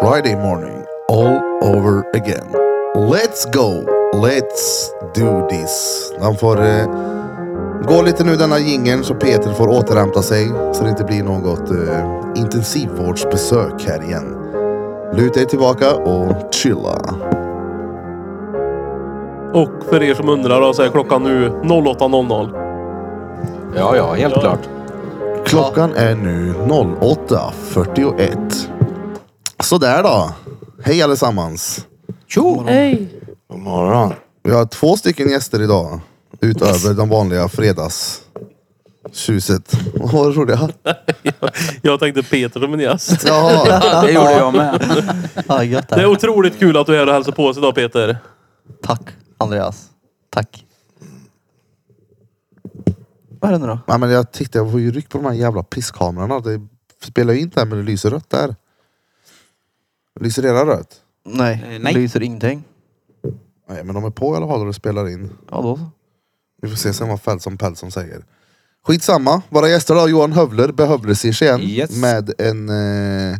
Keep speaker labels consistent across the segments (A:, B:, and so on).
A: Friday morning all over again. Let's go! Let's do this. Han får eh, gå lite nu denna jingeln så Peter får återhämta sig så det inte blir något eh, intensivvårdsbesök här igen. Luta er tillbaka och chilla.
B: Och för er som undrar då så är klockan nu 08.00.
C: Ja, ja, helt
B: Ja.
C: klart.
A: Klockan är nu 08.41. Sådär då. Hej allesammans.
D: eh,
E: Hej!
C: God morgon.
A: Vi har två stycken gäster idag. Utöver den vanliga fredagstjuset. Vad roliga.
B: Jag tänkte Peter som en gäst.
A: Jaha.
D: Det gjorde jag med.
E: Ja, gött
B: Det är
E: det.
B: otroligt kul att du är här och hälsar på oss idag Peter.
E: Tack Andreas. Tack. Vad är det nu då?
A: Nej, men jag tyckte jag får ju ryck på de här jävla pisskamerorna. Det spelar ju inte här men det lyser rött där. Lyser era rött?
E: Nej,
D: Eh, nej.
E: det lyser ingenting.
A: Nej men de är på i alla fall och det spelar in.
E: Ja då så.
A: Vi får se sen vad Felson Pelson säger. Skitsamma. Våra gäster då. Johan Hövler behövdes i igen
D: Yes.
A: med en... Eh,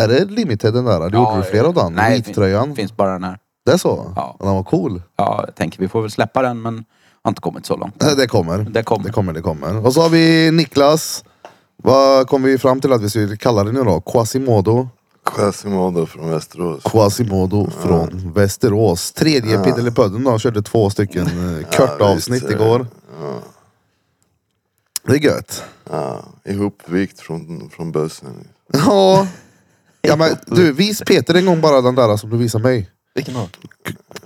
A: är det limited den där? Du gjorde du flera av den?
D: Nej, det fin-
A: Vittröjan.
D: finns bara den här.
A: Det är så?
D: Ja.
A: Den var cool.
D: Ja, jag tänker vi får väl släppa den men har inte kommit så långt.
A: Det kommer.
D: Det kommer.
A: Det kommer, det kommer. Och så har vi Niklas. Vad kom vi fram till att vi skulle kalla det nu då? Quasimodo.
F: Quasimodo från Västerås.
A: Quasimodo från Västerås. Tredje ja. Piddelipudden då. Körde två stycken eh, korta avsnitt
F: visst.
A: igår. Det är gött.
F: Ja, ihopvikt från, från bussen.
A: Ja. ja men du, vis Peter en gång bara den där som du visade mig.
E: Vilken då?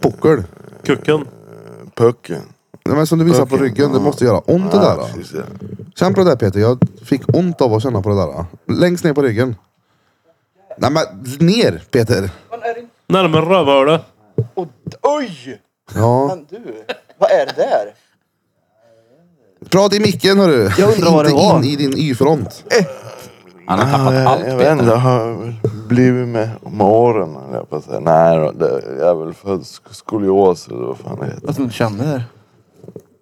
A: Puckel.
B: Kucken.
F: Pucken.
A: Nej, men som du visade på
F: Pucken,
A: ryggen. Det
F: ja.
A: måste göra ont det där.
F: Ja,
A: då.
F: precis, ja.
A: Känn på det där Peter. Jag fick ont av att känna på det där. då. Längst ner på ryggen. Nej men ner Peter.
B: Närmare rövhålet.
G: Och, oj!
A: Ja.
G: Men du, vad är det där?
A: Prata i micken hörru.
E: Jag undrar vad det
A: Inte
E: var.
A: in i din y-front.
D: Han har tappat
F: Ja,
D: allt
F: jag, jag vet inte,
D: Peter.
F: det har blivit med, med åren. höll Jag på att säga. Nej, då, det, jag är väl född sk- skolios eller vad fan det heter.
E: Jag som inte kände det. här.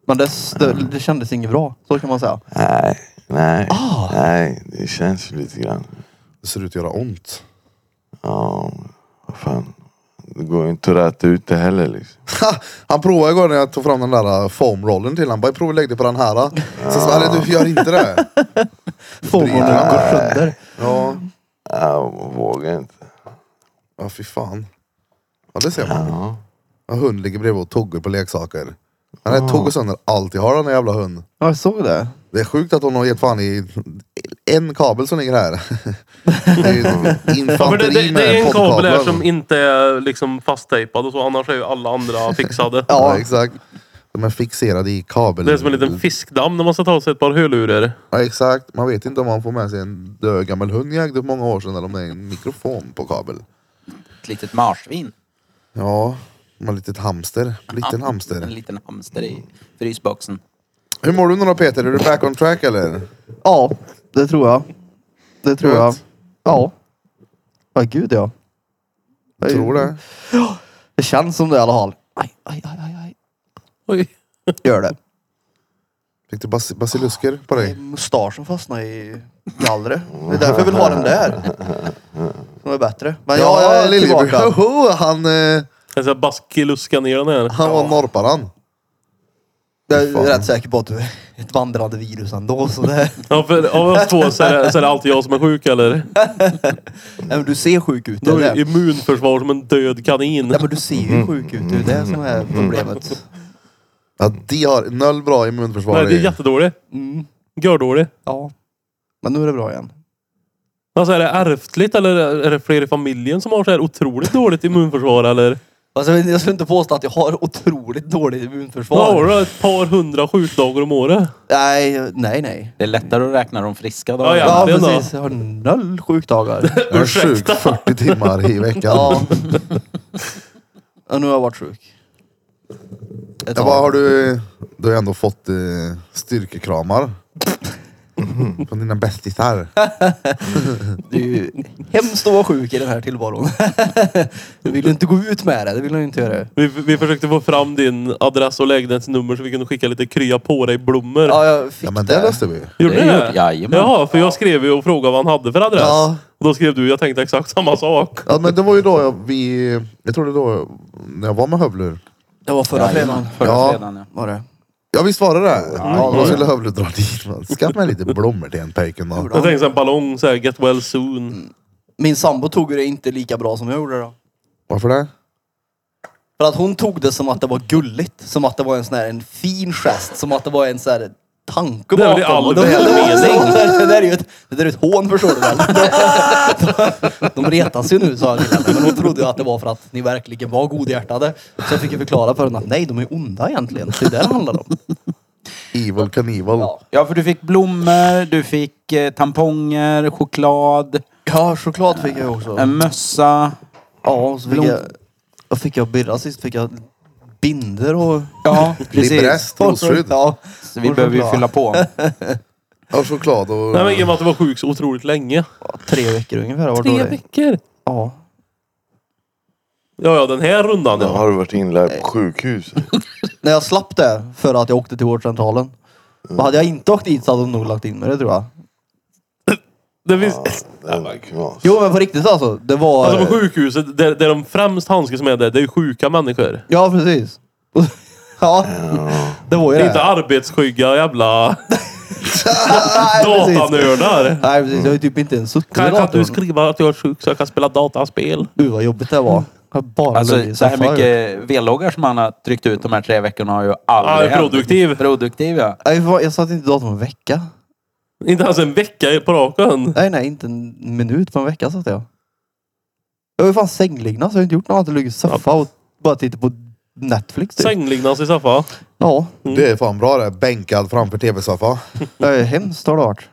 E: Men det, stö- det kändes inget bra. Så kan man säga.
F: Nej, nej, nej. Det känns ju lite grann.
A: Det ser ut att göra ont.
F: Ja, vad fan. Det går ju inte att räta ut det heller liksom.
A: Ha! Han provade igår när jag tog fram den där äh, foamrollen till honom. Bara prova lägg dig på den här. då." Så sa han, "Nej, du gör inte det.
E: Fågeln går sönder.
A: Ja.
F: Ja, man vågar inte.
A: Ja fy fan. Ja det ser man. Ja. Hund ligger bredvid och tuggar på leksaker. Den här tuggar sönder allt jag har den här jävla hunden.
E: Ja, jag såg det.
A: Det är sjukt att hon har gett fan i en kabel som ligger här. Det är ju
B: Ja, för det,
A: infanteri
B: det,
A: med
B: det är en kabel här
A: poddkabeln.
B: som inte är liksom fasttejpad och så. Annars är ju alla andra fixade.
A: Ja exakt. De är fixerade i kabel.
B: Det är som en liten fiskdamm när man ska ta sig ett par hörlurar.
A: Ja, exakt. Man vet inte om man får med sig en död gammal hund jag ägde för många år sedan eller om det är en mikrofon på kabel.
D: Ett litet marsvin.
A: Ja, man har litet hamster. Liten
D: En
A: hamster.
D: liten hamster i frysboxen.
A: Hur mår du nu då Peter? Är du back on track eller?
E: Ja, det tror jag. Det tror jag. Ja. Ja, gud ja.
A: Jag tror det.
E: Det känns som det i alla fall. Aj, aj, aj, aj, aj.
B: Oj.
E: Gör det.
A: Fick du bas- basilusker på
E: Nej,
A: dig?
E: mustaschen fastnade i gallret. Det är därför jag vill ha den där. Som är bättre. Men jag är
A: lillebror.
E: tillbaka.
A: Hoho, Han, eh,
B: Jag ska baskiluska ner den här.
A: han var norparan.
E: Jag är rätt säker på att du är ett vandrande virus ändå. Så det...
B: Ja, för av oss två så är, det, så är det alltid jag som är sjuk eller?
E: Nej, men du ser sjuk ut. Det
B: Du
E: är
B: har
E: det.
B: ju immunförsvar som en död kanin.
E: Nej, men du ser ju sjuk ut. Det är det som är problemet.
A: Ja, de har noll bra immunförsvar.
B: Nej, det är
A: i.
B: jättedåligt.
E: Mm.
B: Gördåligt.
E: Ja. Men nu är det bra igen.
B: Alltså är det ärftligt eller är det fler i familjen som har så här otroligt dåligt immunförsvar eller?
E: Alltså, jag skulle inte påstå att jag har otroligt dåligt
B: Ja, har
E: immunförsvar.
B: du ett par hundra sjukdagar om året?
E: Nej, nej, nej.
D: Det är lättare att räkna de friska då.
B: Ja, ja.
E: Ja,
B: det är bra.
E: precis. Jag har noll sjukdagar.
A: Jag är sjuk
B: Ursäkta.
A: 40 timmar i veckan.
E: Ja. ja. Nu har jag varit sjuk. Ett
A: Ja,
E: tag.
A: vad har du, du har ju ändå fått eh, styrkekramar. Från dina bästisar.
E: Det är ju hemskt att vara sjuk i den här tillvaron. Du vill ju inte gå ut med det. Det vill jag inte göra.
B: Vi, vi försökte få fram din adress och lägenhetsnummer så vi kunde skicka lite krya på dig blommor.
E: Ja, jag fick
A: Ja men det
E: det.
A: löste vi.
B: Gjorde
D: det
B: ni
D: gjorde- jajamän.
B: Jaha, för jag skrev ju och frågade vad han hade för adress.
E: Ja.
B: Och då skrev du, jag tänkte exakt samma sak.
A: Ja men det var ju då jag, vi... Jag tror det då jag- när jag var med Hövlur.
E: Det var förra fredagen.
D: Förra
A: Ja.
D: fredagen ja.
E: Var det?
A: Ja visst var det det? Ja, då skulle Hövlur dra dit. man. Skaffa mig lite blommor till en pöjken då.
B: Jag tänkte en ballong såhär, get well
E: Mm.
B: soon.
E: Min sambo tog det inte lika bra som jag gjorde då.
A: Varför det?
E: För att hon tog det som att det var gulligt. Som att det var en sån här en fin gest. Som att det var en sån här tanke
B: Det är väl
E: bakom.
B: i all
E: och det, var-
B: välmening.
E: det där är ju ett, det där är ett hån förstår du väl. De retas ju nu sa killarna. Men hon trodde ju att det var för att ni verkligen var godhjärtade. Så jag fick ju förklara för henne att nej, de är onda egentligen. Det är det det handlar om.
A: Evil Knievel.
E: Ja.
D: Ja, för du fick blommor, du fick eh, tamponger, choklad,
E: Ja, choklad fick jag också.
D: en mössa.
E: Ja, och så fick
D: Blom-
E: jag... Vad fick jag Birra sist? Fick jag binder och...
D: Ja, precis.
A: Librest, trosskydd.
E: Ja.
D: Så vi behöver ju fylla på.
A: Ja, choklad och...
B: Nej men i och med att det var sjuk så otroligt länge.
E: Tre veckor ungefär har varit
B: Tre
E: dålig.
B: veckor.
E: Ja.
B: Ja, ja, den här rundan
F: Då
B: ja.
F: har du varit inlagd på sjukhus.
E: När jag slapp det för att jag åkte till vårdcentralen.
D: Mm.
E: Och hade jag inte åkt dit så hade de nog lagt in mig det tror jag.
B: Det finns,
F: Det var knas.
E: Jo men på riktigt alltså. Det var...
B: alltså på sjukhuset, där, där de främst handskas med det, det är ju sjuka människor.
E: ja precis. ja. Det var ju
B: Det
E: det.
B: är inte arbetsskygga jävla
E: Nej, precis.
B: datanördar.
E: Nej precis. Jag har ju typ inte ens suttit
B: Kan,
E: med
B: kan du
E: datorn.
B: skriva att jag är sjuk så jag kan spela dataspel?
E: Gud vad jobbigt det var. Jag bara
D: Alltså
E: låg i
D: så här
E: soffan.
D: mycket velloggar som han har tryckt ut de här tre veckorna har ju aldrig
B: Ja,
D: hänt.
B: produktiv.
D: Produktiv ja.
E: Nej, fan, Jag satt inte i datorn en vecka.
B: Inte ens en vecka på raken.
E: Nej, nej, inte en minut på en vecka satt jag. Jag var ju fan sängliggna så jag har inte gjort något annat än legat i soffa och bara tittat på Netflix typ.
B: Sänglignas i soffan.
E: Ja,
A: Det är fan bra det. Bänkad framför tv-soffa.
E: det är hemskt har det varit.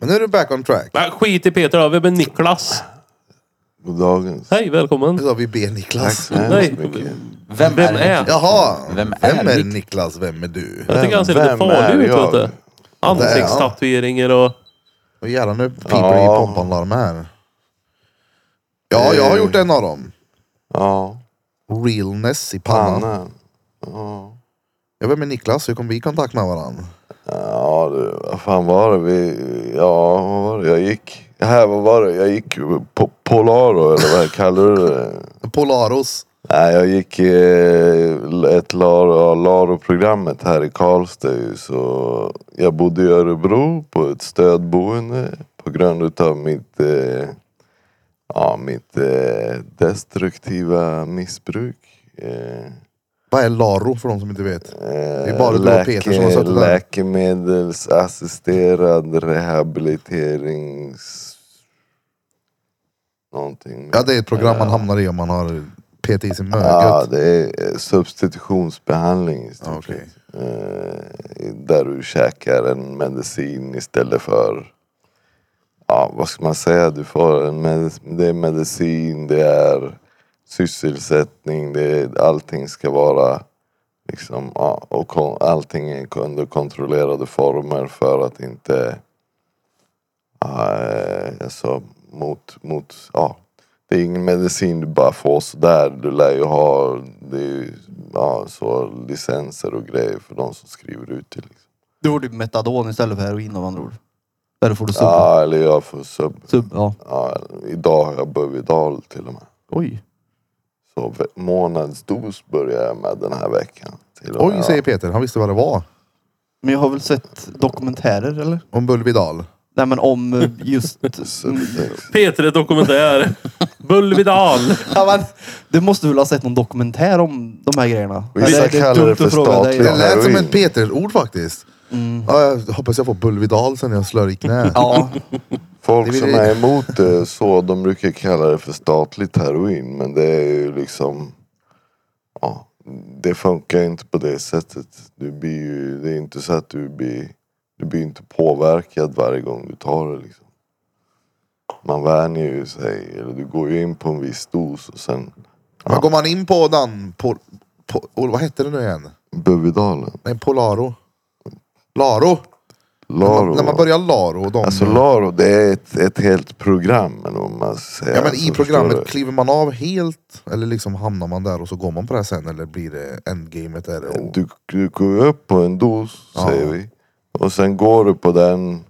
A: Men nu är du back on track.
B: Men skit i Peter då, vem är Niklas?
F: God dagens.
B: Hej, välkommen.
A: Nu sa vi B
F: Tack
A: Niklas.
F: så hemskt mycket.
D: Vem,
B: Vem
D: det?
B: är?
A: Jaha!
D: Vem är Nik-
A: Niklas? Vem är du?
B: Jag tycker han ser lite
F: Vem är
B: farlig ut.
F: jag?
B: vet du. Ansiktstatueringar och...
A: Och jävlar nu piper det i
F: Ja.
A: pompanlarm här. Ja, jag har gjort en av dem.
F: Ja,
A: Realness i pannan.
F: pannan. Ja.
A: Ja, vem är Niklas? Hur kom vi i kontakt med varandra?
F: Ja du, vad fan var det vi... Ja, vad var det? Jag gick... Här, vad var det? Jag gick på Polaro eller vad kallar du det?
A: Polaros.
F: Nej, jag gick eh, ett Laro- Laro-programmet här i Karlstad ju, så jag bodde i Örebro på ett stödboende på grund utav mitt, eh, ja, mitt eh, destruktiva missbruk. Eh,
A: Vad är Laro för de som inte vet?
F: Det
A: är bara du och Peter som har suttit där.
F: Läkemedelsassisterad rehabiliterings... Någonting.
A: Ja, det är ett program man hamnar i om man har PT i sin
F: Ja,
A: möget.
F: det är eh, substitutionsbehandling i stort
A: Okej.
F: sett. Eh, Där du käkar en medicin istället för... Ja, vad ska man säga? Du får en med, det är medicin, det är sysselsättning, det är, allting ska vara liksom, ja, och kon, allting är under kontrollerade former för att inte... Uh, alltså, mot, mot, ja, det är ingen medicin du bara får sådär. Du lär ju ha det är ju, ja, så, licenser och grejer för de som skriver ut det. Liksom.
E: Du gjorde ju metadon istället för heroin av andra ord. Eller får du sub? Ja.
F: Ja, eller jag får sub.
E: sub ja.
F: Ja, idag har jag Buvidal till och med.
E: Oj.
F: Så ve- månadsdos börjar jag med den här veckan. Till och med,
A: Oj, säger Peter. Han visste vad det var.
E: Men jag har väl sett dokumentärer eller?
A: Om Bulvidal.
E: Nej men om eh, just...
A: Mm.
F: Subtext.
B: Peter är dokumentär. Bulvidal.
E: ja, men, du måste väl ha sett någon dokumentär om de här grejerna?
F: Vissa
E: Eller, är
F: kallar
E: dumt
F: det för
E: att fråga dig?
F: statlig-
A: Det lät som
F: heroin.
A: ett Peter-ord faktiskt. Ja, jag hoppas jag får Bulvidal sen när jag slår i knä.
E: Ja,
A: Det
F: Folk
A: vill
F: som
A: jag-
F: är emot det så, de brukar kalla det för statligt heroin. Men det är ju liksom... Ja, det funkar inte på det sättet. Du blir ju, det är inte så att du blir... Du blir inte påverkad varje gång du tar det liksom. Man vänjer ju sig. Eller du går ju in på en viss dos och sen...
A: Men går man in på den... På, på, och vad hette det nu igen?
F: Buvidalen.
A: Nej, Polaro. Laro. När,
F: Laro.
A: man, när man börjar Laro. och De,
F: Alltså Laro, det är ett, ett helt program. eller vad Man ska säga.
A: ja, men I
F: Alltså, förstår du?
A: programmet kliver man av helt eller liksom hamnar man där och så går man på det här sen eller blir det endgamet? Där och,
F: Du, du går upp på en dos,
A: Ja.
F: säger vi. Och sen går du på den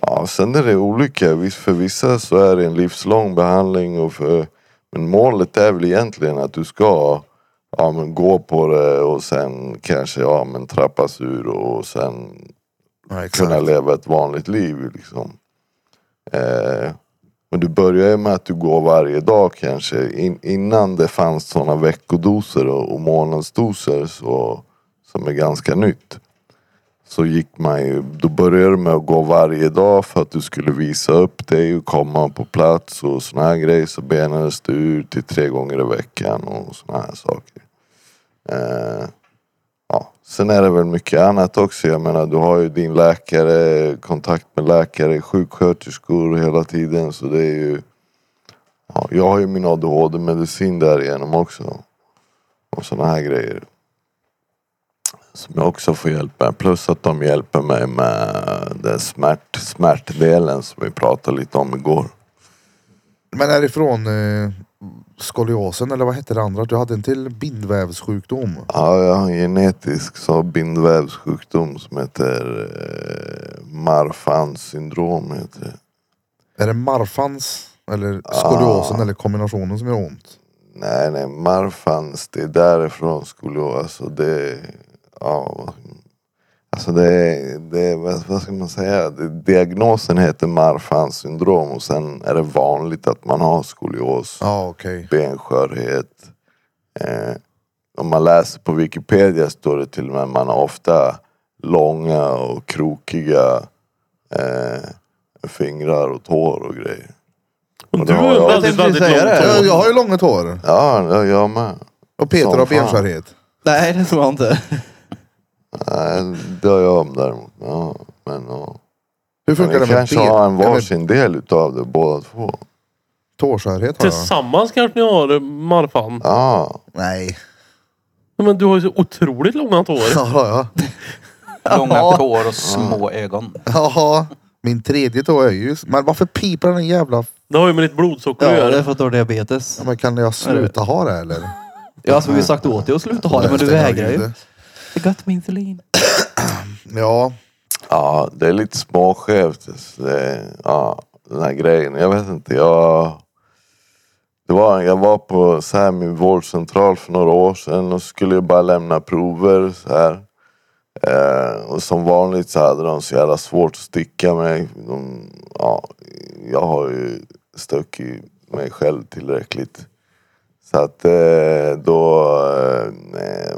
F: Ja, sen är det olika. Visst, För vissa så är det en livslång behandling. Och för, men målet är väl egentligen att du ska ja, men gå på det och sen kanske ja, men trappas ur och sen
A: Ja, exakt.
F: kunna leva ett vanligt liv. Liksom. Eh, men du börjar ju med att du går varje dag kanske. In, innan det fanns sådana veckodoser och, och månadsdoser så, som är ganska nytt. Så gick man ju, då började du med att gå varje dag för att du skulle visa upp dig och komma på plats och såna här grejer. Så benades du ut till tre gånger i veckan och såna här saker. Eh, Ja, sen är det väl mycket annat också. Jag menar, du har ju din läkare, kontakt med läkare, sjuksköterskor hela tiden. Så det är ju... Ja, jag har ju min ADHD-medicin därigenom också. Och sådana här grejer. Som jag också får hjälp med. Plus att de hjälper mig med den smärt, smärtdelen som vi pratade lite om igår.
A: Men är det från eh, skoliosen eller vad hette det andra? Du hade en till bindvävssjukdom.
F: Ja, jag har en genetisk så bindvävssjukdom som heter eh, Marfans syndrom. Heter det.
A: Är det marfans eller skoliosen
F: Ah.
A: eller kombinationen som gör ont?
F: Nej, nej, Marfans, det är därifrån skulle jag, alltså det, ja, vad- alltså det, det vad, vad ska man säga, det, diagnosen heter Marfans syndrom och sen är det vanligt att man har skolios,
A: Ja okej.
F: benskörhet. Eh, om man läser på Wikipedia står det till och med att man har ofta långa och krokiga eh, fingrar och tår och grejer.
B: Och
F: Och
B: du
F: det har
B: har
F: jag.
B: väldigt,
A: Jag, tänkte
B: väldigt
A: säga det.
B: långt
A: jag,
B: hår.
A: jag har ju långt hår.
F: Ja, jag- jag med.
A: Och Peter
F: Som
A: har
F: fan.
A: benskörhet.
E: Nej, det tror jag inte.
F: Nej, det har jag om däremot. Ja, men ja.
A: Hur
F: Men
A: funkar
F: ni
A: det med
F: kanske har en
A: ben? Eller
F: varsin del utav det båda två.
A: Tårskörhet har jag.
B: Tillsammans kanske ni har eh, Marfan.
F: Ja,
A: Nej.
B: Men du har ju så otroligt långa tår.
A: Ja, har jag.
D: Långa tår och små ögon.
A: Jaha. Min tredje tå är ju... Men varför piper den jävla...
B: Det har ju med ditt blodsocker att
E: Ja, det är
B: göra.
E: för att du har diabetes.
A: Ja, Men kan jag sluta ha det eller?
E: Ja, alltså, vi har sagt åt dig att sluta ha det, men du vägrar ju. Det gott med insulin.
A: Ja.
F: ja det är lite småskevt. så det- Ja, den här grejen. Jag vet inte, jag... Det var, jag var på så här, min vårdcentral för några år sedan och skulle jag bara lämna prover. Så här. Eh, och som vanligt så hade de så jävla svårt att sticka mig. De, ja, jag har ju stuckit mig själv tillräckligt. Så att eh, då eh,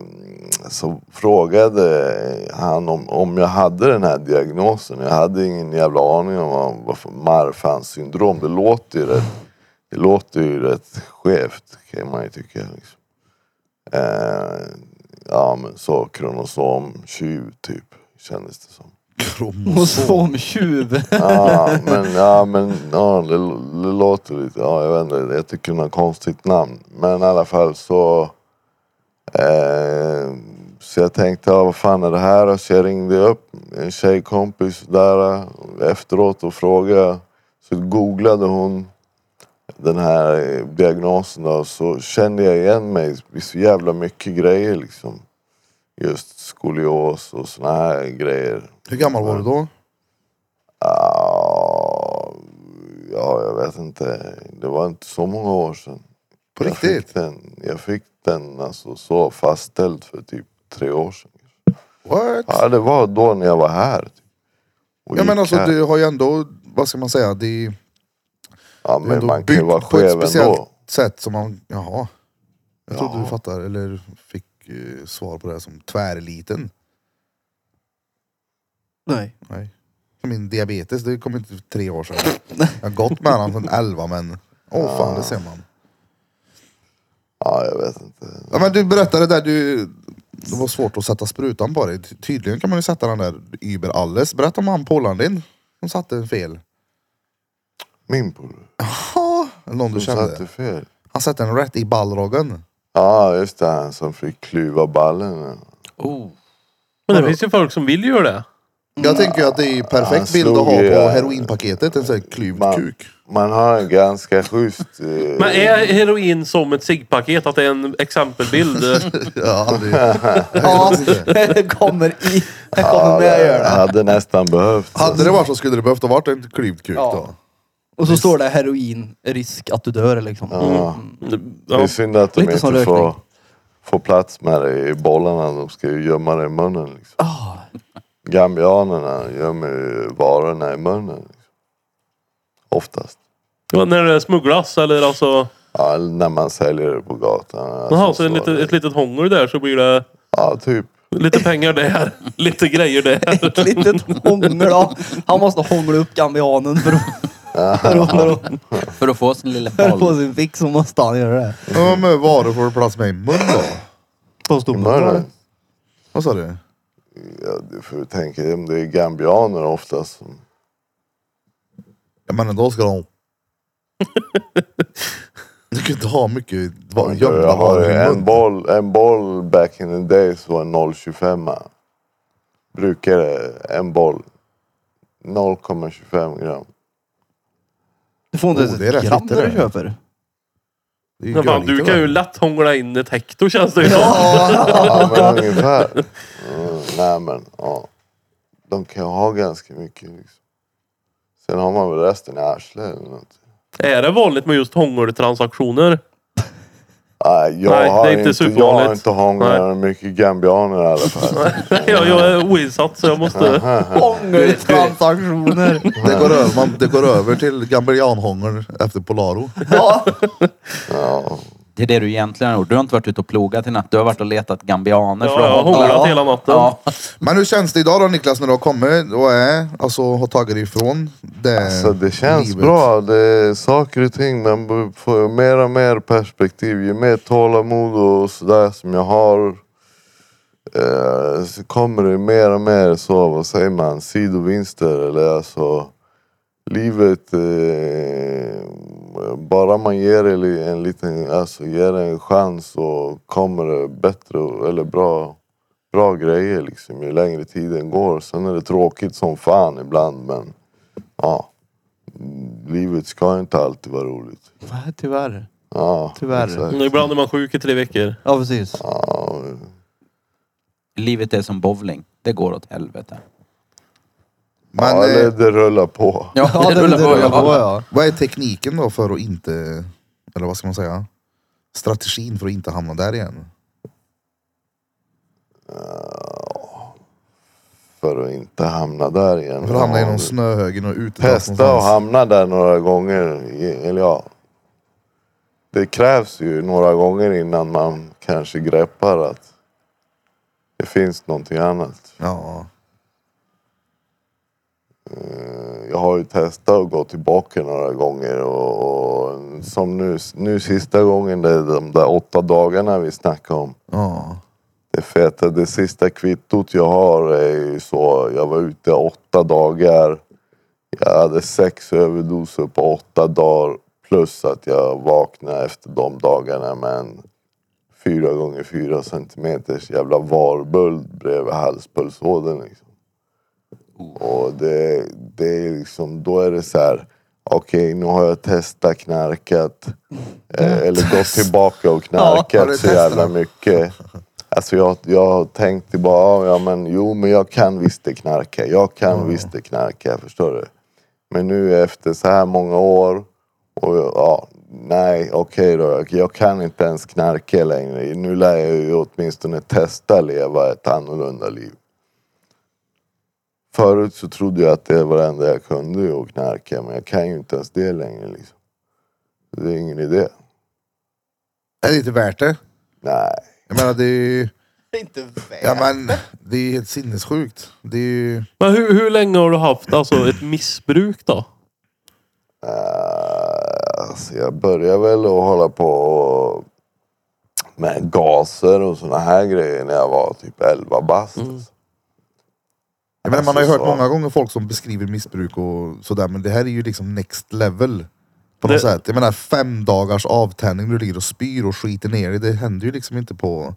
F: så frågade han om, om jag hade den här diagnosen. Jag hade ingen jävla aning om vad- vad för Marfans syndrom. Det låter ju rätt, det låter ju rätt skevt kan man ju tycka. Liksom. Eh, ja men så kronosom tjuv typ kändes det som.
E: Kromosomtjuv.
F: Ja men, ja, men ja, det, det låter lite, ja, jag vet inte, jag tycker det är ett konstigt namn. Men i alla fall så... Eh, så jag tänkte, ja, vad fan är det här då? Så jag ringde upp en tjejkompis där eh, efteråt och frågade. Så googlade hon den här eh, diagnosen då, så kände jag igen mig i så jävla mycket grejer liksom. Just skolios och såna här grejer.
A: Hur gammal var du då?
F: Ja, ja, jag vet inte. Det var inte så många år sedan.
A: På
F: jag
A: riktigt?
F: Fick den, jag fick den alltså så fastställd för typ tre år sedan.
A: What?
F: Ja, det var då när jag var här. Typ. Och
A: Ja men
F: gick
A: alltså
F: här.
A: du har ju ändå, vad ska man säga, det är ju
F: ja,
A: det är
F: men
A: ändå
F: man kan ju
A: byggt
F: vara
A: på ett
F: skev
A: speciellt
F: ändå.
A: sätt som man, jaha. Jag trodde
F: Ja.
A: du fattar, eller fick eh, svar på det här som tvärliten.
E: Nej.
A: Min diabetes, det kom inte för tre år sedan. Jag har gått med den sedan elva men, åh fan det ser man.
F: Ja, jag vet inte.
A: Ja, men du berättade där du, det var svårt att sätta sprutan på dig. Ty- Tydligen kan man ju sätta den där Uber Alles. Berätta om han polaren din som satte en fel.
F: Min polare.
A: Ja, någon du
F: Du satte
A: kände.
F: fel.
A: Han satte en rätt i ballroggen.
F: Ja, just det. Han som fick klyva ballen.
D: Oh.
B: Men det finns ju folk som vill göra det.
A: Jag tänker ju att det är ju
F: Han
A: perfekt
F: slog
A: bild att ha
F: ju-
A: på heroinpaketet. En sån här klyvd
F: Man,
A: kuk.
F: man har en ganska schysst... eh,
B: Men är heroin som ett ciggpaket? Att det är en exempelbild?
A: Ja, det,
E: Ja, kommer i. Jag kommer med och gör
F: eh, jag
E: det.
F: hade nästan behövt.
A: hade det varit så skulle det behövt ha varit en klyvd kuk
E: Ja.
A: då.
E: Och så står det heroin, risk att du dör liksom.
F: Ja. Det
B: ja.
F: är synd att de
E: Lite som
F: inte får,
E: rökning.
F: får plats med det i bollarna. De ska ju gömma det i munnen. Liksom.
A: Ah.
F: Gambianerna gömmer ju varorna i munnen. Liksom. Oftast.
B: Ja, När det smugglas eller alltså...
F: Ja, eller när man säljer det på gatan.
B: Jaha,
F: Alltså,
B: så en liten,
F: det-
B: ett litet hångel där så blir det
F: Ja, typ.
B: lite pengar där, lite grejer där.
E: Ett litet hångel ja. Han måste hångla upp gambianen för att, för att, för att,
D: För att få sin lilla
E: för att få
D: boll.
E: sin fix så måste han göra det.
A: Ja, men varor får du plats med i mun då?
E: På
F: I
E: stolen.
F: munnen.
A: Vad sa du?
F: Ja, du får ju tänka dig om det är gambianer oftast. som-
A: Ja, men ändå ska de... Du kan inte ha mycket va- gömda
F: Jag har
A: varor
F: ju
A: i
F: en
A: mun.
F: boll, en boll back in the days var en 0,25. Brukade en boll. 0,25 gram.
E: Du får inte
A: Oh,
E: ens
A: det är rätt
E: ett gram
A: lite
E: när
A: det.
E: du köper.
A: Det är ju
B: Men fan,
A: görlite,
B: du kan ju
A: va?
B: lätt hångla in ett hekto känns det ju som.
F: Ja, men ungefär. Mm, nej men, ja. De kan ha ganska mycket liksom. Sen har man väl resten i arslet eller något.
B: Är det vanligt med just hångeltransaktioner?
F: Nej, jag,
B: Nej, det är
F: har
B: inte
F: inte, jag
B: supervanligt.
F: har inte hånglat med mycket gambianer i alla fall.
B: Jag, jag är oinsatt så jag måste...
E: Ångertransaktioner.
A: Det går över, man, det går över till gambianhångel efter Polaro.
E: Ja.
F: Ja.
D: Det är det du egentligen har gjort. Du har inte varit ute och plogat i natt. Du har varit och letat gambianer
B: Ja,
D: för att
B: jag har
D: hångla.
B: hånglat hela natten.
D: Ja.
A: Men hur känns det idag då Niklas när du har kommit och är, alltså har tagit dig ifrån det
F: Alltså det känns
A: Eh, livet?
F: bra. Det är saker och ting. Man b- får mer och mer perspektiv. Ju mer tålamod och sådär som jag har. Eh, så kommer det mer och mer så, vad säger man, sidovinster eller alltså. Livet, eh, bara man ger det li- en liten, alltså ger det en chans så kommer det bättre eller bra, bra grejer liksom ju längre tiden går. Sen är det tråkigt som fan ibland men ja. Mm, Livet ska inte alltid vara roligt.
E: Nej, Tyvärr.
F: Ja,
E: Tyvärr.
F: exakt.
B: Ibland är man sjuk i tre veckor.
E: Ja precis.
F: Ja,
D: Livet är som bowling. Det går åt helvete.
A: Men
F: ja, eller
A: eh,
F: det rullar på.
D: Ja,
E: Ja, det, det, det,
D: ja.
E: var jag.
A: vad är tekniken då för att inte, eller vad ska man säga? Strategin för att inte hamna där igen?
F: För att inte hamna där igen.
A: För att hamna i någon
F: Ja,
A: snöhögen och ute
F: Testa och hamna där några gånger. i- Eller ja. Det krävs ju några gånger innan man kanske greppar att det finns någonting annat.
A: Ja.
F: Eh, Jag har ju testat och gått tillbaka några gånger och, och som nu, nu sista gången, det är de där åtta dagarna vi snackade om.
A: Ja.
F: Det feta, det sista kvittot jag har är ju så. Jag var ute åtta dagar. Jag hade sex överdoser på åtta dagar. Plus att jag vaknade efter de dagarna med en fyra gånger fyra centimeters jävla varböld bredvid halspulsådern. Liksom. Och det, det är liksom, då är det så här. Okej, nu har jag testat knarkat. Eh, eller gått tillbaka och
A: Mm. Ja, har du
F: knarkat så
A: testat?
F: jävla mycket. Alltså jag, jag har tänkt bara, ja men jo men jag kan visst det knarka. Jag kan
A: Mm.
F: visst det knarka, förstår du? Men nu efter så här många år och jag- ja, nej okej då. Jag, jag kan inte ens knarka längre. Nu lär jag ju åtminstone testa leva ett annorlunda liv. Förut så trodde jag att det var det enda jag kunde ju att knarka. Men jag kan ju inte ens det längre liksom. Det är ingen idé.
A: Är det inte värt det?
F: Nej.
A: Jag menar det är ju,
G: Det är inte värt.
A: ja, men, det är ju helt sinnessjukt. Det är ju,
B: Men hur, hur länge har du haft alltså, ett missbruk då?
F: Eh, Alltså jag började väl att hålla på och- med gaser och såna här grejer när jag var typ 11 bast. alltså.
A: Mm. jag menar, man har ju hört
F: Alltså, så-
A: många gånger folk som beskriver missbruk och sådär men det här är ju liksom next level. På något
B: Det-
A: sätt. Jag menar fem dagars avtändning, du ligger och spyr och skiter ner dig. Det händer ju liksom inte på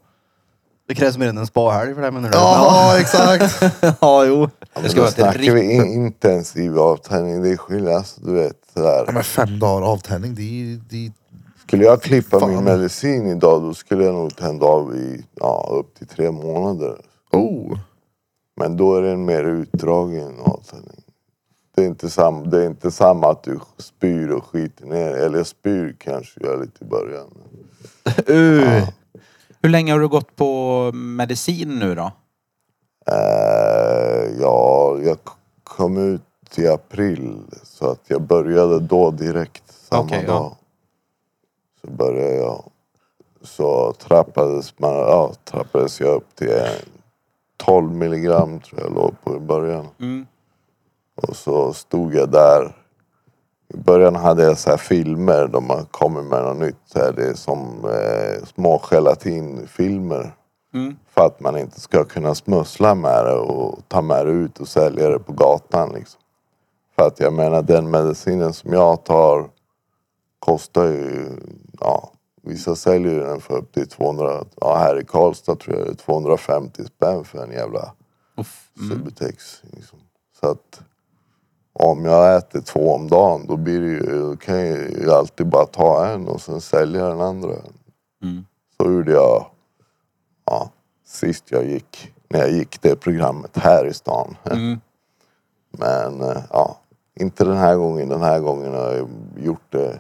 E: Det krävs mer än en spahelg för det menar du?
A: Ja, exakt.
E: Ja, ja jo.
F: Det ska snackar vi in, intensiv avtänning. Det är skillnad. Alltså, du vet,
A: Ja,
F: sådär.
A: men fem dagar avtänning, det är ju... Det är ju-
F: Skulle jag klippa
A: Fan.
F: min medicin idag då skulle jag nog tända av i ja, upp till tre månader.
A: Oh.
F: Men då är den mer utdragen avtändning. Det är, inte samma, det är inte samma att du spyr och skiter ner. Eller spyr kanske jag lite i början.
D: Hur länge har du gått på medicin nu då?
F: Eh, ja, jag k- kom ut i april. Så att jag började då direkt. Samma
D: Okej, ja.
F: dag. Så började jag. Så trappades, man, ja, trappades jag upp till eh, 12 milligram tror jag låg på i början.
D: Mm.
F: Och så stod jag där. I början hade jag så här filmer där man kommer med något nytt. Så här, det är som eh, små gelatinfilmer.
D: Mm.
F: För att man inte ska kunna smussla med det och ta med det ut och sälja det på gatan. Liksom. För att jag menar den medicinen som jag tar kostar ju... Ja, vissa säljer ju den för upp till 200... Ja, här i Karlstad tror jag det är 250 spänn för en jävla Subutex. Liksom. Så att om jag äter två om dagen då blir det ju, då kan jag ju alltid bara ta en och sen sälja den andra. Så gjorde jag ja, sist jag gick, när jag gick det programmet här i stan.
D: Mm.
F: Men eh, ja, inte den här gången. Den här gången har jag gjort det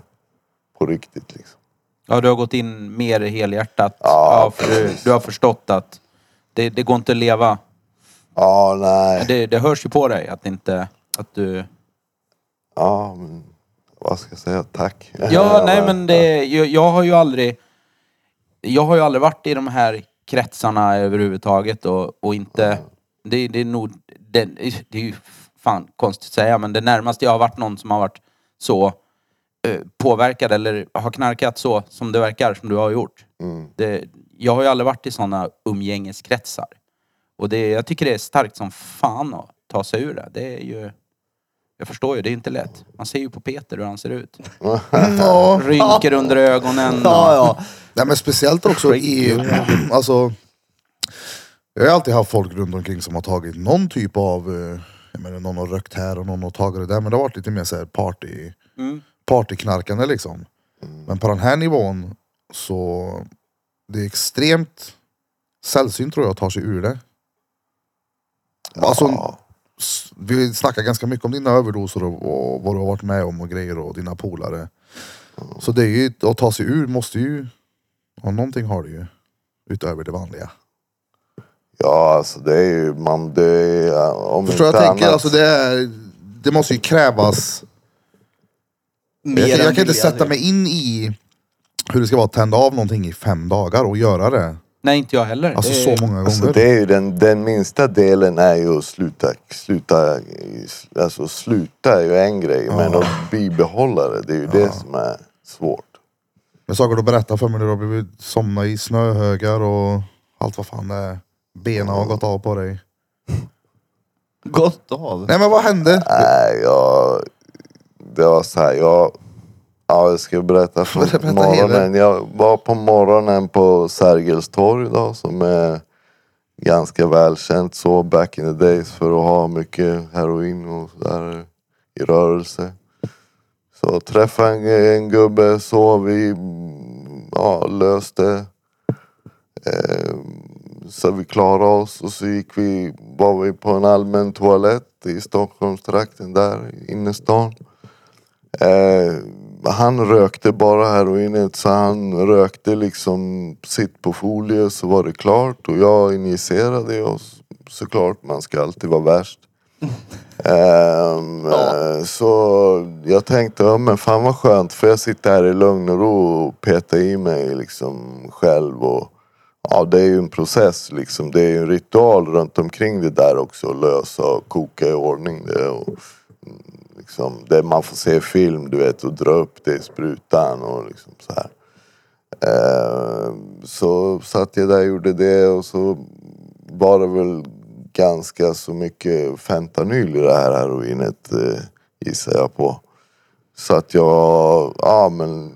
F: på riktigt liksom.
D: Ja, du har gått in mer helhjärtat.
F: Ja,
D: för du, du har förstått att det, det går inte att leva.
F: Ja, nej.
D: Det, det hörs ju på dig att inte... Att du...
F: Ja, men vad ska jag säga? Tack.
D: Ja, nej men det, jag, jag har ju aldrig... Jag har ju aldrig varit i de här kretsarna överhuvudtaget och, och inte... Det, det är nog... Det, det är ju fan konstigt att säga, men det närmaste jag har varit någon som har varit så eh, påverkad eller har knarkat så som det verkar, som du har gjort. Det, jag har ju aldrig varit i sådana umgängeskretsar. Och det, jag tycker det är starkt som fan att ta sig ur det. Det är ju... Jag förstår ju, det är inte lätt. Man ser ju på Peter hur han ser ut.
A: Ja.
D: Rynker under ögonen.
E: Ja, ja.
A: Nej, men speciellt också i... Alltså, jag har alltid haft folk runt omkring som har tagit någon typ av... eh, Jag menar, någon har rökt här och någon har tagit det där. Men det har varit lite mer så här party, partyknarkande liksom. Men på den här nivån så... Det är extremt sällsynt tror jag tar sig ur det. Alltså,
F: Ja.
A: s- vi snackar ganska mycket om dina överdoser och, och vad du har varit med om och grejer och dina polare. Så det är ju, att ta sig ur måste ju, ja, någonting har du ju utöver det vanliga.
F: Ja, alltså det är ju... Man, det är, om
A: Förstår
F: inte
A: jag tänker?
F: annat-
A: Alltså det, är, det måste ju krävas,
E: Mer
A: jag, kan-
E: än
A: jag kan inte
E: vilja,
A: sätta
E: typ.
A: mig in i hur det ska vara att tända av någonting i fem dagar och göra det.
D: Nej, inte jag heller.
A: Alltså
D: Det-
E: Eh,
A: så många gånger.
F: Alltså det är ju den, den minsta delen är ju att sluta, sluta, alltså sluta är ju en grej men att bibehålla det, det är ju det som är svårt.
A: Men saker du berättar för mig nu, du har blivit somna i snöhögar och allt vad fan det är. Benen har gått av på dig.
E: Gått av.
A: Nej men vad hände?
F: Nej, jag... Det var så här, jag... Ja, jag ska berätta från
A: Berätta hela.
F: morgonen. Jag var på morgonen på Sergels torg idag som är ganska välkänt så back in the days för att ha mycket heroin och sådär i rörelse. Så träffade en, en gubbe, så vi mm, ja, löste Eh, så vi klarade oss och så gick vi, var vi på en allmän toalett i Stockholmstrakten där i innerstan. Eh, han rökte bara heroinet så han rökte liksom sitt på folie så var det klart och jag injicerade och s- såklart man ska alltid vara värst. Ehm, eh, Så jag tänkte, ja men fan vad skönt för jag sitter här i lugn och ro och petar i mig liksom själv och Ja, det är ju en process liksom. Det är ju en ritual runt omkring det där också. att Lösa och koka i ordning det. Och, mm, liksom, det man får se i film, du vet, och dra upp det i sprutan och liksom så här. Eh, så satt jag där och gjorde det och så var det väl ganska så mycket fentanyl i det här heroinet eh, gissar jag på. Så att jag, ja men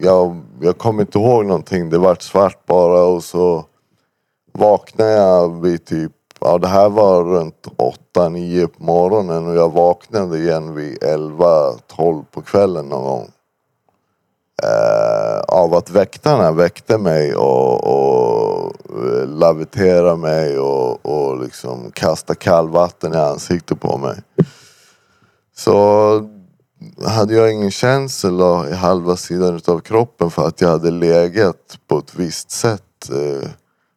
F: jag, jag kommer inte ihåg någonting. Det vart svart bara och så vaknade jag vid typ, ja det här var runt 8-9 på morgonen och jag vaknade igen vid 11-12 på kvällen någon gång. Eh, av att väktarna väckte mig och, och eh, laviterade mig och, och liksom kastade kallvatten i ansiktet på mig. Så hade jag ingen känsel av- i halva sidan av kroppen för att jag hade legat på ett visst sätt. eh,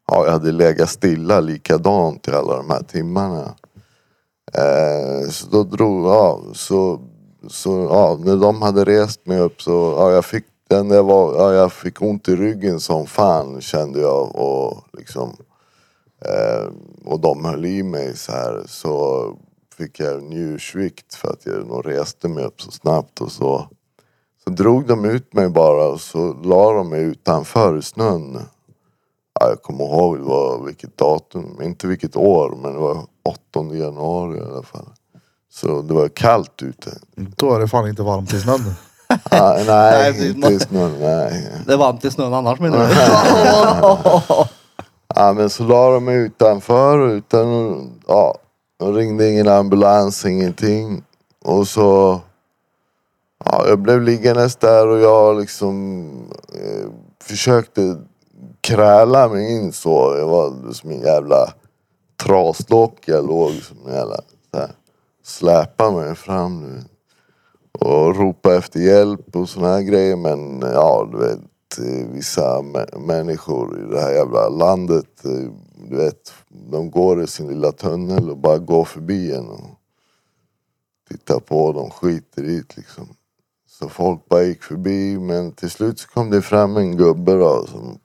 F: Ja, jag hade legat stilla likadant i alla de här timmarna. Eh, Så då drog ja, så, så ja, när de hade rest mig upp så ja, jag fick den där var, ja, jag fick ont i ryggen som fan kände jag och liksom eh, och de höll i mig så här så fick jag njursvikt för att jag nog reste mig upp så snabbt och så. Så drog de ut mig bara och så la de mig utanför i snön. Ja, jag kommer ihåg det var vilket datum, inte vilket år men det var 8 januari i alla fall. Så det var kallt ute.
A: Då är det fan inte varmt i snön.
F: Ah, nej,
E: Nej, det-
F: inte i snön. Nej.
E: Det är varmt i snön annars menar du?
F: Ja men så la de mig utanför och utan, ja, de ringde ingen ambulans, ingenting. Och så, ja jag blev liggandes där och jag liksom eh, försökte kräla mig in så. Jag var som en jävla traslock jag låg som en jävla, så här, släpa mig fram nu. Och ropa efter hjälp och såna här grejer men ja du vet eh, vissa mä- människor i det här jävla landet. eh, Du vet, de går i sin lilla tunnel och bara går förbi en och tittar på. De skiter i det liksom. Så folk bara gick förbi men till slut så kom det fram en gubbe då som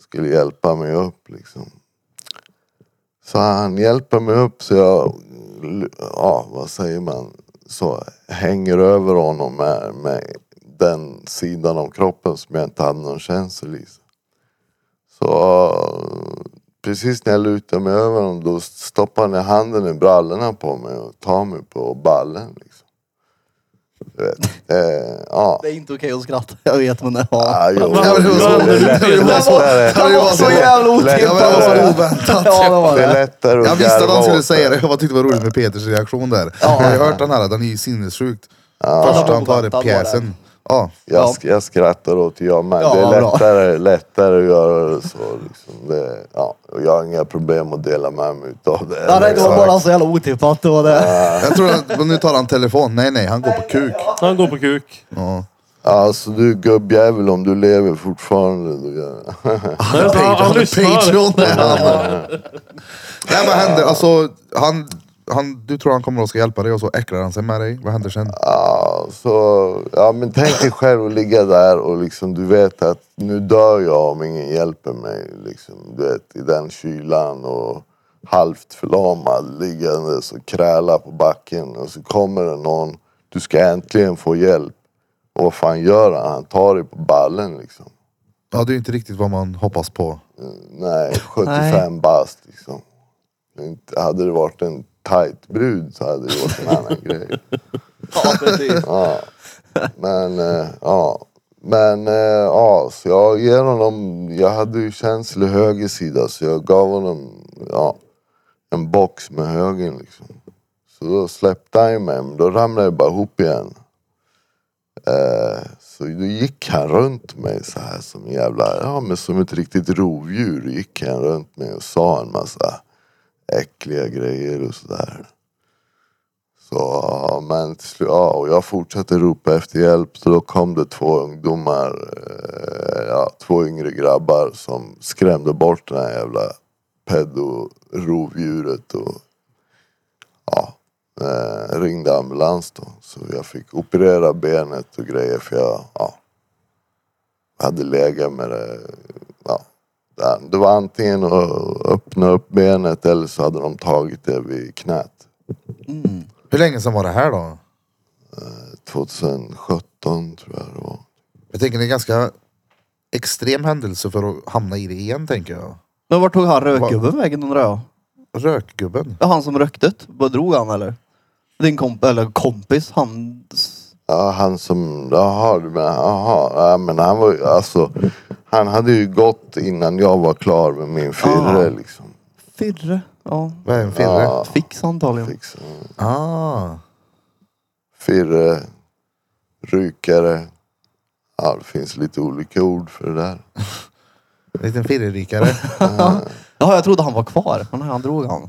F: skulle hjälpa mig upp liksom. Så han hjälper mig upp så jag, ja vad säger man, så hänger över honom med, med den sidan av kroppen som jag inte hade någon känsel i. Så eh, precis när jag lutar mig över honom då stoppar han ner handen i brallorna på mig och tar mig på ballen. Liksom. Du vet. Eh, ja.
E: Det är inte okej att skratta, jag vet men det var...
F: Ah, jo.
B: Vad- vad- vad-
F: Det
A: vad-
F: är lätt- lättare-
A: vad-
E: Det var så jävla
A: Ja, men det var
E: otippat!
A: så oväntat.
E: Ja det var
F: Det är
E: det.
F: lättare att
A: Jag visste att
F: garva
A: han skulle
F: åt
A: säga det. Jag bara tyckte det var roligt med Peters reaktion där. Jag har ju hört den här, den är ju sinnessjukt. Första han tar är pjäsen. Ja,
F: Jag, sk- jag skrattar åt det jag med.
E: Ja,
F: det är
E: vad bra.
F: lättare, lättare att göra det så. Liksom. Det, ja. och Jag har inga problem att dela med mig utav det. Liksom.
E: Ja, nej, det var
F: Exakt.
E: bara så jävla otippat, det var det.
A: jag tror att men nu tar han telefon. Nej, nej, han går på kuk.
B: Han går på kuk.
A: Ja.
F: Alltså du gubbjävel, om du lever fortfarande. Då gör...
B: Nej,
A: Han,
B: han, han lyssnar.
A: Patreon är han. Nej, vad händer? Alltså, han, han, du tror han kommer och ska hjälpa dig och så äcklar han sig med dig. Vad händer sen?
F: ja, så, ja, men tänk dig själv att ligga där och liksom, du vet att nu dör jag om ingen hjälper mig. Liksom, du vet, I den kylan och halvt förlamad liggandes och kräla på backen. Och så kommer det någon. Du ska äntligen få hjälp. Och vad fan gör han? Han tar dig på ballen liksom.
A: Ja, det är ju inte riktigt vad man hoppas på.
F: Nej, 75 bast liksom. Inte- Hade det varit en tight brud så hade det varit en annan grej.
E: Ja, precis.
F: Ja. Men, eh, ja. Men, eh, ja, så jag ger honom, jag hade ju känsel i höger sida så jag gav honom, ja, en box med högen liksom. Så då släppte han ju mig, men då ramlade jag bara ihop igen. Eh, så då gick han runt mig så här som en jävla, ja men som ett riktigt rovdjur gick han runt mig och sa en massa äckliga grejer och sådär. Så, ja, men till slut, ja, och jag fortsatte ropa efter hjälp så då kom det två ungdomar, eh, ja, två yngre grabbar som skrämde bort den här jävla pedo-rovdjuret och ja, eh, ringde ambulans då. Så jag fick operera benet och grejer för jag ja, hade legat med det. Ja, där. det var antingen att öppna upp benet eller så hade de tagit det vid knät.
A: Hur länge sedan var det här då?
F: 2017 tror jag det var.
A: Jag tänker det är en ganska extrem händelse för att hamna i det igen, tänker jag.
E: Men vart tog han rökgubben vägen undrar jag?
A: Rökgubben.
E: Ja, han som röktet. Vad drog han eller? Din komp eller kompis, han...
F: Ja, han som, jaha, du menar, jaha, ja, men han var ju, alltså, Han hade ju gått innan jag var klar med min firre liksom.
E: Firre. Ja.
A: Vad är en firre?
F: Ja,
E: Fix antagligen.
F: liksom.
A: Ah.
F: Firre, rykare. Ja, det finns lite olika ord för det där.
A: En liten firrerykare.
E: Ja, jag trodde han var kvar. Men han drog han.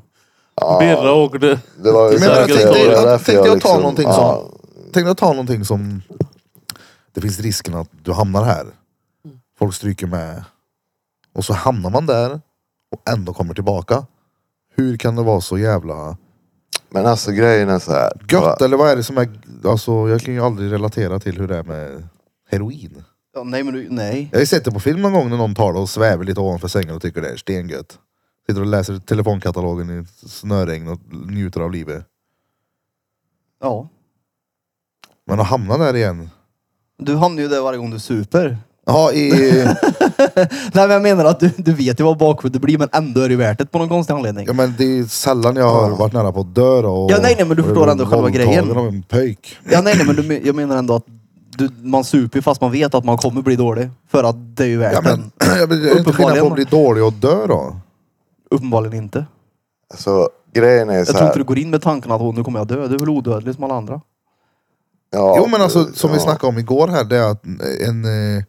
B: Birra åkte.
F: Det var ju
A: Men jag
F: säkert-
A: tänkte,
F: det var
A: jag,
F: därför
A: tänkte jag, ta
F: liksom-
A: någonting
F: ja,
A: som... Tänkte jag ta någonting som... Det finns risken att du hamnar här. Folk stryker med. Och så hamnar man där och ändå kommer tillbaka. Hur kan det vara så jävla
F: Men alltså grejen är så här.
A: gött? Eller vad är det som är... Alltså, jag kan ju aldrig relatera till hur det är med heroin.
E: Ja, nej, men du, nej.
A: Jag har ju sett det på film någon gång när någon tar det och svävar lite ovanför sängen och tycker det är stengött. Sitter och läser telefonkatalogen i snöregn och njuter av livet.
E: Ja.
A: Men att hamna där igen.
E: Du hamnar ju där varje gång du super.
A: Ja, i...
E: Nej, men jag menar att du, du vet ju vad bakhuvud det blir, men ändå är det ju värt det på någon konstig anledning.
A: Ja men det är ju sällan jag har varit nära på att dö då. och-
E: Ja, nej, nej, men du
A: och
E: förstår
A: blir
E: ändå själva
A: våldtagen
E: grejen.
A: av en pöjk.
E: Ja, nej, nej, men du, men- jag menar ändå att du, man super ju fast man vet att man kommer bli dålig. För att det är ju värt
A: Ja, men,
E: den.
A: jag blir, det är inte skillnad på att bli dålig och dö då.
E: Uppenbarligen inte.
F: Alltså grejen är så
E: Jag tror
F: här.
E: inte du går in med tanken att "Åh, nu kommer jag dö. Du är väl odödlig som alla andra.
F: ja,
A: jo men
E: eh,
A: alltså som vi
F: ja.
A: snackade om igår här, det är att en, eh,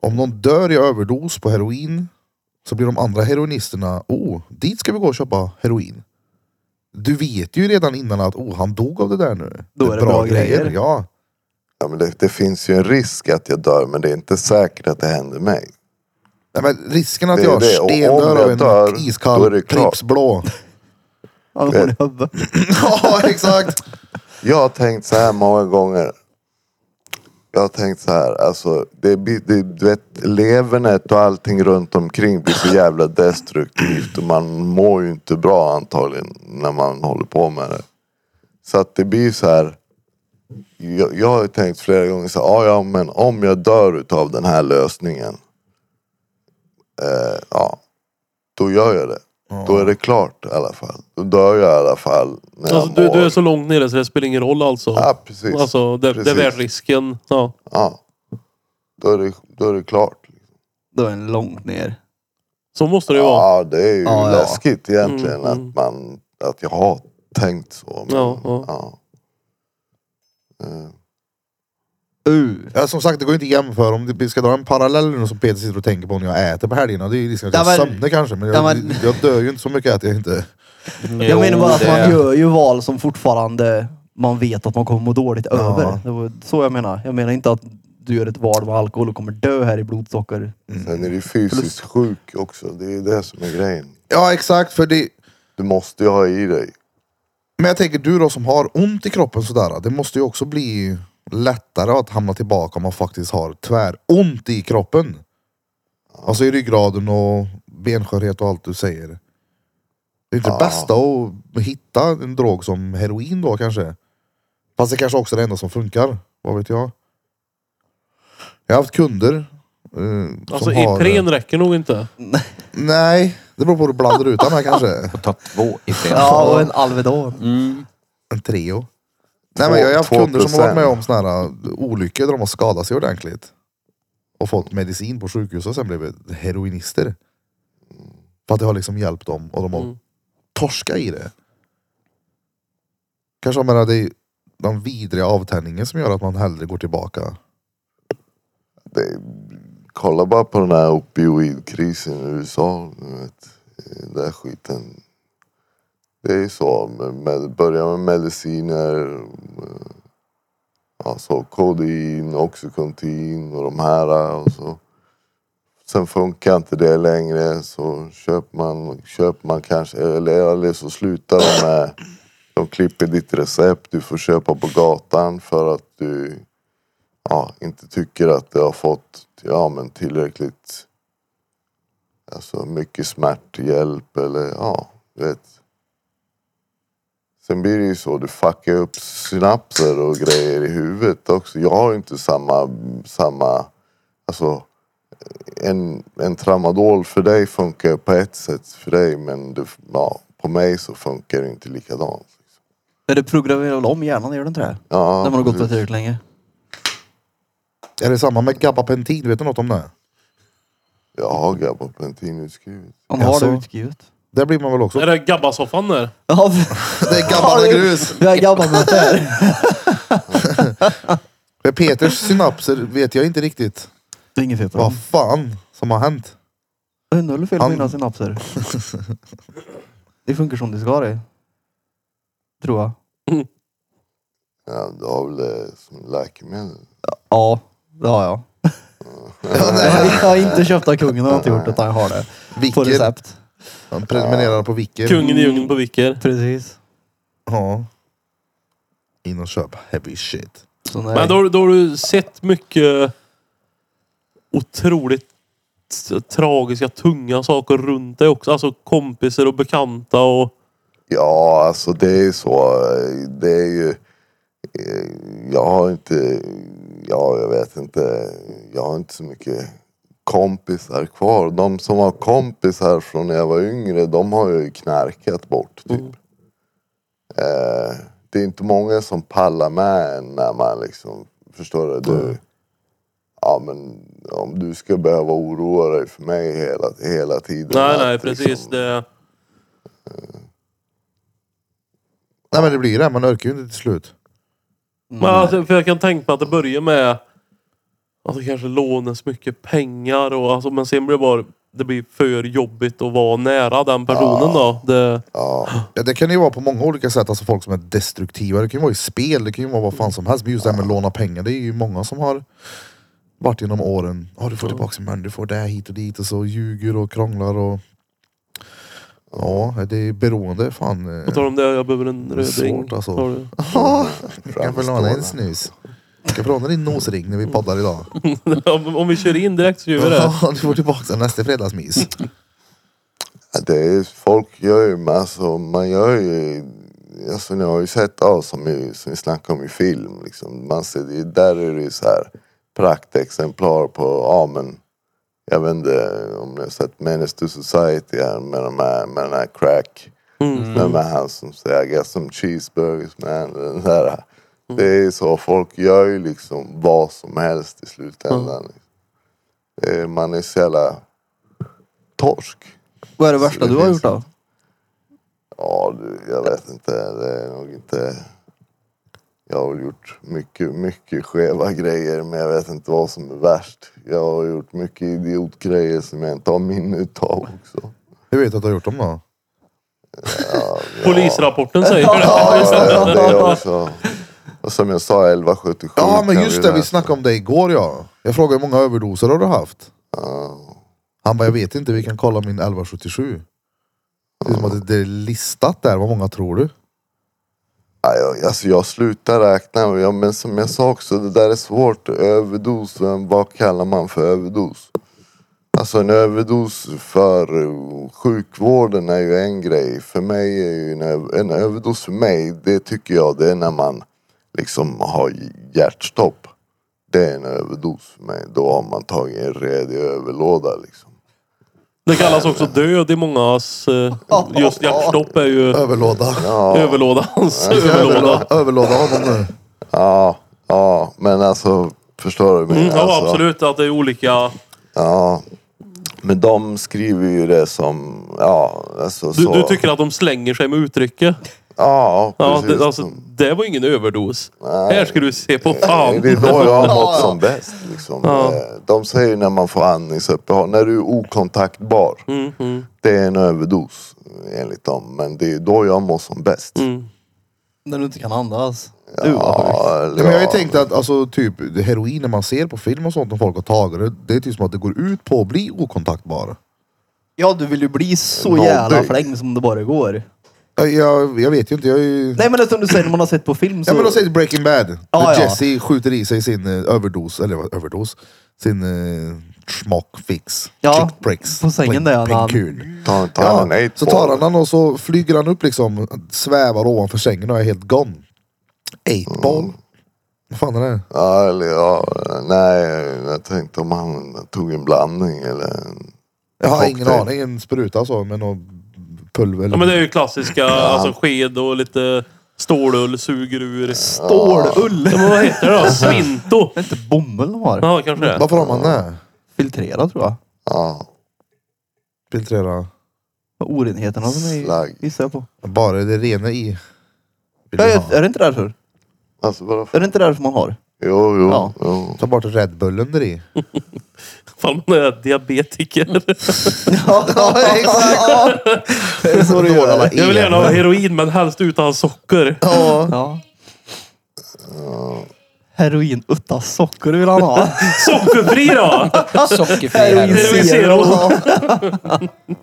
A: om någon dör i överdos på heroin så blir de andra heroinisterna, oh, dit ska vi gå och köpa heroin. Du vet ju redan innan att oh, han dog av det där nu.
E: Då är det bra grejer.
A: Ja.
F: Ja, men det, det finns ju en risk att jag dör men det är inte säkert att det händer mig.
A: Nej, men risken att
F: Det är
A: jag
F: det. Och om
A: stendör
F: jag
A: av en
F: dör, då är
A: iskall
F: det klart.
A: Pripps blå.
E: Ja, då får ni huvudet.
A: ja exakt.
F: Jag har tänkt så här många gånger. Jag har tänkt så här, alltså det, blir- det, du vet, levernet och allting runt omkring blir så jävla destruktivt och man mår ju inte bra antagligen när man håller på med det. Så att det blir så här. Jag, jag har ju tänkt flera gånger så här, "Ah, ja men om jag dör utav den här lösningen. Eh, ja, då gör jag det. Då är det klart i alla fall. Då dör jag i alla fall när
B: Alltså,
F: jag
B: du,
F: mår.
B: du är så långt nere så det spelar ingen roll alltså.
F: Ja, precis.
B: Alltså det, det är
F: Precis.
B: värt risken. Ja.
F: Ja. Då är det, då är det klart.
E: Då är den långt ner.
B: Så måste det ju vara.
F: Ja, det är ju
E: Ja, ja.
F: läskigt egentligen
B: Mm, mm.
F: att man, att jag har tänkt så. Men,
B: Ja, ja.
F: Eh,
E: Uh.
A: Ja, som sagt, det går ju inte att jämföra. Om vi ska dra en parallell nu som Peter sitter och tänker på när jag äter på helgerna. Det är ju risken att jag
E: Ja, men-
A: sömnar kanske. Men jag,
E: Ja, men-
A: jag dör ju inte så mycket att jag inte...
E: Jag menar bara att
D: det-
E: man gör ju val som fortfarande man vet att man kommer må dåligt över. Det var så jag menar. Jag menar inte att du gör ett val med alkohol och kommer dö här i blodsocker.
F: Sen är du fysiskt sjuk också. Det är ju det som är grejen.
A: Ja exakt, för det...
F: Du måste ju ha i dig.
A: Men jag tänker du då som har ont i kroppen sådär. Det måste ju också bli lättare att hamna tillbaka om man faktiskt har tväront i kroppen. Alltså i ryggraden och benskörhet och allt du säger. Det är inte det
F: Ja.
A: bästa att hitta en drog som heroin då kanske. Fast det kanske också är det enda som funkar. Vad vet jag. Jag har haft kunder. Eh,
B: Alltså
A: som har,
B: Ipren räcker nog inte.
A: Nej, det beror på hur du blandar ut den här kanske.
D: Får ta två i fred.
E: Ja, och en Alvedon.
D: Mm.
A: En trio. Nej men jag har haft
F: Två-
A: kunder som har varit
F: 2%.
A: med om såna här uh, olyckor där de har skadat sig ordentligt. Och fått medicin på sjukhus och sen blivit heroinister. För att det har liksom hjälpt dem och de har
B: Mm.
A: torskat i det. Kanske jag menar det är den vidriga avtändningen som gör att man hellre går tillbaka.
F: Det, Eh, kolla bara på den här opioidkrisen i USA. du Vet, Eh, den här skiten. Det är ju så. Med, med, börja med mediciner. eh, Alltså kodein, oxycontin och de här. Och så. Sen funkar inte det längre så köper man, köper man kanske, eller, eller så slutar de med, de klipper ditt recept, du får köpa på gatan för att du ja, inte tycker att det har fått ja, men tillräckligt alltså mycket smärthjälp eller ja, du vet. Sen blir det ju så, du fuckar upp synapser och grejer i huvudet också. Jag har ju inte samma, samma, alltså en, en tramadol för dig funkar ju på ett sätt för dig men det, ja, på mig så funkar det inte likadant.
E: Är det programmerar väl om hjärnan, gör det inte det?
F: Ja,
E: När man har gått på
F: precis.
E: tillräckligt länge.
A: Är det samma med gabapentin? Vet du något om det?
F: Jag har gabapentin utskrivet.
E: Han har
A: Alltså.
E: det utskrivet.
A: Där blir man väl också.
B: Är det gabbasoffan där?
E: Ja,
A: Det är gammalt grus.
E: jag är gammal med det här.
A: För Peters synapser vet jag inte riktigt
E: Det är inget fel på
B: Mm.
E: dem.
A: vad fan som har hänt.
E: Jag undrar om det är fel på
A: Han-
E: mina synapser. Det funkar som det ska det. Tror jag.
F: Ja, du har väl det som läkemedel?
E: Ja, det har jag. jag har inte köpt av kungen, jag har inte gjort det, utan jag har det. På
A: Vicker.
E: recept.
A: Han prenumererar på
F: Mm.
A: Vicker.
B: Kungen i djungeln på Vicker.
E: Precis.
A: Ja. In och köp heavy shit.
E: Så nej.
B: Men då, har du- då har du sett mycket otroligt t- tragiska, tunga saker runt dig också. Alltså kompisar och bekanta och...
F: Ja, alltså det är ju så. eh, Det är ju... eh, Jag har inte... Ja, jag vet inte. Jag har inte så mycket kompisar kvar. De som var kompisar från när jag var yngre, de har ju knarkat bort typ.
B: Mm.
F: Eh, det är inte många som pallar med en när man liksom... Förstår du?
B: Mm.
F: du Ja men om du ska behöva oroa dig för mig hela, hela tiden.
B: Nej,
F: att
B: nej,
F: liksom-
B: precis. Det...
A: Nej men det blir ju det, man orkar ju inte till slut.
B: Men
F: Mm.
B: alltså, för jag kan tänka mig att det börjar med... Alltså kanske lånas mycket pengar och alltså, men sen blir det bara... Det blir för jobbigt att vara nära den personen då. Det,
F: Ja.
A: Ja, det kan ju vara på många olika sätt, alltså folk som är destruktiva. Det kan ju vara i spel, det kan ju vara vad fan som helst. Men just det här med att låna pengar, det är ju många som har varit genom åren. Ja, du får tillbaka men du får det här hit och dit och så ljuger och krånglar och... Ja, det är beroende fan.
B: på
A: eh.
B: tal om det, jag behöver en
A: Det är
B: röd ring.
A: svårt, alltså.
B: Tar du?
A: Jag kan väl låna en snus. Jag kan få låna din nosring när vi poddar idag.
B: om, om vi kör in direkt så gör vi det.
A: Ja, du får tillbaka den nästa fredagsmys.
F: Ja, Det är, folk gör ju massa, man gör ju, alltså ni har ju sett av som vi, som vi snackar om i film liksom. Man ser, det- där är det ju så här praktexemplar på, ja men, jag vet inte om ni har sett Menace to Society här med, de här, med den här crack. Vem är han som säger I got some cheeseburgers man? Den där. Det är ju så, folk gör ju liksom vad som helst i slutändan. liksom. Det är- Man är så jävla torsk.
E: Vad är det värsta
F: Det
E: du har
F: finns
E: gjort då?
F: Ja, du, jag vet inte. Det är nog inte... Jag har väl gjort mycket, mycket skeva grejer, men jag vet inte vad som är värst. Jag har gjort mycket idiotgrejer som jag inte har minne utav också.
A: Hur vet du att du har gjort dem då?
B: Polisrapporten säger det.
F: Ja, jag, det är också. Och som jag sa, 1177.
A: Ja men
F: kan
A: just det, vi
F: läsa.
A: snackade om det igår ja. Jag frågade hur många överdoser har du haft?
F: Ja.
A: Han bara, jag vet inte, vi kan kolla min 1177. Det är som att det är listat där, vad många tror du?
F: Ja, jag- Alltså jag slutar räkna, Ja, men som jag sa också, det där är svårt. Överdos, vem- vad kallar man för överdos? Alltså en överdos för eh, sjukvården är ju en grej. För mig är ju en, ö- en överdos för mig, det tycker jag det är när man liksom har hjärtstopp. Det är en överdos för mig. Då har man tagit en redig överlåda liksom.
B: Det kallas också död i mångas... eh, Just hjärtstopp är ju
A: Överlåda.
B: överlådans överlåda.
A: Överlåda, överlåda honom nu.
F: Ja, ja, men alltså förstår du? vad jag
B: Mm,
F: menar?
B: ja,
F: Alltså-
B: absolut att det är olika.
F: Ja. Men de skriver ju det som, ja alltså
B: Du,
F: så.
B: du tycker att de slänger sig med uttrycket.
F: Ja,
B: Ja,
F: precis.
B: det, alltså, det var ingen överdos. Här ska du se på
F: Nej,
B: fan.
F: det är då jag har mått som bäst. Liksom. Eh, De säger när man får andningsuppehåll, när du är okontaktbar.
B: Mm,
F: Det är en överdos enligt dem. Men det är då jag mår som bäst.
B: Mm.
E: När du inte kan andas.
F: Ja, eller
A: Ja, men jag har ju
F: ja.
A: tänkt att alltså, typ, det heroin när man ser på film och sånt när folk har tagit det, det är typ som att det går ut på att bli okontaktbar.
E: Ja, du vill ju bli så
F: Nådig.
E: jävla fläng som det bara går.
A: Jag, jag, jag vet ju inte, jag är ju...
E: Nej men det är som du säger när man har sett på film så...
A: Ja men de säger Breaking Bad.
E: Ja,
A: När
E: ja.
A: Jesse skjuter i sig sin eh, överdos, eller vad, överdos? Sin uh, smockfix.
E: Ja,
A: Chick pricks.
E: på sängen där, när han-
A: Penkul.
F: Ta, ta
A: Ja,
F: en eight
A: så
F: ball.
A: tar han den och så flyger han upp liksom, svävar ovanför sängen och är helt gone. Eight ball. Vad fan är det?
F: Ja, eller ja. Nej, jag tänkte om han tog en blandning eller en...
A: Jag har
F: Cocktail.
A: ingen aning, en spruta så med något pulver. eller-
B: Ja, men det är ju klassiska alltså, sked och lite stålull suger ur.
E: Stålull!
B: Ja, men vad heter det då? Svinto?
E: Det är inte bomull de har.
B: Ja, kanske det.
A: Varför har man det?
E: Filtrera tror jag.
F: Ja.
A: filtrera?
E: Vad orenheterna som är
F: Slagg.
E: gissar jag på.
A: Bara det rena i. Vill
E: Ja,
A: du
E: är,
A: ha?
E: är det inte därför?
F: Alltså bara
E: Är
F: för...
E: det inte därför man har?
F: Jo, jo,
E: Ja.
F: jo.
A: Ta bort Red Bullen där i.
B: Ifall man är diabetiker.
A: ja exakt! Det är så du gör. Alla
B: Jag vill gärna ha heroin men helst utan socker.
A: Ja.
E: Ja. Heroin utan socker vill han ha.
B: Sockerfri då!
D: Sockerfri
E: Heroin
D: här.
B: Heroin zero.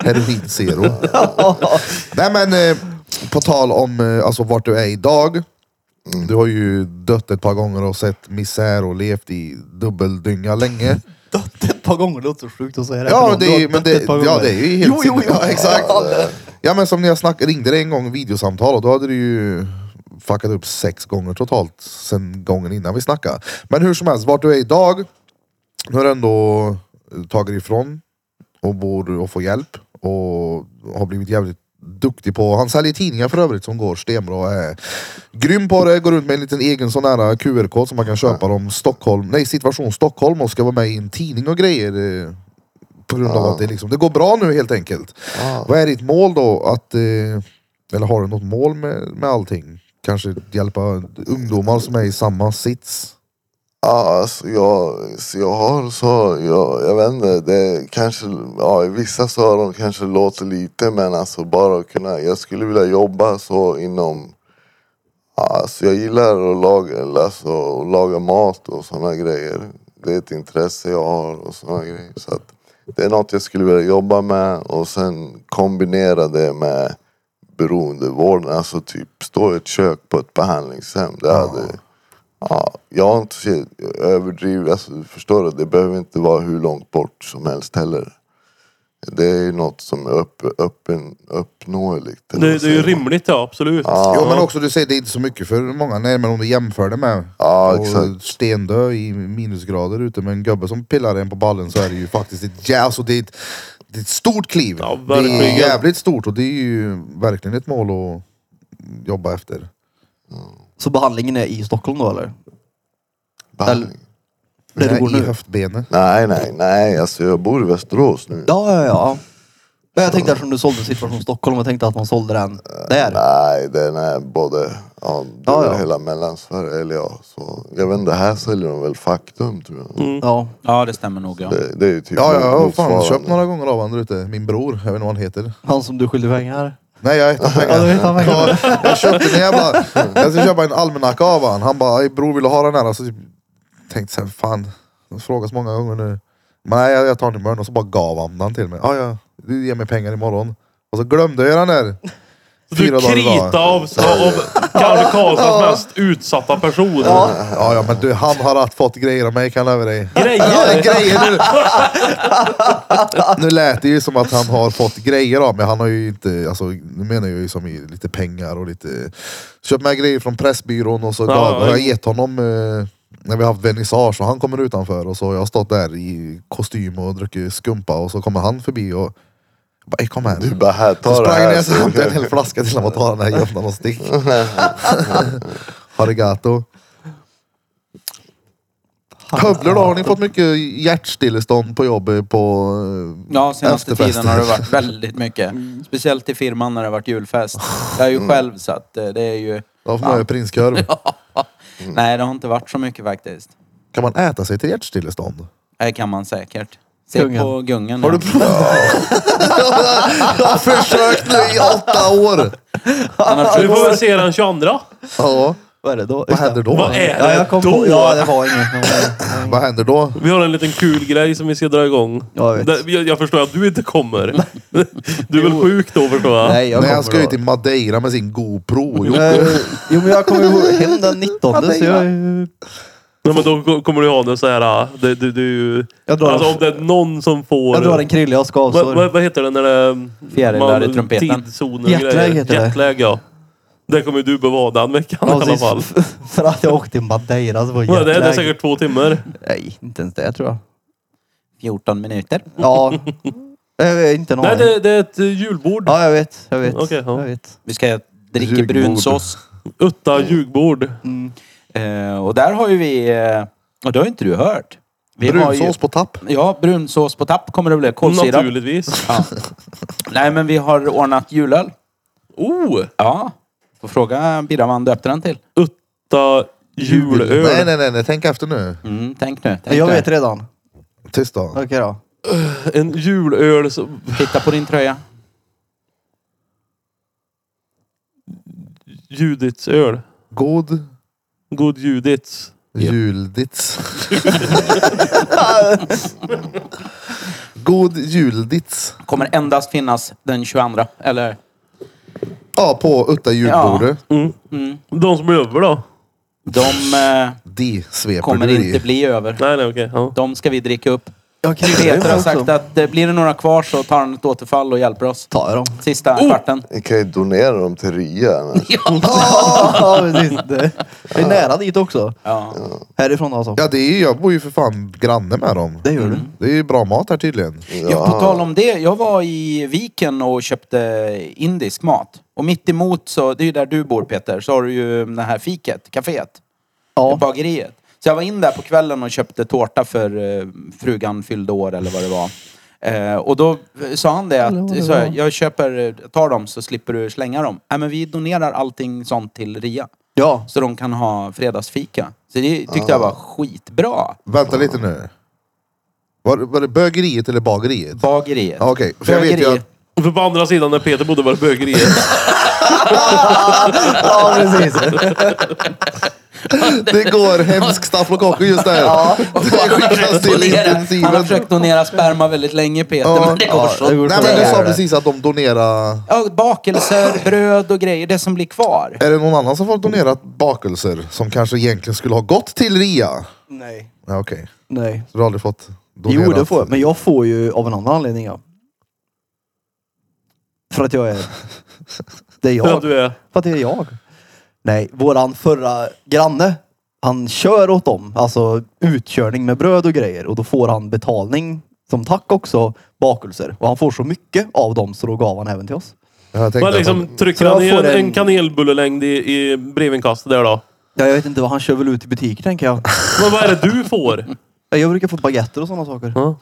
A: Heroin zero. Nej men eh, på tal om eh, alltså, vart du är idag. Mm, Du har ju dött ett par gånger och sett misär och levt i dubbeldynga länge.
E: Dött ett par gånger låter sjukt att säga det.
A: Ja,
E: Förlåt,
A: det
E: du
A: är,
E: har
A: ju- men
E: dött
A: det,
E: ett par
A: ja,
E: gånger.
A: det är ju helt
E: Jo, jo,
A: sinne-
E: jo.
A: Ja, exakt. Ja, men som när jag snack, ringde dig en gång videosamtal och då hade du ju fuckat upp sex gånger totalt sen gången innan vi snackade. Men hur som helst, vart du är idag. Nu har du ändå eh, tagit ifrån och bor och får hjälp och har blivit jävligt duktig på, han säljer tidningar för övrigt som går stenbra. Är grym på det, går runt med en liten egen sån här QR-kod som man kan köpa om Stockholm, nej situation Stockholm och ska vara med i en tidning och grejer. eh, På grund av att det, liksom, det går bra nu helt enkelt. Vad är ditt mål då? Att, eh, eller har du något mål med, med allting? Kanske hjälpa ungdomar som är i samma sits?
F: Ja, alltså jag, så jag har så, jag, jag vet inte, det kanske, ja i vissa så har de kanske låter lite men alltså bara att kunna, jag skulle vilja jobba så inom, ja, alltså jag gillar att laga, eller alltså, att laga mat och sådana grejer. Det är ett intresse jag har och sådana grejer. Så att det är något jag skulle vilja jobba med och sen kombinera det med beroendevården, alltså typ stå i ett kök på ett behandlingshem. Det hade Ja, jag har inte så- överdrivit, alltså, du förstår du, det behöver inte vara hur långt bort som helst heller. Det är ju något som är upp, öppen, uppnåeligt. eller
B: Det,
F: vad
B: det är ju
F: säger man?
B: rimligt ja, absolut.
A: Jo men också du säger det är inte så mycket för många, nej men om du jämför det med
F: Ja,
A: och
F: exakt.
A: stendö i minusgrader ute med en gubbe som pillar en på ballen så är det ju faktiskt ett, ja, alltså det är ett, det är ett stort kliv.
B: Ja,
A: det är
B: verkligen.
A: jävligt stort och det är ju verkligen ett mål att jobba efter.
E: Så behandlingen är i Stockholm då eller?
F: Behandling.
E: Där du
A: Nej,
E: bor
A: I
E: nu?
A: höftbenet.
F: Nej, nej, nej. Alltså jag bor i Västerås nu.
E: Ja, ja, ja. Men jag tänkte eftersom du sålde Situation Stockholm, jag tänkte att man sålde den där.
F: Nej, den är både, ja, det
E: Ja,
F: är
E: ja.
F: hela mellansverige, eller ja, så. Jag vet inte, här säljer de väl faktum tror jag.
E: Ja.
D: Ja, det stämmer nog ja.
F: Det, det är ju typ
A: Mm. Ja, ja, jag har fan
F: motsvarande.
A: köpt några gånger av honom där ute. Min bror, jag vet inte vad han heter.
E: Han som du skyllde pengar.
A: Nej jag är utan pengar.
E: Ja, du är utan pengar.
A: Ja, jag köpte en jävla, jag ska köpa en almanacka av han. Han bara, "Ey, bror vill du ha den här? Så typ, tänkte sen, fan, de frågas många gånger nu. Men nej jag jag tar den imorgon och så bara gav han den till mig. Ja ja, du ger mig pengar imorgon. Och så glömde jag den där.
B: Du krita av, av kanske Karlstads mest utsatta person.
A: Ja ja men du, han har att fått grejer av mig kan jag lova dig. Ja,
B: Grejer!
A: grejer nu. nu lät det ju som att han har fått grejer av men han har ju inte, alltså, nu menar jag ju som i lite pengar och lite, köpt med grejer från Pressbyrån och så
B: Ja,
A: gav, har
B: ja.
A: jag gett honom eh, när vi har haft vernissage och han kommer utanför och så har jag stått där i kostym och druckit skumpa och så kommer han förbi och jag bara, "Ey, kom här.
F: Du bara, här,
A: Så
F: ta det
A: sprang jag
F: här.
A: ner så
F: så-
A: hämtade jag en hel flaska till honom och tar den här gömman och stick. Arigato. Hövler då, har ni fått mycket hjärtstillestånd på jobbet på... eh,
D: Ja, senaste
A: Efterfester.
D: tiden har det varit väldigt mycket. Speciellt i firman när det har varit julfest. Jag är
E: Mm.
D: ju själv så att eh, det är ju...
A: Ja, för mig är prinskorv.
E: Mm.
D: Nej, det har inte varit så mycket faktiskt.
A: Kan man äta sig till hjärtstillestånd?
D: Det kan man säkert. Se
E: Gungan.
D: på gungan.
A: Har du
D: ja.
A: provat? Jag har försökt nu i åtta år!
D: Han har
B: Vi
D: försökt-
B: får väl se den 22.
A: Ja,
E: Vad är det då?
A: vad händer då?
B: Vad är
E: Ja, jag
B: det
E: kom
B: då?
E: på, ja, det var inget.
A: Vad händer då?
B: Vi har en liten kul grej som vi ska dra igång.
E: Ja, jag vet.
B: Där- jag, jag förstår att du inte kommer. Du är väl sjuk då förstår jag?
E: Nej, jag
A: Nej,
E: kommer
A: han ska ju
E: då.
A: till Madeira med sin GoPro. Jo,
E: Eh, Jo, men jag kommer ju hem den 19 så jag...
B: Nej, men då ko- kommer du ha det så här. äh, Det, du, du,
E: Jag drar
B: alltså
E: en-
B: om det är någon som får...
E: Jag drar en krille, jag ska
B: vad, vad,
E: avsår.
B: vad heter det när det är...
D: Fjärilar i trumpeten.
B: Tidszoner och
E: Jetlag
B: grejer.
E: heter det.
B: Jetlag ja. Det kommer du behöva ha den veckan i alla fall.
E: För att jag åkte till Madeira så var
B: Ja, det, är- det är
E: jetlag.
B: säkert två timmar.
E: Nej, inte ens det tror jag.
D: 14 minuter.
E: Ja. Jag har inte en
B: Nej,
E: aning.
B: det, det är ett eh, julbord.
E: Ja, jag vet. Jag vet.
B: Okej, ja.
E: jag vet.
D: Vi ska dricka
F: Ljugbord.
D: brunsås.
B: Utta ljugbord.
D: Eh, och där har ju vi... Eh, och det har ju inte du hört. Vi har ju-
A: Brunsås på tapp.
D: Ja, brunsås på tapp kommer det bli. Kolsirap.
B: Naturligtvis.
D: Ja. Nej, men vi har ordnat julöl.
B: Oh!
D: Ja. Får fråga Birra vad han döpte den till.
B: Utta julöl.
A: Nej, nej, nej, nej, tänk efter nu.
D: Mm, tänk nu. Tänk
E: Jag
D: nu.
E: vet redan.
A: Tyst då.
E: Okej då.
B: En julöl som...
D: Titta på din tröja.
B: Judits öl.
A: God
B: God Judits.
A: juldits. God juldits.
D: Kommer endast finnas den 22. Eller?
A: Ja, på Utta julbordet.
B: De som blir över då?
D: Mm. De eh,
A: De sveper
D: kommer
A: du i.
D: inte bli över.
B: Nej, nej, okej. Ja.
D: De ska vi dricka upp.
E: Jag kan
D: Peter har sagt att eh, blir det några kvar så tar han ett återfall och hjälper oss.
E: Ta dem.
D: Sista kvarten.
F: Ni kan ju donera dem till RIA. annars.
E: Ja, precis. Det det är nära dit också.
D: Ja.
E: Härifrån alltså. Mm.
A: Ja, det är ju, jag bor ju för fan granne med dem.
E: Det gör du.
A: Det är ju bra mat här tydligen.
D: Ja, på tal om det. Jag var i Viken och köpte indisk mat. Och mitt emot så, det är ju där du bor Peter, så har du ju det här fiket, kaféet,
E: Ja.
D: bageriet. Så jag var in där på kvällen och köpte tårta för eh, frugan fyllde år eller vad det var. Eh, och då sa han det att, så här, jag köper, eh, tar dem så slipper du slänga dem. Nej men vi donerar allting sånt till RIA.
E: Ja.
D: Så de kan ha fredagsfika. Så det tyckte jag var skitbra.
A: Vänta lite nu. Var, var det bögeriet eller bageriet?
D: Bageriet.
A: Ja, Okej, för jag vet ju
D: Bageriet.
A: att...
B: För på andra sidan när Peter bodde var det bögeriet.
E: ja, precis.
A: Det går hemsk staffelkocka just där. Det skickas till
D: Han har
A: intensiven.
D: försökt donera sperma väldigt länge Peter,
A: Ja.
D: men det går så.
A: Nej men du sa precis att de donerar...
D: Ja, bakelser, bröd och grejer, det som blir kvar.
A: Är det någon annan som har donerat bakelser som kanske egentligen skulle ha gått till rea?
E: Nej.
A: Ja, Okej,
E: Nej.
A: så du har aldrig fått donerat?
E: Jo, det får jag. Men jag får ju av en annan anledning. Ja. För att jag är... Det är jag.
B: För att du är...
E: För att det är jag. Nej, våran förra granne, han kör åt dem. Alltså utkörning med bröd och grejer. Och då får han betalning som tack också, bakelser. Och han får så mycket av dem så då gav han även till oss.
A: jag tänkte
B: Man
A: att
B: liksom
A: de-
B: trycker
E: Så jag
B: han i
E: får
B: en,
E: en-
B: en kanelbullelängd i, i brevinkastet där då.
E: Ja, jag vet inte vad han kör väl ut i butiker tänker jag.
B: Men vad är det du får?
E: Jag brukar få baguetter och sådana saker.
B: Ja.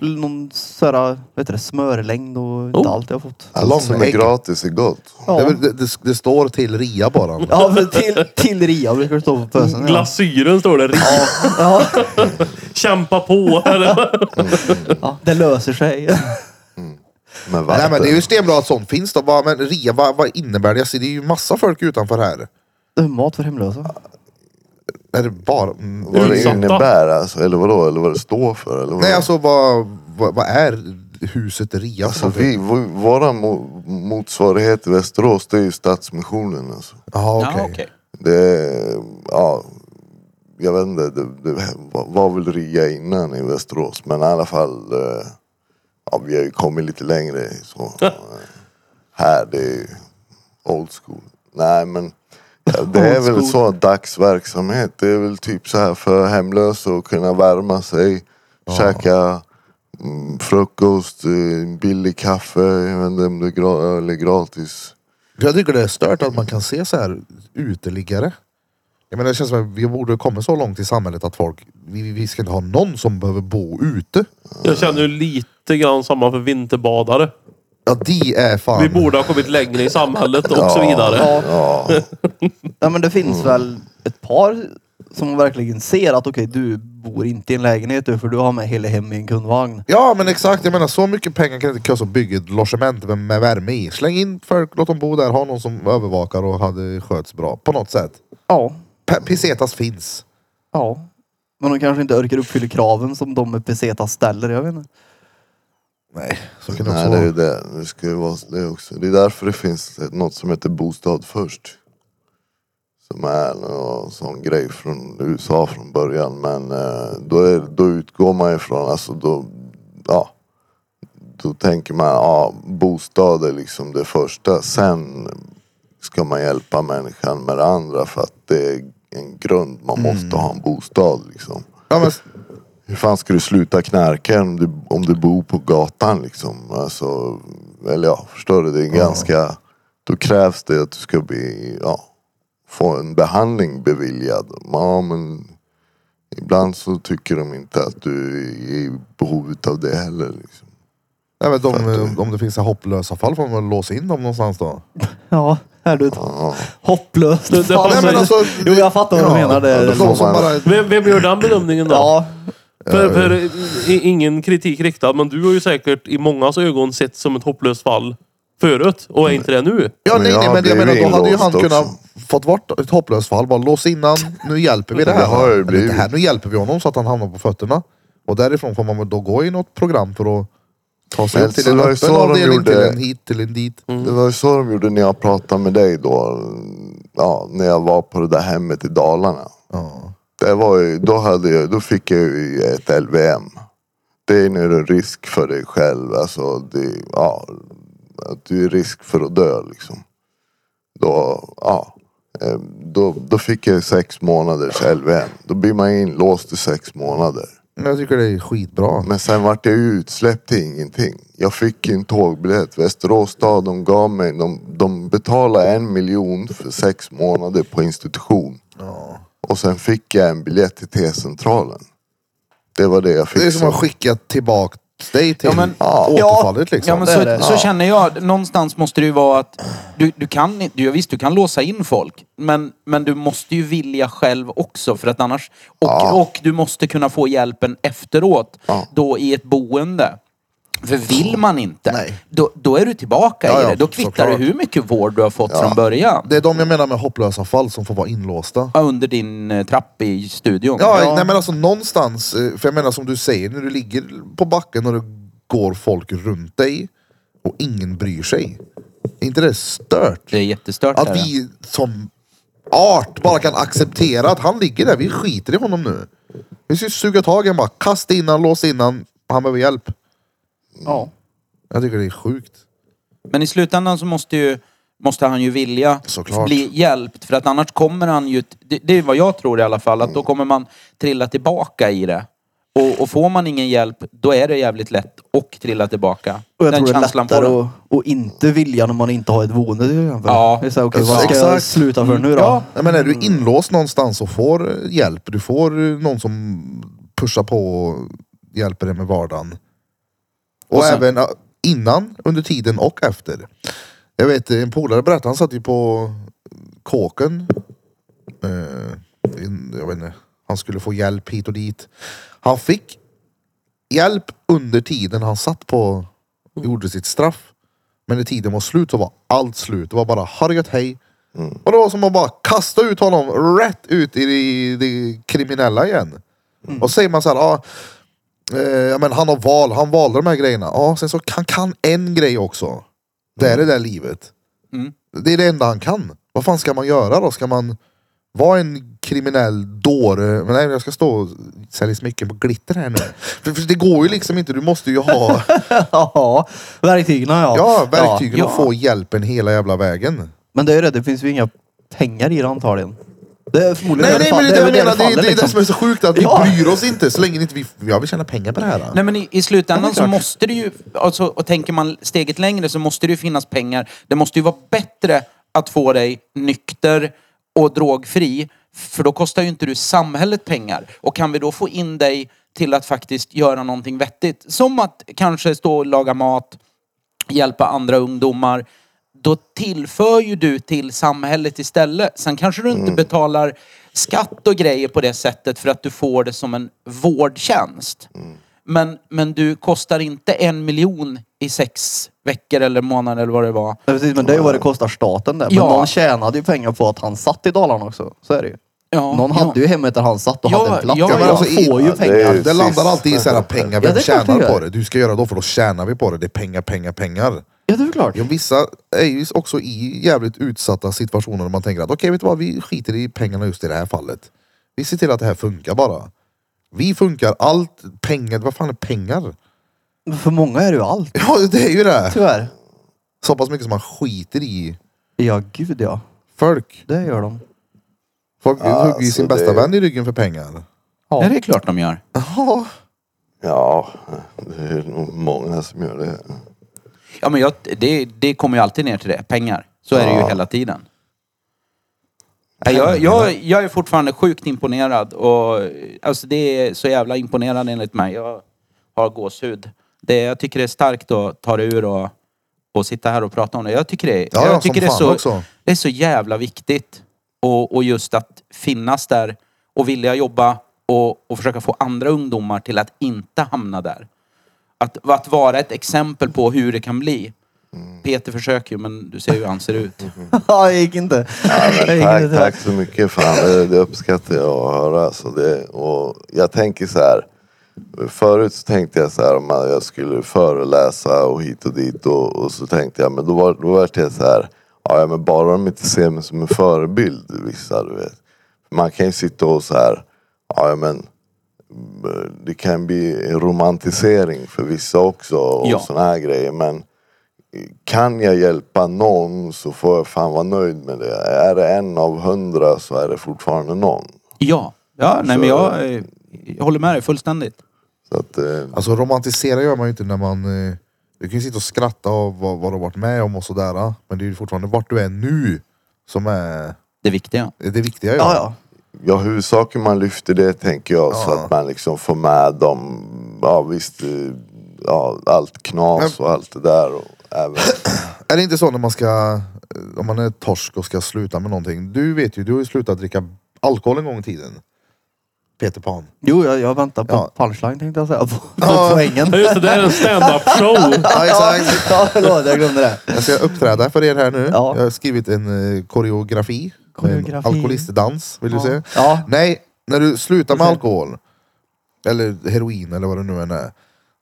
E: Någon sådär, vet du det, smörlängd och inte
B: Oh.
E: allt jag har fått.
F: Allt som är
A: Långägg.
F: gratis är gott.
A: Det, är
E: Ja,
A: väl- det, det, det står till rea bara.
E: ja men till, till ria brukar det stå på pösen. Ja.
B: Glasyren står det.
E: Ja,
B: Kämpa på. Eller?
E: ja, det löser sig.
F: Med vatten.
A: Nej men det är ju stenbra att sånt finns då. Vad- Men rea, vad, vad innebär det? Jag ser, det är ju massa folk utanför här.
E: Det är mat för hemlösa.
A: Är det bara... mm, vad-
F: Vad det
B: Utsatta.
F: innebär alltså, eller vadå? Eller vad det står för? Eller vad
A: Nej alltså vad, vad, vad är huset rea?
F: Alltså vi, v- våra mo- motsvarighet i Västerås det är ju Stadsmissionen alltså.
A: Jaha okej.
D: Ja,
F: Det är, ja, jag vet inte, det, det var väl RIA innan i Västerås men i alla fall, eh, ja, vi har ju kommit lite längre så. eh, Här, det är ju old school. Nej men ja, det är väl så dagsverksamhet. Det är väl typ så här för hemlösa att kunna värma sig, käka mm, frukost, eh, billig kaffe, jag vet inte om det är gra- eller gratis.
A: Jag tycker det är stört att man kan se så här uteliggare. Jag menar det känns som att vi borde komma så långt i samhället att folk, vi, vi ska inte ha någon som behöver bo ute.
B: Jag känner ju lite grann samma för vinterbadare.
A: Ja de är fan.
B: Vi borde ha kommit längre i samhället och så vidare.
E: Ja,
F: Ja,
E: Ja men det finns väl ett par som verkligen ser att okej du bor inte i en lägenhet du, för du har med hela hem i en kundvagn.
A: Ja men exakt, jag menar så mycket pengar kan inte kosta att bygga ett logement med, med värme i. Släng in folk, låt dem bo där, ha någon som övervakar och hade sköts bra på något sätt.
E: Ja.
A: P- Pesetas finns.
E: Ja. Men de kanske inte orkar uppfylla kraven som de med pesetas ställer, jag vet inte.
A: Nej, så kan det också
F: Nej, det är
A: vara.
F: ju det. Det ska ju vara det också. Det är därför det finns något som heter Bostad först. Som är någon sån grej från USA från början. Men eh, då, är, då utgår man ifrån, alltså då, ja. Då tänker man, ja, bostad är liksom det första. Sen ska man hjälpa människan med det andra för att det är en grund. Man måste ha en bostad liksom.
A: Ja, men,
F: Hur fan ska du sluta knarka om du, om du bor på gatan liksom? Alltså, eller ja, förstår du? Det är ganska... Då krävs det att du ska bli, ja, få en behandling beviljad. Ja, men Ibland så tycker de inte att du är i behov av det heller. Liksom.
A: Nej, men de, om det finns så här hopplösa fall får man väl låsa in dem någonstans då.
E: Ja, herregud. Hopplöst.
B: Det- det
E: Fan,
B: passar-
E: men-
B: alltså,
E: jo, jag fattar vad du menar. Det,
F: ja,
E: är-
F: då får
A: De som
F: man-
A: bara...
B: Vem, vem gör den bedömningen då?
E: ja,
B: För, för i- ingen kritik riktad, men du har ju säkert i mångas ögon sett som ett hopplöst fall förut och är inte det nu.
A: Ja,
F: Men
A: nej,
F: jag
A: nej, men jag
F: blev
A: menar då hade ju
F: inlåst
A: han kunnat
F: också.
A: fått bort ett hopplöst fall. Bara lås innan, nu hjälper vi det
F: Men
A: här.
F: det har ju
A: Eller
F: blivit.
A: det här. Nu hjälper vi honom så att han hamnar på fötterna. Och därifrån får man väl då gå i något program för att ta sig
F: Men
A: upp till
F: så
A: en
F: det var ju
A: öppen
F: så de
A: avdelning, till
F: gjorde. Mm.
A: en hit, till en dit.
F: Det var ju så de gjorde när jag pratade med dig då. Ja, när jag var på det där hemmet i Dalarna.
A: Ja.
F: Det var ju, då, hade jag, då fick jag ju ett LVM. Det är när du är risk för dig själv. Alltså, det, ja, att du är risk för att dö liksom. Då, ja, eh, då, då fick jag ju sex månaders LVM. Då blir man ju inlåst i sex månader.
A: Men jag tycker det är skitbra.
F: Men sen vart jag ju utsläppt till ingenting. Jag fick ju en tågbiljett. Västerås stad, de gav mig, de, de betalade en miljon för sex månader på institution. Och sen fick jag en biljett till T-centralen. Det var det jag fick.
A: Det är som
F: som-
A: att skicka tillbaka dig till
D: Ja, men-
A: återfallet liksom.
D: Ja, men
A: Det
D: så,
A: är det.
D: så känner jag. Någonstans måste det ju vara att du, du kan inte, du- visst du kan låsa in folk, men, men du måste ju vilja själv också för att annars, och, och du måste kunna få hjälpen efteråt då i ett boende. För vill man inte,
A: Nej.
D: då, då är du tillbaka
A: Ja,
D: i
A: ja,
D: det. Då kvittar
A: såklart.
D: det hur mycket vård du har fått från början.
A: det är de jag menar med hopplösa fall som får vara inlåsta.
D: Ja, Under din eh, trapp i studion.
A: Ja, Nej, men alltså någonstans, eh, för jag menar som du säger, när du ligger på backen och det går folk runt dig och ingen bryr sig. Är inte det stört?
D: Det är jättestört.
A: Att
D: är det.
A: vi som art bara kan acceptera att han ligger där, vi skiter i honom nu. Vi ska ju suga tag i honom bara, kasta in han, lås in han, han behöver hjälp.
E: ja.
A: Jag tycker det är sjukt.
D: Men i slutändan så måste, ju, måste han ju vilja
A: Såklart.
D: bli hjälpt. För att annars kommer han ju... Det, det är vad jag tror i alla fall.
E: Mm.
D: Att då kommer man trilla tillbaka i det. Och, och får man ingen hjälp, då är det jävligt lätt att trilla tillbaka.
E: Och jag
D: Den
E: tror det är
D: känslan
E: lättare
D: får du.
E: att, att inte vilja när man inte har ett boende till exempel.
D: Ja.
E: Det är så här, okej, vad ska jag
A: Exakt.
E: sluta för nu då?
D: Ja.
A: Nej, men är du inlåst någonstans och får eh, hjälp, du får eh, någon som pushar på och hjälper dig med vardagen. Och,
D: Och sen-
A: även eh, innan, under tiden och efter. Jag vet eh, en polare berättade, han satt ju på kåken. Eh, in- jag vet inte, han skulle få hjälp hit och dit. Han fick hjälp under tiden han satt på och gjorde sitt straff. Men när tiden var slut så var allt slut. Det var bara "Ha det gött, hej. Och det var som att bara kasta ut honom rätt ut i det, det kriminella igen. Och säger man så här, ah, eh, ja, men han har val, han valde de här grejerna. Ja, sen så han kan en grej också. Det är det där livet.
D: Mm.
A: Det är det enda han kan. Vad fan ska man göra då? Ska man vara en kriminell dåre? Men nej, jag ska stå och sälja smycken på glitter här nu. för, för det går ju liksom inte, du måste ju ha
E: ja. Verktygen ja.
A: ja, verktygen
D: Ja,
A: och
D: ja.
A: få hjälpen hela jävla vägen.
E: Men det är ju det, det finns ju inga pengar i det antagligen. Det är förmodligen
A: Nej, nej, men det är det
E: väl
A: jag menar. Det, är-
E: faller,
A: det är det
E: liksom.
A: som är så sjukt att vi
E: Ja.
A: bryr oss inte så länge inte vi, jag vill tjäna pengar på det här.
D: Nej men i, i slutändan så måste det ju, alltså, och tänker man steget längre så måste det ju finnas pengar. Det måste ju vara bättre att få dig nykter och drogfri. För då kostar ju inte du samhället pengar. Och kan vi då få in dig till att faktiskt göra någonting vettigt. Som att kanske stå och laga mat, hjälpa andra ungdomar. Då tillför ju du till samhället istället. Sen kanske du inte betalar skatt och grejer på det sättet för att du får det som en vårdtjänst. Men, men du kostar inte en miljon i sex veckor eller månader eller vad det var.
E: Ja, precis, men det är ju vad det kostar staten där. Men
D: Ja.
E: någon tjänade ju pengar på att han satt i Dalarna också. Så är det ju.
D: Ja,
E: någon
D: ja.
E: hade ju hemmet där han satt och
D: Ja,
E: hade en plats.
D: ja,
E: men alltså,
D: ja.
E: han får ju
F: Ja, det är
E: pengar.
F: ju-
A: Alltså, Det landar
F: Precis.
A: alltid i sådana pengar. Vem
E: Ja, det är klart det
A: tjänar på
E: gör.
A: det? Du ska göra då för då tjänar vi på det. Det är pengar, pengar, pengar.
E: Ja, det är väl klart.
A: Ja, vissa är ju också i jävligt utsatta situationer där man tänker att okej, vet du vad? Vi skiter i pengarna just i det här fallet. Vi ser till att det här funkar bara. Vi funkar. Allt pengar. Vad fan är pengar?
E: Men För många är det ju allt,
A: Ja, det är ju det.
E: tyvärr.
A: Så pass mycket som man skiter i
E: Ja, gud ja.
A: folk.
E: Det gör de.
A: Folk hugger ju
F: alltså,
A: sin bästa
F: det-
A: vän i ryggen för pengar.
E: Ja.
D: Ja, det är klart de gör.
A: Jaha.
F: Ja, det är nog många som gör det.
D: Ja, men jag, det, det kommer ju alltid ner till det. Pengar. Så är det ju hela tiden. Nej, Jag, jag, jag är fortfarande sjukt imponerad och alltså det är så jävla imponerande enligt mig. Jag har gåshud. Det, jag tycker det är starkt att ta det ur och, och sitta här och prata om det. Jag tycker det,
A: Ja, ja,
D: jag tycker
A: som
D: det, är,
A: fan
D: så,
A: också.
D: det är så jävla viktigt. Och, och just att finnas där och vilja jobba och, och försöka få andra ungdomar till att inte hamna där. Att, att vara ett exempel på hur det kan bli. Peter försöker ju men du ser hur han ser ut.
E: Ja, det gick inte. Det gick
F: Tack,
E: inte.
F: tack så mycket. Fan, det, det uppskattar jag att höra. Så det, och jag tänker så här. Förut så tänkte jag så här om jag skulle föreläsa och hit och dit och, och så tänkte jag men då var, då var det så här. Ja ja, men bara de inte ser mig som en förebild vissa du vet. Man kan ju sitta och så här. Ja ja, men det kan bli en romantisering för vissa också och
D: Ja.
F: ja. såna här grejer men kan jag hjälpa någon så får jag fan vara nöjd med det. Är det en av hundra så är det fortfarande någon.
D: Ja, ja nej,
F: Så-
D: men jag, eh, jag håller med dig fullständigt.
F: Så att, eh,
A: Alltså romantisera gör man ju inte när man... eh, Du kan ju sitta och skratta av vad, vad du har varit med om och sådär. ah. Men det är ju fortfarande vart du är nu som är
D: Det viktiga.
A: det viktiga. ju.
E: Ja, ja.
F: ja, huvudsaken man lyfter det tänker jag så
A: Ja.
F: att man liksom får med dem. Ja visst, eh, ja, allt knas och allt det där. Och även,
A: Är det inte så när man ska... eh, Om man är torsk och ska sluta med någonting. Du vet ju, du har ju slutat dricka alkohol en gång i tiden. Peter Pan.
E: Jo, jag, jag väntar på
A: Ja.
E: punchline tänkte jag säga. På, på
A: Ja.
E: poängen.
B: Ja, Just det, det är en stand-up show.
A: Ja, exakt.
E: Ja, förlåt, jag glömde det.
A: Jag ska uppträda för er här nu.
E: Ja.
A: Jag har skrivit en eh, koreografi. En
E: Koreografi.
A: alkoholistdans. Vill du se?
E: Ja.
A: Nej, när du slutar med alkohol. Eller heroin eller vad det nu än är. Så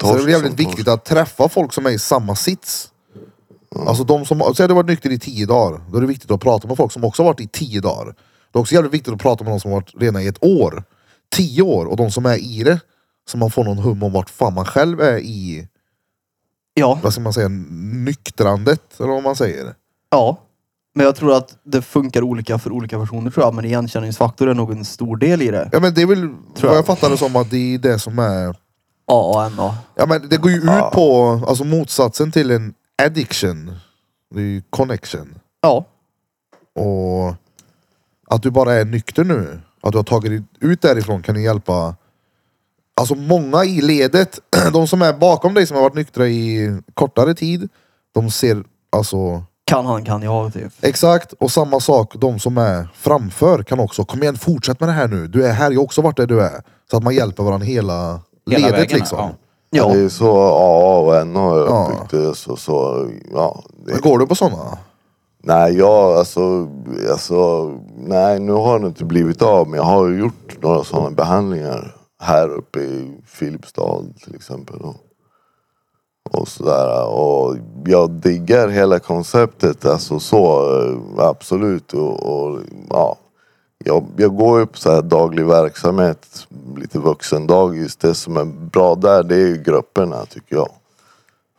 F: Torsk
A: är det jävligt
F: som
A: viktigt att träffa folk som är i samma sits. Alltså de som, säg att du har varit nykter i tio dagar. Då är det viktigt att prata med folk som också har varit i tio dagar. Det är också jävligt viktigt att prata med de som har varit redan i ett år. Tio år och de som är i det. Så man får någon hum om vart fan man själv är i,
E: Ja,
A: vad ska man säga, nyktrandet. Eller vad man säger.
E: ja. Men jag tror att det funkar olika för olika personer tror jag. Men igenkänningsfaktor är nog en stor del i det.
A: Ja men det är väl,
E: jag.
A: vad jag fattar det som att det är det som är
E: AAMA.
A: Ja men det går ju ut på, alltså motsatsen till en addiction. Det är ju connection.
E: Ja.
A: Och att du bara är nykter nu, att du har tagit dig ut därifrån kan ju hjälpa. Alltså många i ledet, de som är bakom dig som har varit nyktra i kortare tid, de ser alltså
E: Kan han, kan jag typ.
A: Exakt, och samma sak de som är framför kan också, kom igen fortsätt med det här nu, du är här, jag har också varit där du är. Så att man hjälper varandra hela,
D: Hela
A: ledet
D: vägen,
A: liksom.
D: ja.
E: Ja.
F: Det är så AA och NA har
A: Ja.
F: jag uppbyggt det. Så, så, ja, det,
A: Men Går du på sådana?
F: Nej, jag alltså, alltså... Nej, nu har det inte blivit av. Men jag har ju gjort några sådana behandlingar. Här uppe i Filipstad till exempel. Och, och sådär. Och jag diggar hela konceptet. Alltså så, eh, absolut. Och, och ja. Jag, jag går ju på så här daglig verksamhet, lite vuxendagis. Det som är bra där, det är ju grupperna tycker jag.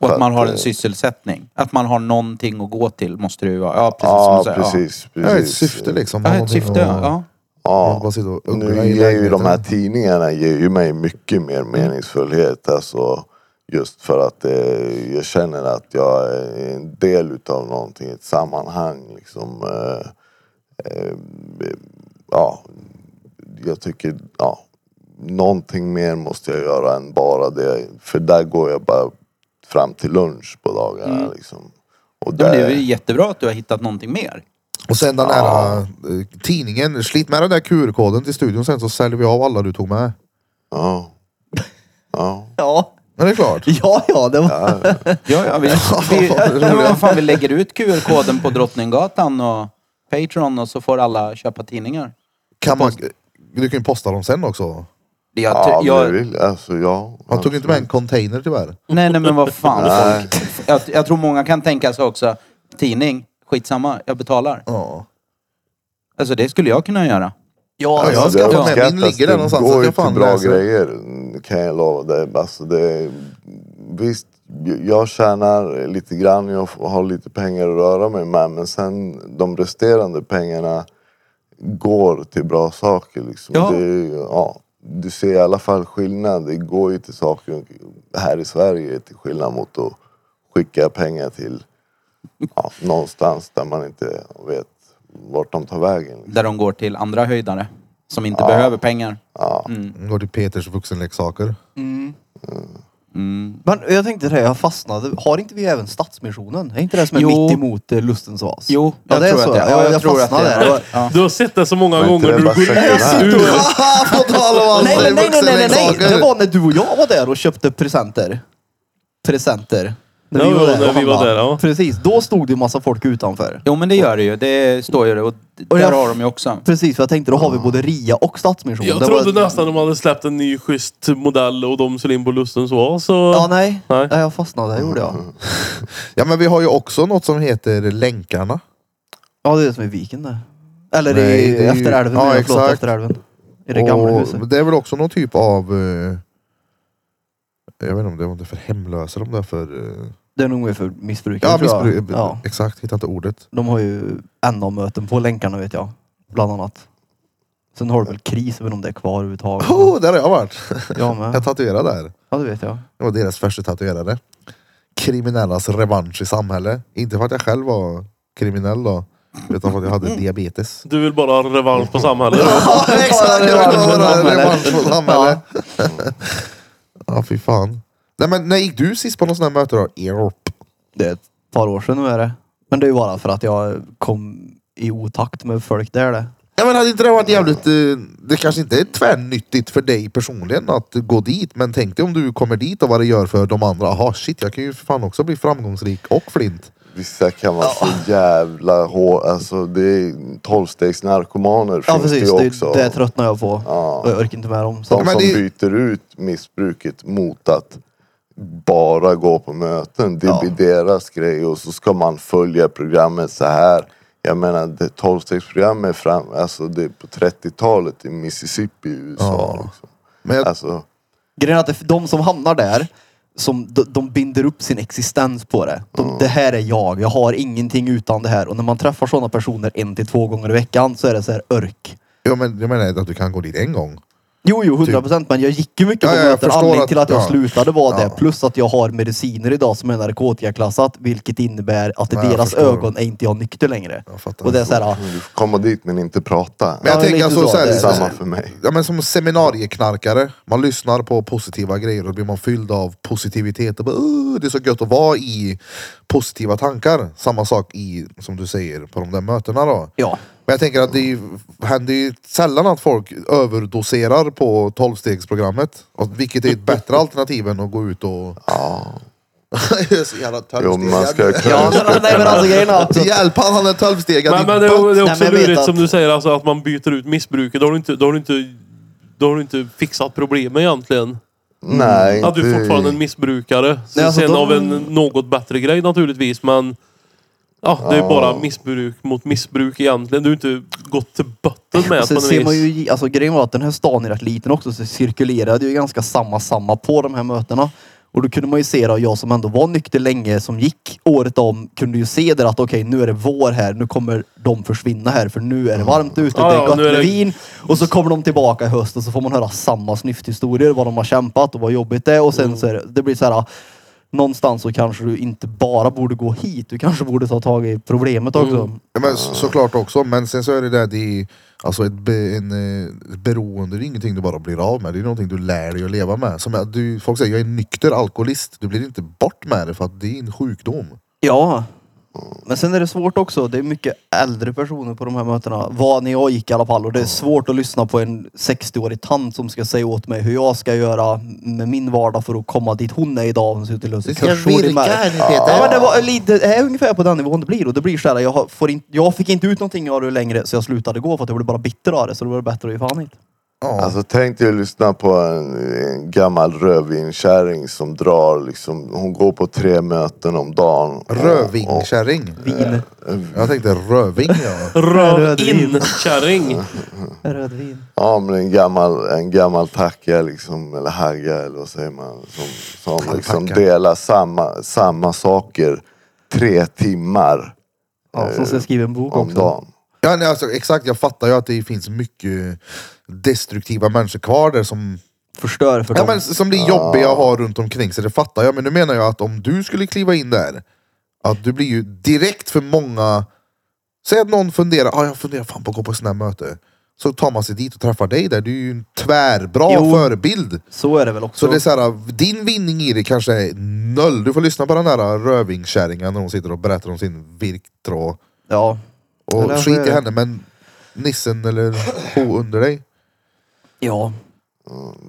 D: Och
F: För
D: att man har
F: att,
D: en
F: eh,
D: sysselsättning. Att man har någonting att gå till måste det ju vara. Ja, precis som
F: Ja,
D: du säger.
F: precis.
A: Ja, ett
F: precis.
A: syfte liksom.
D: Ja.
A: Ha
D: Ja, ett
A: någonting
D: syfte.
A: att-
D: Ja.
A: att bara sitta och uggla
F: Nu
A: i
F: ger ju
A: lägenheten.
F: de här tidningarna ger ju mig mycket mer
D: Mm.
F: meningsfullhet. Alltså, just för att eh, jag känner att jag är en del utav någonting, ett sammanhang. Liksom, eh, eh, ja, jag tycker ja, någonting mer måste jag göra än bara det. För där går jag bara fram till lunch på dagarna. Liksom. Och
D: Mm. Ja, men det
F: där-
D: är ju jättebra att du har hittat någonting mer.
A: Och sen den här eh, tidningen, slit med den där QR-koden till studion sen så säljer vi av alla du tog med.
F: ja, ja.
E: Ja.
A: Men det är klart.
E: Ja, ja, det var...
D: Ja, ja, vi, vi, ja, men vad fan, vi lägger ut QR-koden på Drottninggatan och Patreon och så får alla köpa tidningar.
A: Kan man, du kan ju posta dem sen också.
D: Jag,
F: Ja,
D: tr-
F: om du
D: jag,
F: vill. Alltså, ja.
A: Man tog inte med en container tyvärr.
D: nej, nej, men vad fan.
F: Nej.
D: Jag, jag tror många kan tänka sig också, tidning, skitsamma, jag betalar.
A: Ja.
D: Alltså det skulle jag kunna göra.
A: Ja, jag
F: Alltså,
A: ska
F: det
A: ta med min
F: uppskattas.
A: ligger där någonstans.
F: Det
A: så att
F: går ju
A: jag
F: till
A: fan
F: bra
A: läser.
F: grejer kan jag lova dig. Alltså, det, visst, jag tjänar lite grann. Jag har lite pengar att röra mig med. Men sen de resterande pengarna går till bra saker. Liksom.
D: Ja.
F: Det är ju- ja, du ser i alla fall skillnad. Det går ju till saker här i Sverige till skillnad mot att skicka pengar till ja, någonstans där man inte vet vart de tar vägen.
D: Där de går till andra höjdare. Som inte behöver pengar.
F: Ja.
A: Mm, Går till Peters vuxenleksaker.
E: Men jag tänkte det, jag fastnade. Har inte vi även Stadsmissionen? Är inte det som är
D: Jo.
E: mitt emot eh, Lustens vas?
D: Jo,
E: ja,
D: jag
E: det är
D: tror
E: så.
D: att det-
E: ja,
D: ja,
E: jag,
D: jag tror att
E: fastnade
D: det-
E: där.
B: Du har sett det så många
F: Men
B: gånger
F: inte det
B: när du
F: bara
B: går
F: säkert
B: ut ur...
A: På tal om
E: Nej,
A: alltså
E: men nej, nej, nej, nej, nej.
A: vuxenleksaker.
E: Det var när du och jag var där och köpte presenter. Presenter.
B: Ja, ja,
E: och
B: när vi var
E: handlade.
B: där, ja.
E: Precis, då stod det ju massa folk utanför.
D: Jo men det gör det ju. Det står ju det. Och d-
E: Och
D: där
E: jag-
D: har de ju också.
E: Precis, för jag tänkte då har
A: Ah.
E: vi både RIA och Stadsmissionen.
B: Jag
E: Det
B: trodde
E: var...
B: nästan de hade släppt en ny schysst modell och de skulle in på lusten så. så...
E: Ja, nej.
B: Nej.
E: nej. Jag fastnade, det gjorde jag.
A: Ja men vi har ju också något som heter Länkarna.
E: Ja, det är det som är viken där. Eller
A: Nej,
E: i,
A: det är ju-
E: efter älven.
A: ja,
E: menar jag. Förlåt,
A: exakt.
E: efter älven. I det gamla
A: Och
E: huset.
A: Det är väl också någon typ av... eh, jag vet inte om det var inte för hemlösa de där för... eh,
E: Det är nog mer för missbrukare
A: ja,
E: tror jag.
A: missbruk,
E: Ja.
A: exakt. Hittar inte ordet.
E: De har ju NA-möten på länkarna vet jag. Bland annat. Sen har du väl kris, även om det är kvar överhuvudtaget.
A: Oh, där har jag varit!
E: Jag med.
A: Jag tatuerade där.
E: Ja, det vet jag.
A: Det var deras första tatuerare. Kriminellas revansch i samhället. Inte för att jag själv var kriminell då. Utan för att jag hade diabetes.
B: Du vill bara ha revansch på samhället.
A: Ja, exakt! Jag vill ha
E: Revansch på
A: en
E: samhället.
A: revansch på samhället. Ja, fy fan. Nej men när gick du sist på någon sån här möte då? Europe.
E: Det är ett par år sedan nu är det. Men det är ju bara för att jag kom i otakt med folk där det.
A: Ja men hade inte det varit jävligt... eh, Det kanske inte är tvärnyttigt för dig personligen att gå dit. Men tänk dig om du kommer dit och vad det gör för de andra. Jaha shit, jag kan ju för fan också bli framgångsrik och flint.
F: Vissa kan vara så jävla hår, alltså det är tolvstegsnarkomaner
E: Ja
F: finns
E: precis,
F: det ju
E: det,
F: också.
E: det tröttnar jag på.
F: Ja.
E: Och jag orkar inte med dem. Så.
F: De
A: Men
F: som
A: det-
F: byter ut missbruket mot att bara gå på möten. Det blir deras grej och så ska man följa programmet så här. Jag menar, det- tolvstegsprogrammet fram, alltså det är på 30-talet i Mississippi i USA.
A: Ja.
F: Liksom.
A: Men jag,
F: Alltså,
E: Grejen är att det- de som hamnar där, som, de, de binder upp sin existens på det. De,
F: Mm.
E: Det här är jag, jag har ingenting utan det här. Och när man träffar sådana personer en till två gånger i veckan så är det så här örk.
A: jag, men, jag menar att du kan gå dit en gång.
E: Jo, jo, 100 procent. Men jag gick ju mycket
A: Typ. Ja,
E: på
A: ja, jag
E: möten.
A: förstår
E: Anledningen
A: att-
E: till att jag
A: ja.
E: slutade var det.
A: Ja.
E: Plus att jag har mediciner idag som är narkotikaklassat. Vilket innebär att i
A: Ja, jag
E: deras
A: förstår.
E: ögon är inte jag nykter längre.
A: Jag fattar.
E: Och det är så här, ja,
F: du får komma dit men inte prata.
A: Men jag
E: Ja,
A: tänker
E: lite
A: alltså
E: så,
A: så här,
E: det är
F: Samma för mig.
A: ja, men som seminarieknarkare. Man lyssnar på positiva grejer och då blir man fylld av positivitet. Och bara, "Åh, det är så gött att vara i positiva tankar. Samma sak i, som du säger på de där mötena då.
E: ja.
A: Men jag tänker att det är, ju- händer ju sällan att folk överdoserar på tolvstegsprogrammet. Och Vilket är ett bättre alternativ än att gå ut och...
F: Ja.
A: Jag är så jävla
F: Jo, men man ska
A: tolvstegad.
F: kunna...
E: Nej men alltså grejen är att
A: Hjälp han, han är tolvstegad.
B: Men,
A: din
B: men det, är- det
A: böt.
B: är
E: Nej,
B: också
E: men jag vet
B: lurigt
E: att-
B: som du säger, alltså, att man byter ut missbruket. Då har du inte, då har du inte, då har du inte fixat problemen egentligen.
F: Nej,
B: Att du är fortfarande är en missbrukare. Så
E: Nej, alltså,
B: sen
E: de-
B: av en något bättre grej naturligtvis, men... Ja, det är bara missbruk mot missbruk egentligen. Du har inte gått till botten med
E: Sen
B: på något
E: ser
B: vis.
E: man ju, alltså grejen var att den här stan är rätt liten också så cirkulerade ju ganska samma samma på de här mötena. Och då kunde man ju se det, och jag som ändå var nykter länge som gick året om kunde ju se där att okej nu är det vår här, nu kommer de försvinna här för nu är det varmt ute,
B: Mm. Ja,
E: det
B: ja,
E: är gott
B: nu är
E: med
B: det-
E: vin. Och så kommer de tillbaka i höst och så får man höra samma snyfthistorier, vad de har kämpat och vad jobbigt det är. Och sen
B: Mm.
E: så är det, det blir så här, någonstans så kanske du inte bara borde gå hit, du kanske borde ta tag i problemet också.
B: Mm.
A: Ja, men så, såklart också, men sen så är det där det Alltså ett, be, en, eh, ett beroende det är ingenting du bara blir av med, det är någonting du lär dig att leva med. Som att du, folk säger, jag är nykter alkoholist. Du blir inte bort med det för att det är en sjukdom.
E: Ja. Men sen är det svårt också. Det är mycket äldre personer på de här mötena. Var när jag gick i alla fall. Och det är svårt att lyssna på en 60-årig tant som ska säga åt mig hur jag ska göra med min vardag för att komma dit hon är idag. Hon ser ut att lösa kursord i mig. Ja men det var lite, det är ungefär på den nivån det blir. Och det blir så här, jag, har- får in, jag fick inte ut någonting av det längre så jag slutade gå för att jag blev bara bitter av det. Så det var bättre att ge fan i det.
A: Ja.
F: Alltså tänk dig att lyssna på en, en gammal rödvinskärring som drar liksom, hon går på tre möten om dagen. Och-
A: Rövingkärring.
E: Vin.
A: Jag tänkte röving ja.
B: Röv
E: Rödvin.
B: in, kärring!
E: Rödvin.
F: Ja men en gammal, en gammal tacka liksom, eller hagga eller vad säger man. Som, som liksom
A: Alpacka.
F: delar samma, samma saker tre timmar
E: Ja, som ska skriva en bok
A: Eh,
F: om
E: också.
F: dagen.
A: ja nej, alltså, exakt, jag fattar ju att det finns mycket destruktiva människor kvar där som
E: Förstör för
A: Ja,
E: dem.
A: men som blir jobbiga att ha runt omkring så det fattar jag. Men nu menar jag att om du skulle kliva in där, att du blir ju direkt för många Säg att någon funderar, ah, jag funderar fan på att gå på sådana här möte. Så tar man sig dit och träffar dig där. Du är ju en tvärbra
E: Jo.
A: förebild.
E: Så är det väl också.
A: Så det är så här, din vinning i det kanske är noll. Du får lyssna på den där rövingkärringen när hon sitter och berättar om sin virktråd.
E: Ja.
A: Och
E: Eller
A: skit i
E: hur?
A: henne men nissen eller ho under dig.
E: Ja.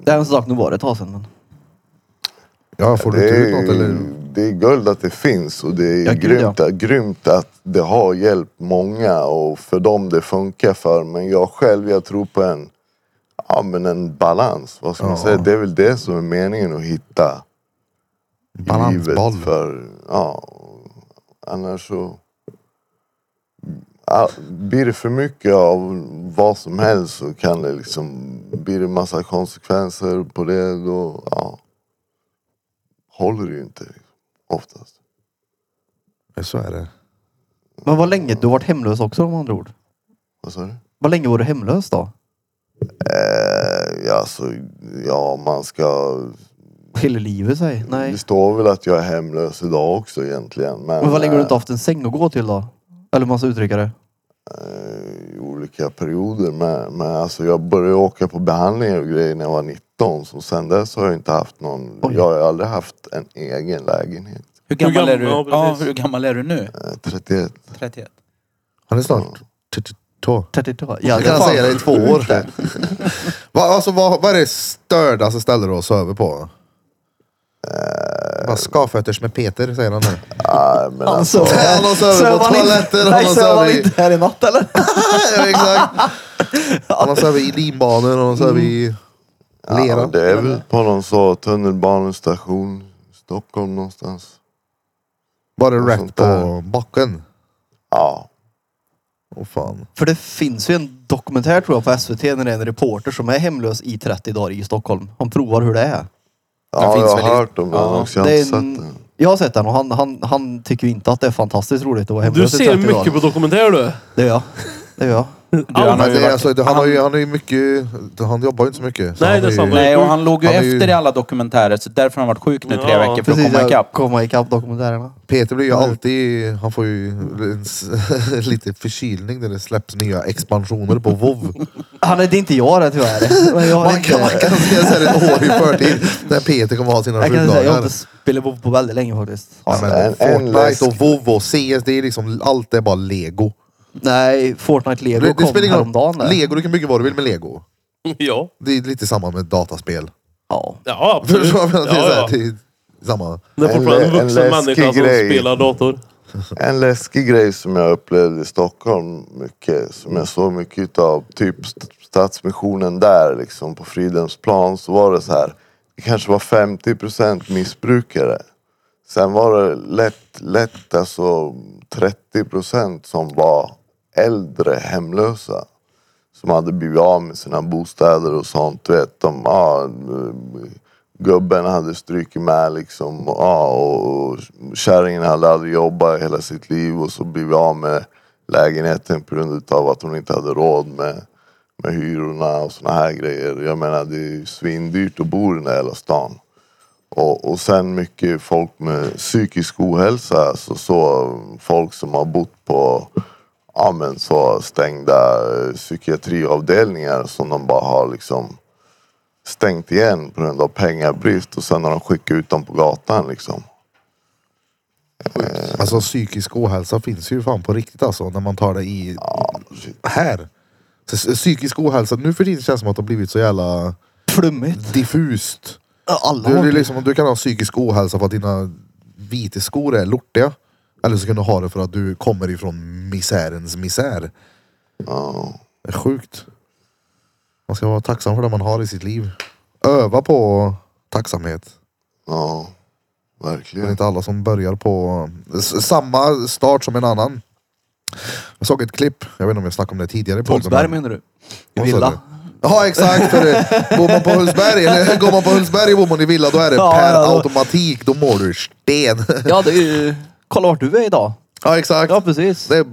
E: Det är en sak, nu var det ett tag sedan. Men...
A: Ja, får du
F: det,
A: inte ut
F: är,
A: något eller?
F: det är guld att det finns och det är
E: Ja, gud,
F: grymt,
E: ja.
F: att, grymt att det har hjälpt många och för dem det funkar för. Men jag själv, jag tror på en, ja, men en balans. Vad ska man
A: Ja.
F: säga? Det är väl det som är meningen att hitta i
A: Balansboll.
F: livet. För, ja, annars så ja, blir det för mycket av vad som helst så kan det liksom blir det massa konsekvenser på det då ja, håller det ju inte liksom, oftast.
A: Ja, Så är det.
E: men vad länge, du har varit hemlös också om andra ord.
F: Vad sa du?
E: Vad länge var du hemlös då?
F: Eh, ja, så, ja, man ska...
E: Skiljer livet sig? Nej.
F: Det står väl att jag är hemlös idag också egentligen. Men,
E: Men vad länge har du inte
F: eh,
E: haft en säng att gå till då? Eller hur man ska uttrycka det.
F: eh, i olika perioder. Men, men alltså jag började åka på behandlingar och grejer när jag var 19. Så sen dess har jag inte haft någon...
E: Oj.
F: Jag har aldrig haft en egen lägenhet.
D: Hur gammal
B: gammal-
D: är du?
B: ja,
D: Ja,
B: precis.
D: hur gammal är du nu?
F: Eh, 31.
D: 31.
A: Han är snart 32.
E: 32. Ja,
A: Jag kan
E: fan.
A: säga det i två år. Va, alltså, vad, vad är det stördaste stället du har sovit på? Bara skavfötters med Peter säger han nu.
F: Nej, men
E: Han
F: alltså,
E: sov.
A: Han har sovit
E: Sov
A: på
E: han inte-
A: toaletter, han
E: Nej,
A: har
E: sov han
A: sovit-
E: inte här i natt eller?
A: ja, exakt. Han har sovit i linbanor, han har sovit i
F: ja,
A: lera.
F: det är väl på någon så tunnelbanestation i Stockholm någonstans.
A: Bara rätt
F: sånt där.
A: på backen.
F: Ja.
A: Åh fan.
E: För det finns ju en dokumentär tror jag på SVT när det är en reporter som är hemlös i 30 dagar i Stockholm. Han provar hur det är.
F: Ja,
D: finns
F: jag
D: väl
F: har
D: i-
F: hört om den
D: Ja,
F: också. Jag har
E: det
F: inte
E: är en-
F: sett den.
E: Jag har sett den och han, han, han tycker ju inte att det är fantastiskt roligt att vara
B: Du
E: hemlös i
B: ser
E: 30 dagar.
B: mycket på dokumentär du.
E: Det gör jag. Det gör jag.
D: Du, han har
A: Men
D: ju
A: det är
D: varit-
A: alltså, han, har ju, han är ju mycket, han jobbar ju inte så mycket. Så
B: Nej,
A: han
B: det är
A: ju-
B: sant.
D: Nej, och han låg ju
A: Han är ju-
D: efter i alla dokumentärer så därför har han varit sjuk nu tre
B: Ja,
D: veckor för att
E: Precis,
D: komma
E: jag
D: ikapp.
E: komma ikapp dokumentärerna.
A: Peter blir ju alltid, han får ju en s- lite förkylning när det släpps nya expansioner på WoW.
E: Han är, det är inte jag det tyvärr. Men jag har
A: Man
E: inte,
A: kan, man kan se så här ett år i förtid när Peter kommer ha sina
E: jag kan säga, jag har
A: sjukdagar.
E: inte spelat WoW på väldigt länge faktiskt.
A: Ja, men
F: En- en läsk.
A: Fortnite och WoW och CS, det är liksom, allt är bara lego.
E: Nej, Fortnite Lego
A: Det, det
E: kom
A: spelar ingen
E: häromdagen.
A: roll.
E: där.
A: Lego, du kan bygga vad du vill med lego.
B: Ja.
A: Det är lite samma med dataspel.
E: Ja.
B: Ja, absolut.
A: Förstår du vad jag menar? Det är så här,
B: ja, ja.
A: det är samma.
B: Det är fortfarande en
F: En lä- en
B: vuxen
F: läskig
B: människa som
F: grej.
B: spelar dator.
F: En läskig grej som jag upplevde i Stockholm mycket, som jag såg mycket utav, typ st- Stadsmissionen där liksom på Fridhemsplan så var det så här. Det kanske var 50% missbrukare. Sen var det lätt, lätt alltså 30% som var äldre hemlösa. Som hade blivit av med sina bostäder och sånt. Du vet, de, ja, gubben hade strykit med liksom. Ja, och kärringen hade aldrig jobbat i hela sitt liv och så blivit av med lägenheten på grund utav att hon inte hade råd med, med hyrorna och såna här grejer. Jag menar det är ju svindyrt att bo i den där hela stan. Och, och sen mycket folk med psykisk ohälsa. Alltså så folk som har bott på ja, men så stängda eh, psykiatriavdelningar som de bara har liksom stängt igen på grund av pengabrist och sen har de skickat ut dem på gatan liksom.
A: Alltså psykisk ohälsa finns ju fan på riktigt alltså. När man tar det i... Här. Så, s- psykisk ohälsa, nu för tiden känns det som att det har blivit så jävla
E: Flummigt.
A: diffust.
E: Alla
A: Du,
E: har
A: du, liksom, du kan ha psykisk ohälsa för att dina vita skor är lortiga. Eller så kan du ha det för att du kommer ifrån misärens misär.
F: Ja.
A: Det är sjukt. Man ska vara tacksam för det man har i sitt liv. Öva på tacksamhet.
F: Ja,
A: Det är
F: verkligen.
A: inte alla som börjar på s- samma start som en annan. Jag såg ett klipp, jag vet inte om jag snackade om det tidigare i podden.
E: Tolsberg
A: men-
E: menar du? I
A: Vad sa
E: villa?
A: du? Ja exakt, för det, bor man på Hultsberg, eller går man på Hultsberg och bor man i villa då är det
E: Ja,
A: per
E: ja, då-
A: automatik, då mår du sten.
E: Ja, det är ju... Kolla vart du är idag.
A: Ja exakt.
E: Ja, precis.
A: Det är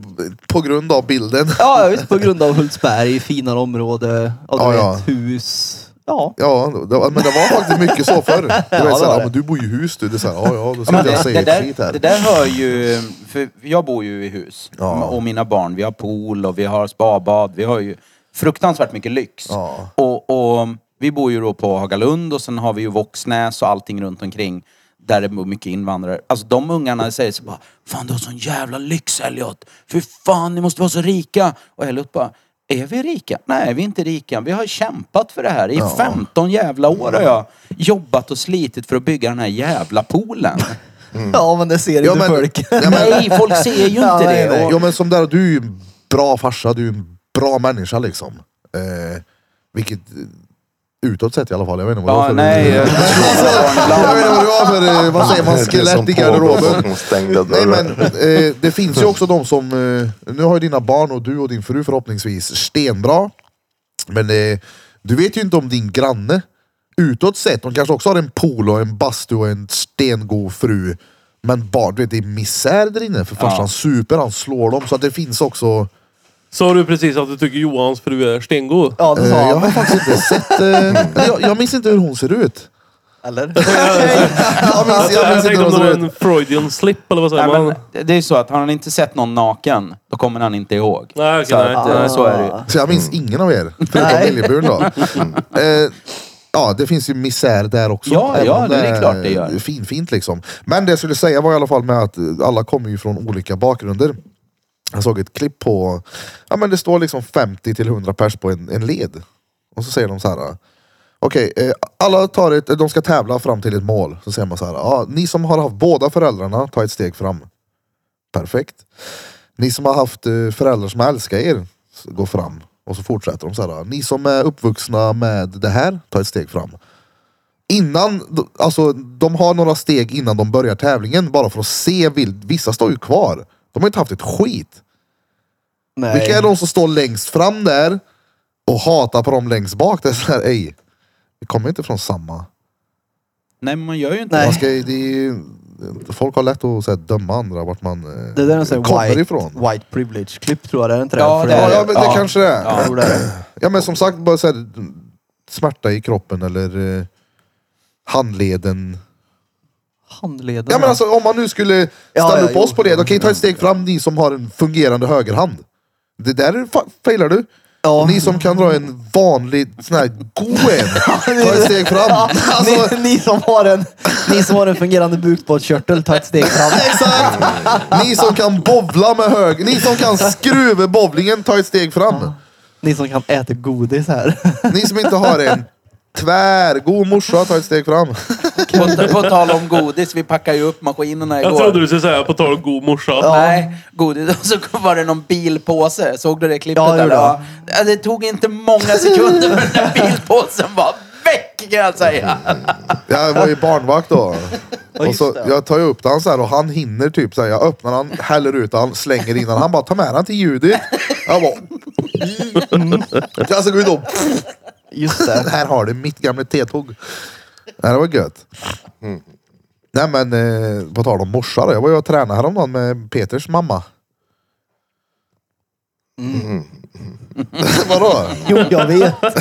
A: på grund av bilden.
E: Ja, visst. På grund av Hultsberg, finare område, ja, du
A: Ja,
E: vet,
A: ja.
E: hus, Ja.
A: Ja, det, var- men det var faktiskt mycket så förr. Du vet,
E: var
A: så här,
E: det.
A: "Ja, men du bor ju i hus du. Det är så här, ja, ja, då
D: Ja,
A: ska
D: men
A: inte jag
D: det,
A: säga
D: det,
A: ett skit
D: där,
A: här.
D: det där hör ju... För jag bor ju i hus.
A: Ja.
D: Och mina barn. Vi har pool och vi har spabad. Vi har ju fruktansvärt mycket lyx.
A: Ja.
D: Och, och vi bor ju då på Hagalund och sen har vi ju Våxnäs och allting runt omkring. Där det bor mycket invandrare. Alltså de ungarna säger så bara Fan du har sån jävla lyx Elliot! Fy fan ni måste vara så rika! Och Elliot bara Är vi rika? Nej vi är inte rika. Vi har kämpat för det här. I 15 jävla år har jag jobbat och slitit för att bygga den här jävla poolen.
E: Ja men det ser
A: Mm. Ja,
E: inte
A: men-
E: folk.
A: Ja, men-
D: Nej, folk ser ju inte
E: Ja,
D: det.
A: Nej,
D: Och-
A: Ja men som där, du är ju en bra farsa, du är en bra människa liksom. Eh, vilket eh, utåt sett i alla fall. Jag vet inte vad det var
D: Ja,
A: för...
D: nej. eh,
A: Jag vet inte vad det var för, eh, vad säger man, skelett i garderoben.
F: Bakom stängda
A: Nej
F: dörrar.
A: men eh, det finns ju också de som, eh, nu har ju dina barn och du och din fru förhoppningsvis stenbra. Men eh, du vet ju inte om din granne utåt sett, de kanske också har en pool och en bastu och en stengod fru. Men barn, du vet det är misär där inne för farsan
D: Ja.
A: super, han slår dem. Så att det finns också,
B: Sa du precis att du tycker Johans fru är stengod?
E: Ja det
A: eh,
E: sa
A: jag
E: han.
A: har faktiskt inte sett, eh, eller jag, jag minns inte hur hon ser ut.
E: Eller?
A: Jag minns, jag
B: Jag
A: minns inte
B: tänkte
A: hur hon
B: om det var
A: ser ut.
B: en Freudian slip eller vad säger
D: Nej,
B: man?
D: men det är så att har han inte sett någon naken, då kommer han inte ihåg.
B: Nej, okej,
D: så, att,
B: nej.
D: eh, så är det ju.
A: Så jag minns ingen av er, förutom
E: Nej.
A: Lilleburn då.
D: Mm.
A: Eh, ja, det finns ju misär där också.
D: Ja,
A: även
D: ja,
A: om
D: det är klart det gör.
A: Finfint liksom. Men det jag skulle säga var i alla fall med att eh, alla kommer ju från olika bakgrunder. Jag såg ett klipp på, ja men det står liksom 50 till 100 pers på en, en led. Och så säger de så här. eh, Okej, eh, alla tar ett, de ska tävla fram till ett mål. Så säger man så här. Ja, ni som har haft båda föräldrarna, ta ett steg fram. Perfekt. Ni som har haft eh, föräldrar som älskar er, s- gå fram. Och så fortsätter de så här. "Ah, Ni som är uppvuxna med det här, ta ett steg fram. Innan, d- alltså de har några steg innan de börjar tävlingen bara för att se vild. Vissa står ju kvar. De har inte haft ett skit.
E: Nej.
A: Vilka är de som står längst fram där och hatar på dem längst bak? Det är så här, ej. Vi kommer inte från samma.
D: Nej, men man gör ju inte
E: Nej.
A: Man ska, det är, ju- folk har lätt att så här, döma andra vart man eh,
E: Det där är en sån
A: kommer
E: här white,
A: ifrån.
E: white privilege-klipp tror jag, det är inte det?
D: Ja,
E: För
D: det är
A: Ja,
E: var-
A: ja, men det
D: Ja.
A: kanske det är.
D: Ja.
E: Jag tror det är det.
A: Ja men som sagt, bara så här, smärta i kroppen eller eh, handleden.
E: Handleden.
A: Ja men alltså om man nu skulle
E: Ja,
A: ställa
E: ja,
A: upp
E: jo.
A: oss på det, då kan ju ta ett steg fram ni som har en fungerande högerhand. Det där är fa- failar du.
E: Ja.
A: Ni som kan dra en vanlig sån här god en, ta ett steg fram. Alltså,
E: ni, ni, som har en, ni som har en fungerande bukspottkörtel, ta ett steg fram.
A: exakt! Ni som kan bovla med höger, ni som kan skruva bowlingen, ta ett steg fram.
E: Ni som kan äta godis här.
A: Ni som inte har en tvärgod morsa, ta ett steg fram.
D: det. På, på tal om godis, vi packade ju upp maskinerna igår.
B: Jag trodde du skulle säga på tal om god morsa.
D: Nej, godis. Och så var det någon bilpåse. Såg du det klippet?
E: Ja, jag
D: där?
E: gjorde
D: Ja. Ja, det tog inte många sekunder för den där bilpåsen var väck kan jag säga.
A: Jag var ju barnvakt då. Och
E: just
A: så,
E: det.
A: jag tar ju upp den så här och han hinner typ så här, Jag öppnar han, häller ut han, slänger in han. Han bara, ta med den till Judith. Jag "Mm." Alltså, bara... Jag ska gå ut och...
E: Just det.
A: Här har du mitt gamla tetugg. Nej, det var gött. Nej men eh, på tal om morsa då. Jag var ju och tränade häromdagen med Peters mamma. Vadå?
E: Jo, jag vet.
A: Det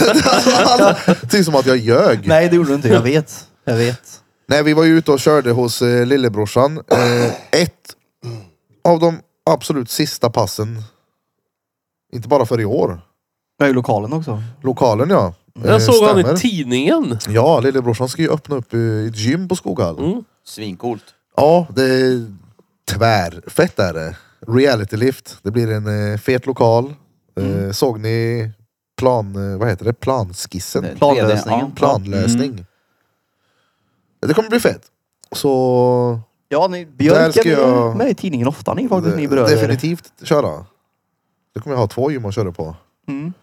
A: är som att jag ljög.
E: Nej, det gjorde du inte. Jag vet. Jag vet.
A: Nej, vi var ju ute och körde hos eh, lillebrorsan. Eh, ett av de absolut sista passen. Inte bara för i år.
E: Jag är i lokalen också.
A: Lokalen ja. Eh,
B: Jag såg han
A: stämmer.
B: i tidningen.
A: Ja, lillebrorsan ska ju öppna upp eh, ett gym på Skoghall.
B: Mm.
D: Svincoolt.
A: Ja, det är tvärfett är det. Reality lift. Det blir en eh, fet lokal. Eh,
B: Mm.
A: Såg ni plan... Eh, vad heter det? Planskissen?
D: Eh,
E: Planlösningen.
A: Planlösning.
B: Mm.
A: Det kommer bli fett. Så
E: Ja, ni,
A: Där
E: Björk
A: ska
E: är
A: jag-
E: jag... med i tidningen ofta ni faktiskt, ni bröder.
A: Definitivt köra. Då kommer jag ha två gym att köra på.
E: Mm.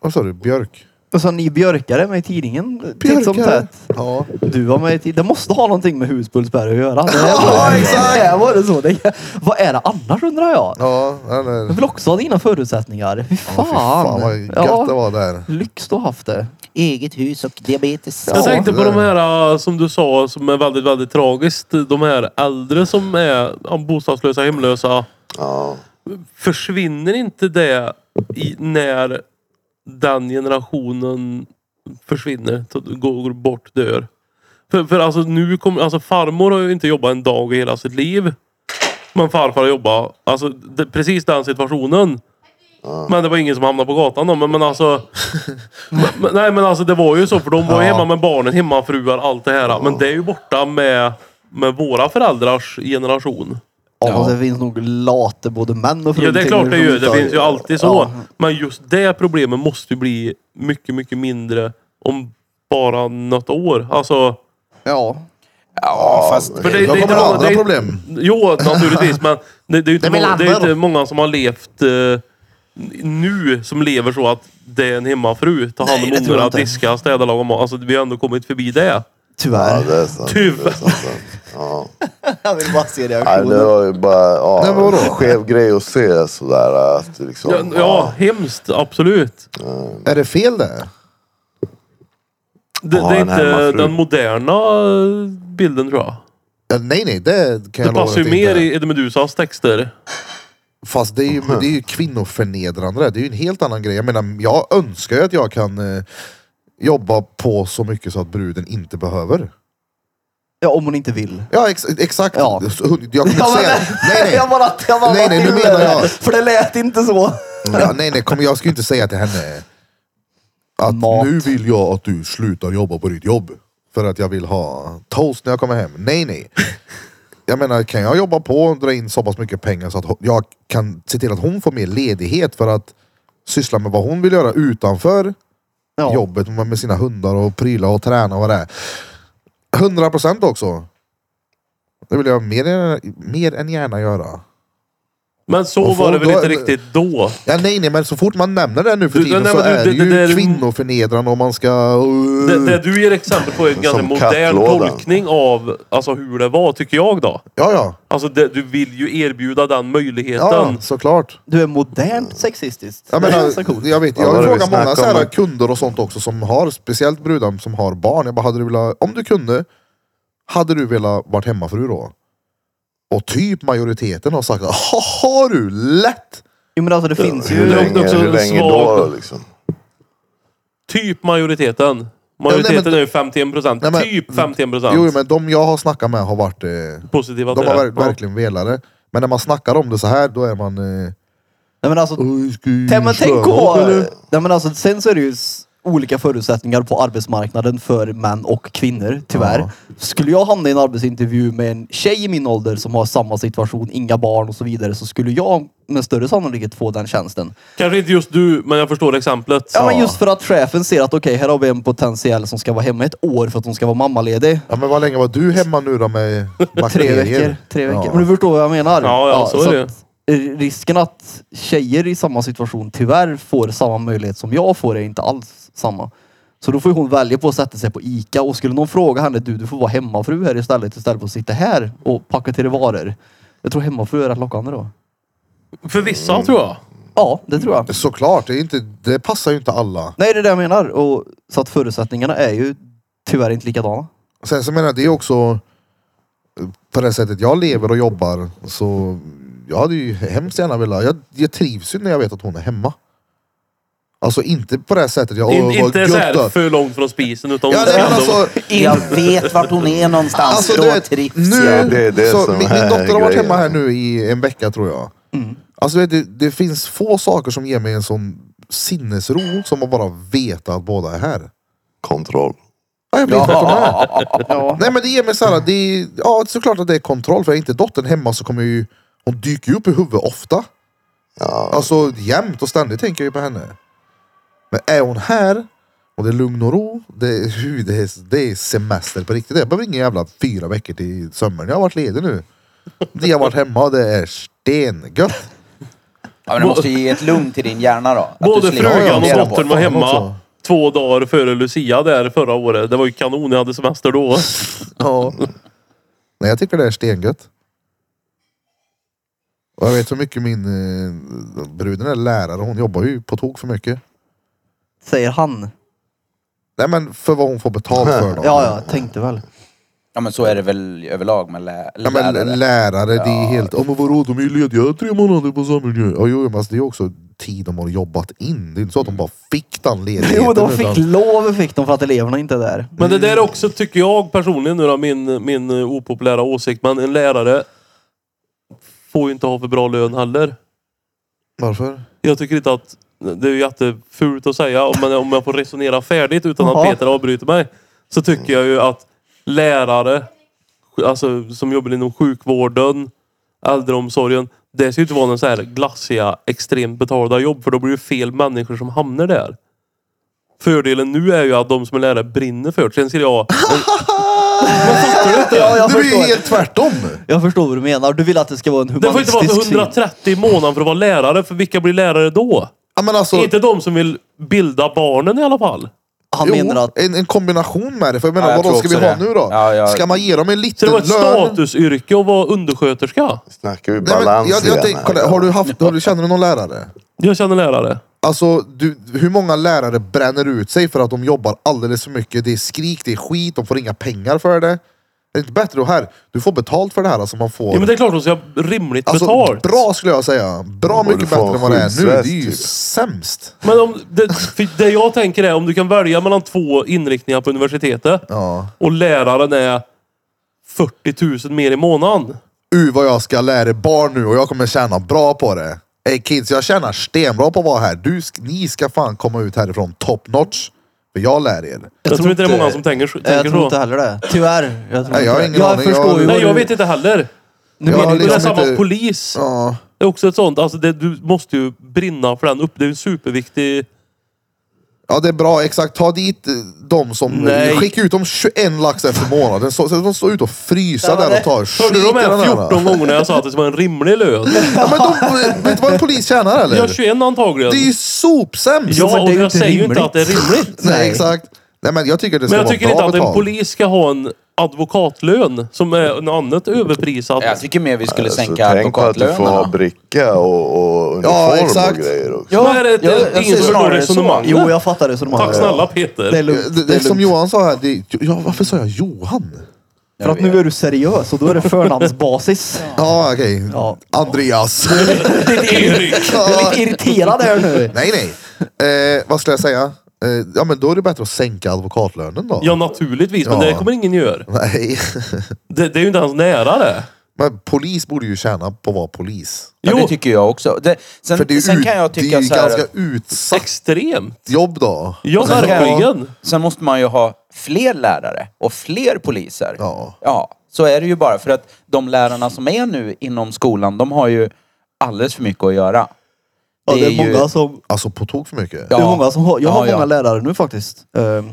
A: Vad sa du? Björk?
E: Och så ni björkare med i tidningen titt som
A: Björkare.
E: tätt.
A: Ja.
E: Du var med i tid. Det måste ha någonting med Husbullsberg att göra. Det här var, det här var det så. Det, vad är det annars undrar jag?
A: Ja, den är...
E: Jag vill också ha dina förutsättningar. Fy
A: Ja,
E: fan.
A: fy fan vad gött
E: Ja,
A: det var där.
E: Lyx du har haft det.
D: Eget hus och diabetes.
B: Jag tänkte på
A: det-
B: de här eh, som du sa som är väldigt, väldigt tragiskt. De här äldre som är ja, bostadslösa, hemlösa.
F: Ja.
B: Försvinner inte det i, när den generationen försvinner, t- går går bort, dör. För, för alltså nu kommer, alltså farmor har ju inte jobbat en dag i hela sitt liv. Men farfar har jobbat, alltså det, precis den situationen. Men det var ingen som hamnade på gatan då. Men, men alltså. men, men- nej men alltså det var ju så för de var ju hemma med barnen, hemmafruar, allt det här. Men det är ju borta med, med våra föräldrars generation.
E: Ja, fast det finns nog late både män och fruar.
B: Ja det är klart det gör. Det finns ju alltid så.
E: Ja.
B: Men just det problemet måste ju bli mycket, mycket mindre om bara något år. Alltså,
E: Ja.
D: Ja, fast...
B: för det, det
A: Då
B: är inte
A: kommer
B: många,
A: andra
B: det är,
A: problem.
B: Jo, naturligtvis. men det, det, är ju inte
A: Det blir
B: många, det är
A: lampor.
B: inte många som har levt eh, nu som lever så att det är en hemmafru. Ta hand
E: Nej, det
B: om
E: tror jag
B: ungarna,
E: inte.
B: diska, städa, laga mat. Alltså vi har ändå kommit förbi det.
F: Ja,
E: Tyvärr.
F: det är sant.
B: Tyvärr.
F: Det är sant, sant. Ja.
E: Jag vill bara se
F: Nej, det
E: reaktionen.
F: var ju bara ja,
A: Nej, men vadå?
F: en skev grej att se sådär. Att det liksom,
B: Ja, ja hemskt. Absolut.
A: Är det fel det?
B: Det,
F: Ja,
B: det är
F: en
B: inte
F: hemmafru.
B: den moderna eh, bilden tror jag.
A: Ja, nej, nej, det kan
B: Det
A: jag lova
B: passar
A: att
B: ju
A: det inte
B: mer
A: är.
B: i Eddie Medusas texter.
A: Fast det är, ju, det är ju kvinnoförnedrande. Det är ju en helt annan grej. Jag menar, jag önskar ju att jag kan eh, jobba på så mycket så att bruden inte behöver.
E: Ja, om hon inte vill.
A: Ja, ex exakt.
E: Ja.
A: Så- Jag kommer
E: Ja,
A: inte
E: men-
A: säga... Nej, nej.
E: Jag bara, jag bara
A: Nej, nej, nu menar jag-
E: För det lät inte så.
A: Ja, nej, nej. Kom, jag ska ju inte säga till henne att
E: Mat.
A: nu vill jag att du slutar jobba på ditt jobb. För att jag vill ha toast när jag kommer hem. Nej, nej. Jag menar, kan jag jobba på och dra in så pass mycket pengar så att ho- jag kan se till att hon får mer ledighet för att syssla med vad hon vill göra utanför
E: Ja.
A: jobbet med med sina hundar och pryla och träna och vad det är. 100 procent också. Det vill jag mer, än- mer än gärna göra.
B: Men så
A: Och
B: var det väl
A: då-
B: inte riktigt då.
A: Ja, nej, nej, men så fort man nämner det nu för
B: Du-
A: tiden
B: nej,
A: så
B: men du-
A: är
B: det-
A: det, ju
B: det- det-
A: kvinnoförnedrande om man ska... uh,
B: Det, det du ger exempel på är en ganska modern
F: kattlådan.
B: tolkning av alltså, hur det var, tycker jag då.
A: Ja, ja.
B: Alltså det, du vill ju erbjuda den möjligheten.
A: Ja, såklart.
E: Du är modernt sexistisk.
A: Jag,
E: det är
A: menar,
E: ganska coolt.
A: jag, vet,
F: Vad var
A: jag
F: det vi
A: frågar många
F: snackade
A: så här
F: om?
A: kunder och sånt också som har, speciellt brudar som har barn. Jag bara, hade du velat, om du kunde, hade du velat varit hemmafru då? Och typ majoriteten har sagt, "Ha- har du lätt!
E: Jo men alltså det finns
F: Hur
E: ju...
B: långt
F: länge,
B: också
F: hur länge då?
B: svag-
F: då liksom?
B: Typ majoriteten. Majoriteten
A: Ja, nej, men-
B: är ju 51 procent.
A: Nej, men-
B: typ 51 procent.
A: Jo, men de jag har snackat med har varit, eh,
B: Positiva
A: de
B: till
A: har
B: det.
A: ver- verkligen velat det. Men när man snackar om det så här, då är man... Eh,
E: Nej men alltså...
A: "Oj, ska ju
E: Nej, men tänk
A: köra
E: på...
A: upp, Mm. eller?"
E: Nej men alltså sen så är det ju s- olika förutsättningar på arbetsmarknaden för män och kvinnor, tyvärr. Skulle jag hamna i en arbetsintervju med en tjej i min ålder som har samma situation, inga barn och så vidare, så skulle jag med större sannolikhet få den tjänsten.
B: Kanske inte just du, men jag förstår exemplet.
E: Ja, men just för att chefen ser att okej, här har vi en potentiell som ska vara hemma ett år för att hon ska vara mammaledig.
A: Ja men vad länge var du hemma nu då med
E: Tre
A: bakterier?
E: veckor. Tre veckor.
A: Ja.
E: Men du förstår vad jag menar?
B: Ja, ja, så är det.
E: att r- Risken att tjejer i samma situation tyvärr får samma möjlighet som jag får är inte alls samma. Så då får ju hon välja på att sätta sig på ICA och skulle någon fråga henne, du du får vara hemmafru här istället istället för att sitta här och packa till dig varor. Jag tror hemmafru är rätt lockande då.
B: För vissa
A: Mm.
B: tror jag.
E: Ja, det tror jag.
A: Såklart, det, är inte, det passar ju inte alla.
E: Nej, det är det jag menar. Och, så att förutsättningarna är ju tyvärr inte likadana.
A: Sen så menar jag, det är också eh, på det sättet jag lever och jobbar så jag hade ju hemskt gärna velat, jag, jag trivs ju när jag vet att hon är hemma. Alltså inte på det sättet, jag
B: In,
A: "Åh, vad
B: inte
A: gött
B: så här
A: då."
B: för långt från spisen. Utan
A: Ja, nej, men
B: ändå-
A: alltså,
D: Jag vet vart hon är någonstans.
A: Alltså,
D: Då
A: du vet,
D: trivs
A: nu,
D: jag.
F: Det är det
A: så,
F: som
A: min,
F: är
A: min dotter har varit
F: grejen.
A: hemma här nu i en vecka tror jag.
D: Mm.
A: Alltså vet du, det finns få saker som ger mig en sån sinnesro som att bara veta att båda är här.
F: Kontroll.
A: Ja, jag vet att de är här. Nej men det ger mig såhär, det är, ja såklart att det är kontroll. För är inte dottern hemma så kommer ju, hon dyker ju upp i huvudet ofta. Alltså jämt och ständigt tänker jag ju på henne. Men är hon här och det är lugn och ro, det, är- hu, det, är, det är semester på riktigt. Jag behöver inga jävla fyra veckor till sommaren. Jag har varit ledig nu. Det har varit hemma, det är stengött.
D: Ja, men du måste ju ge ett lugn till din hjärna då. Att du
B: Både
D: slipper
B: frugan och
D: fundera på
B: dottern
D: det.
B: var hemma
A: också.
B: två dagar före Lucia där förra året. Det var ju kanon. Jag hade semester då.
A: Ja. Nej, jag tycker det är stengött. Och jag vet hur mycket min eh, bruden är lärare. Hon jobbar ju på tok för mycket.
E: Säger han.
A: Nej men för vad hon får betalt för då.
E: Ja, ja, tänkte väl.
D: Ja, men så är det väl överlag med lä-
A: Ja, men
D: lärare.
A: lärare, det är helt... Ja men vadå, de är ju lediga tre månader på sommaren ju. Ja jo, men alltså, det är ju också tid de har jobbat in. Det är inte så att de bara fick den ledigheten.
E: Jo, de fick
A: utan-
E: lov fick de för att eleverna inte är där.
B: Men det där är också, tycker jag personligen nu då, min, min eh, opopulära åsikt. Men en lärare får ju inte ha för bra lön heller.
A: Varför?
B: Jag tycker inte att... Det är ju jättefult att säga, om man- om jag får resonera färdigt utan att
E: Ja.
B: Peter avbryter mig. Så tycker jag ju att lärare, alltså som jobbar inom sjukvården, äldreomsorgen. Det ska ju inte vara någon så här glassiga, extremt betalda jobb. För då blir det fel människor som hamnar där. Fördelen nu är ju att de som är lärare brinner för det. Sen ser jag...
E: Ja, jag
A: det blir ju
E: förstår.
A: helt tvärtom.
E: Jag förstår vad du menar. Du vill att det ska vara en
B: Det får inte vara
E: humanistisk
B: för
E: syn.
B: 130 i månaden för att vara lärare. För vilka blir lärare då?
A: Ja, men alltså,
B: Inte de som vill bilda barnen i alla fall.
E: Han
A: jo,
E: menar att eh,
A: en, en kombination med det. För jag menar,
D: Ja, jag
A: vadå
D: tror
A: ska vi
D: också
A: ha
D: det.
A: nu då?
D: Ja, ja.
A: Ska man ge dem en
B: Så
A: liten
B: det var ett
A: lön?
B: statusyrke att vara undersköterska.
F: Snackar vi
A: Nej, men
F: balans
A: jag, jag
F: igen alltså?
A: tänk,
F: här,
A: kolla, har du haft, har du, känner du någon lärare?
B: Jag känner lärare.
A: Alltså, du, hur många lärare bränner ut sig för att de jobbar alldeles för mycket? Det är skrik, det är skit, de får inga pengar för det. Är det inte bättre att här, du får betalt för det här alltså man får...
B: Ja, men det är klart de ska ha rimligt
A: alltså,
B: betalt.
A: bra skulle jag säga. Bra
F: Borde
A: mycket
F: få
A: bättre än vad det är nu. Det är
F: skyddsväst,
A: ju
F: typ.
A: sämst.
B: Men om, det, för det jag tänker är om du kan välja mellan två inriktningar på universitetet
A: Ja.
B: och läraren är 40 000 mer i månaden.
A: Uh vad jag ska lära er barn nu och jag kommer tjäna bra på det. Ey kids, jag tjänar stenbra på att vara här. Du, sk- ni ska fan komma ut härifrån top notch. För jag lär er.
B: Jag, tror inte det är många som tänker, tänker
E: jag tror
B: så.
E: inte heller det. Tyvärr. Jag, tror
A: Nej, jag har
E: inte det.
A: ingen
E: jag
A: aning.
E: förstår
A: Jag-
E: ju.
B: Nej,
E: vad
B: jag
E: du-
B: vet inte heller.
E: Nu
A: Jag
E: menar
A: har
E: du
B: Det är
A: liksom
B: samma
A: inte-
B: polis.
A: Ja.
B: Det är också ett sånt. Alltså det, du måste ju brinna för den upp. Det är en superviktig...
A: Ja det är bra, exakt. Ta dit eh, de som...
B: Nej.
A: Skicka ut dem 21 lax efter månaden. Så, så de står ute och frysa
E: var
A: där
E: det.
A: och tar
B: Hörde du de
A: i den
B: här
A: här.
B: 14 gångerna jag sa att det var en rimlig lön?
A: Ja, men de, eh, vet du vad en polis tjänar eller?
B: Jag har 21 antagligen.
A: Det är ju sopsämst!
B: Ja,
E: men
B: och
E: det är ju
B: jag
E: inte
B: säger ju inte
E: rimligt.
B: att det är rimligt.
A: Nej,
E: nej.
A: exakt. Nej men jag tycker det ska
B: Men jag
A: vara
B: tycker
A: bra
B: inte att en
A: betalt.
B: polis ska ha en advokatlön som är något annat överprisat.
D: Jag tycker mer vi skulle
F: Alltså,
D: sänka
F: tänk på att du får ha
D: advokatlönerna.
F: bricka och, och uniform
A: exakt.
F: och grejer också.
B: Men är det inte- ingen som förstår
E: snarare så.
B: resonemanget?
E: Jo, jag fattar resonemanget.
B: Tack snälla
E: Det är
B: Peter.
A: Eh, Det,
E: lugnt.
A: det, är som Johan sa här, det, ja, varför sa jag Johan?
E: För att nu är du seriös och då är det förnamnsbasis.
A: Ja okej.
E: Ja.
A: Andreas.
B: Erik.
E: Jag är lite irriterad här nu.
A: nej nej. Eh, vad skulle jag säga? Eh, ja men då är det bättre att sänka advokatlönen då.
B: Ja, naturligtvis. Men
A: Ja.
B: det kommer ingen göra.
A: Nej.
B: Det, det är ju inte ens nära det.
A: Men polis borde ju tjäna på att vara polis.
D: Ja,
B: Jo.
D: det tycker jag också. Det, sen,
A: För det är ju,
D: sen kan jag
A: det är
D: tycka
A: ju
D: så här.
A: ganska utsatt
B: Extremt.
A: jobb då.
B: Ja,
D: Sen kan jag-
B: verkligen.
D: Sen måste man ju ha fler lärare och fler poliser.
A: Ja.
D: så är det ju bara. För att de lärarna som är nu inom skolan, de har ju alldeles för mycket att göra.
E: Ja, det är
D: ju-
E: många som...
A: Alltså på tok för mycket.
E: Det är
D: Ja.
E: många som har, jag har
D: Ja, ja.
E: många lärare nu faktiskt. ehm,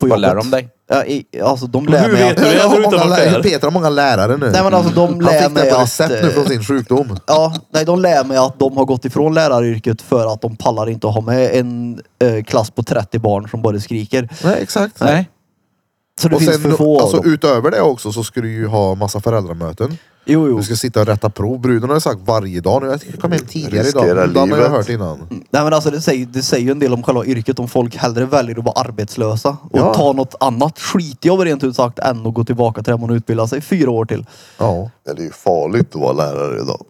E: på
D: Vad lär
E: jobbet.
D: de dig?
E: Ja, i- Alltså de
B: Hur
E: lär mig
B: vet
E: att...
B: du? Jag
A: Jag
B: tror
A: har
B: inte
A: många
B: han var
A: lärare.
B: där.
A: Peter har många lärare nu.
E: Nej men alltså de
A: Han
E: lär
A: fick
E: mig
A: det på
E: att...
A: recept nu
E: eh,
A: från sin sjukdom.
E: Ja, nej, de lär mig att de har gått ifrån läraryrket för att de pallar inte att ha med en eh, klass på 30 barn som bara skriker.
A: Nej exakt.
D: Nej.
E: Så det
A: Och
E: finns
A: sen,
E: för få
A: alltså,
E: av dem.
A: utöver det också så ska du ju ha massa föräldramöten.
E: Jo, jo.
A: Du ska sitta och rätta prov. Bruden har ju sagt varje dag nu. Jag ska komma hem tidigare idag.
F: Riskera
A: Den har jag
F: livet.
A: hört innan.
E: Nej, men alltså, det, säger, det säger ju en del om själva yrket om folk hellre väljer att vara arbetslösa och
A: Ja.
E: ta något annat skitjobb rent ut sagt än att gå tillbaka till det man utbildade sig fyra år till.
A: Ja.
F: Det är ju farligt att vara lärare idag.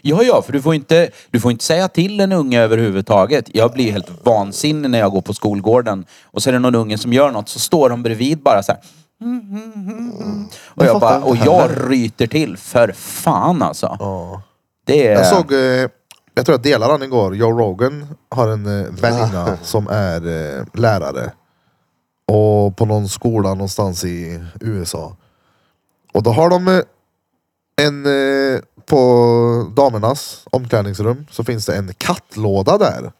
D: Ja, ja, för du får, inte, du får inte säga till en unge överhuvudtaget. Jag blir helt vansinnig när jag går på skolgården och så är det någon unge som gör något så står de bredvid bara så här. Mm, mm, mm, mm. Och
E: Det
D: jag,
E: fattar
D: bara,
E: jag inte
D: och jag ryter till. För fan alltså. Det är...
A: Jag såg, eh, jag tror jag delade han igår, Joe Rogan har en eh, väninna som är eh, lärare. Och på någon skola någonstans i USA. Och då har de eh, en, eh, på damernas omklädningsrum så finns det en kattlåda där.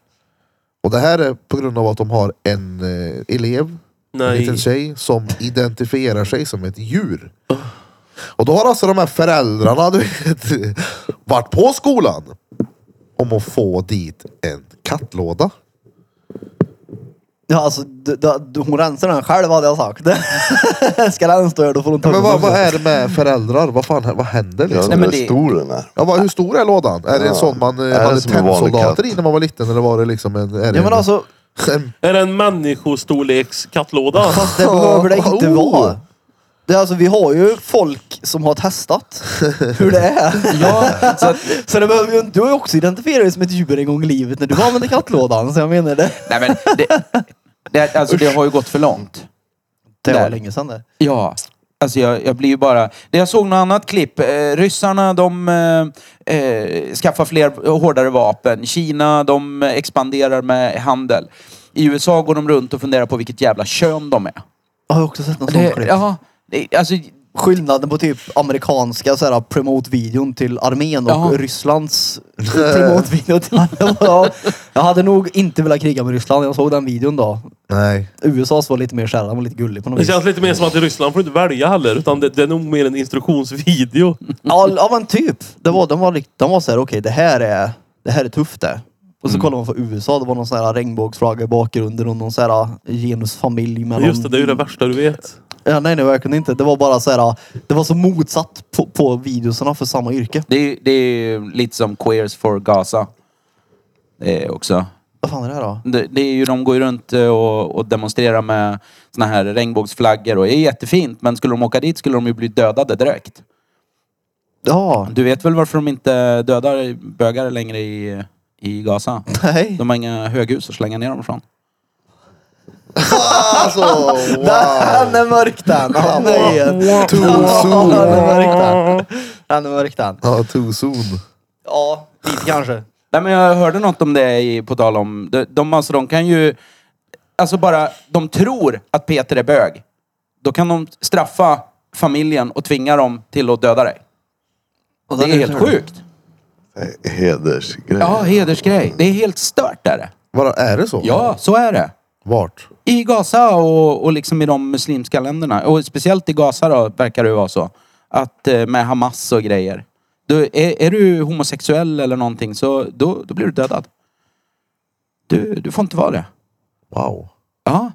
A: Och det här är på grund av att de har en eh, elev en
B: Nej.
A: liten tjej som identifierar sig som ett djur. Och då har alltså de här föräldrarna du vet, varit på skolan om att få dit en kattlåda.
E: Ja, alltså, d- d- hon rensar den själv hade jag sagt. ska den stå här då får hon ta
A: Men
E: upp
A: vad,
E: den.
A: vad är det med föräldrar? Vad fan vad händer
F: Jag
A: liksom?
F: undrar
D: men
F: hur
D: det-
F: stor den är.
A: Ja, vad, hur stor är lådan? Är det en sån man eh,
F: det
A: hade
F: som en vanlig
A: tennsoldater
F: katt?
A: i när man var liten? Eller var det liksom en... Är det
E: Ja men
A: en,
E: alltså,
A: en
B: Är det en människostorleks kattlåda?
E: fast det behöver det inte
A: Oh.
E: vara. Det är alltså, vi har ju folk som har testat hur det är. så, att, så det behöver ju inte... Du har ju också identifierat dig som ett djur en gång i livet när du använde kattlådan. Så jag menar det.
D: Nej men det, det, alltså, det har ju gått för långt.
E: Det var
D: Där.
E: länge sedan det.
D: Ja. Alltså jag, jag blir ju bara... Det Jag såg något annat klipp. Eh, ryssarna de eh, eh, skaffar fler och hårdare vapen. Kina de expanderar med handel. I USA går de runt och funderar på vilket jävla kön de är.
E: Jag har också sett någon sån
D: Det,
E: klipp.
D: ja, det, alltså,
E: Skillnaden på typ amerikanska så här, promote-videon till armén och
D: Ja.
E: Rysslands promote-video till armén. Ja, jag hade nog inte velat kriga med Ryssland. Jag såg den videon då.
A: Nej.
E: USAs var lite mer kärran var lite gullig på något
B: Det
E: vis.
B: känns lite mer som att i Ryssland får du inte välja heller. Utan det, det är nog mer en instruktionsvideo.
E: Ja, ja men typ. Det var, de var, rikt- de var så här, okej det här är, det här är tufft det. Och så kollar man på USA, det var någon sån här regnbågsflagga i bakgrunden och någon sån här eh, genusfamilj med någon-
B: Just det, det är ju det värsta du vet.
E: Ja, nej, nej verkligen inte. Det var bara så här, eh, det var så motsatt på, på videoserna för samma yrke.
D: det, är- det är lite som Queers for Gaza. Det är också.
E: Vad fan är det här då?
D: Det, det är ju, de går ju runt eh, och, och demonstrerar med såna här regnbågsflaggor och det är jättefint men skulle de åka dit skulle de ju bli dödade direkt.
E: Ja,
D: Du vet väl varför de inte dödar bögar längre i, i Gaza?
E: nej.
D: De har inga höghus att slänga ner dem från.
A: Alltså, wow.
E: Den är mörk den! Han är...
A: Too
E: Ja,
A: soon.
E: Den är mörk den. Den är mörk den.
A: Ja, too soon.
E: Ja, lite kanske.
D: Nej men jag hörde något om det i, på tal om... De, de, alltså, de kan ju... Alltså bara, de tror att Peter är bög. Då kan de straffa familjen och tvinga dem till att döda dig.
E: Och
D: Det
E: den
D: är helt sjukt.
F: Eh, Hedersgrej.
D: Ja, hedersgrej. Det är helt stört är det.
A: Vadå, är det så?
D: Ja, så är det.
A: Vart?
D: I Gaza och, och liksom i de muslimska länderna. Och speciellt i Gaza då, verkar det vara så. Att eh, med Hamas och grejer. Då är, är du homosexuell eller någonting så då, då blir du dödad. Du, du får inte vara det.
A: Wow.
D: Ja.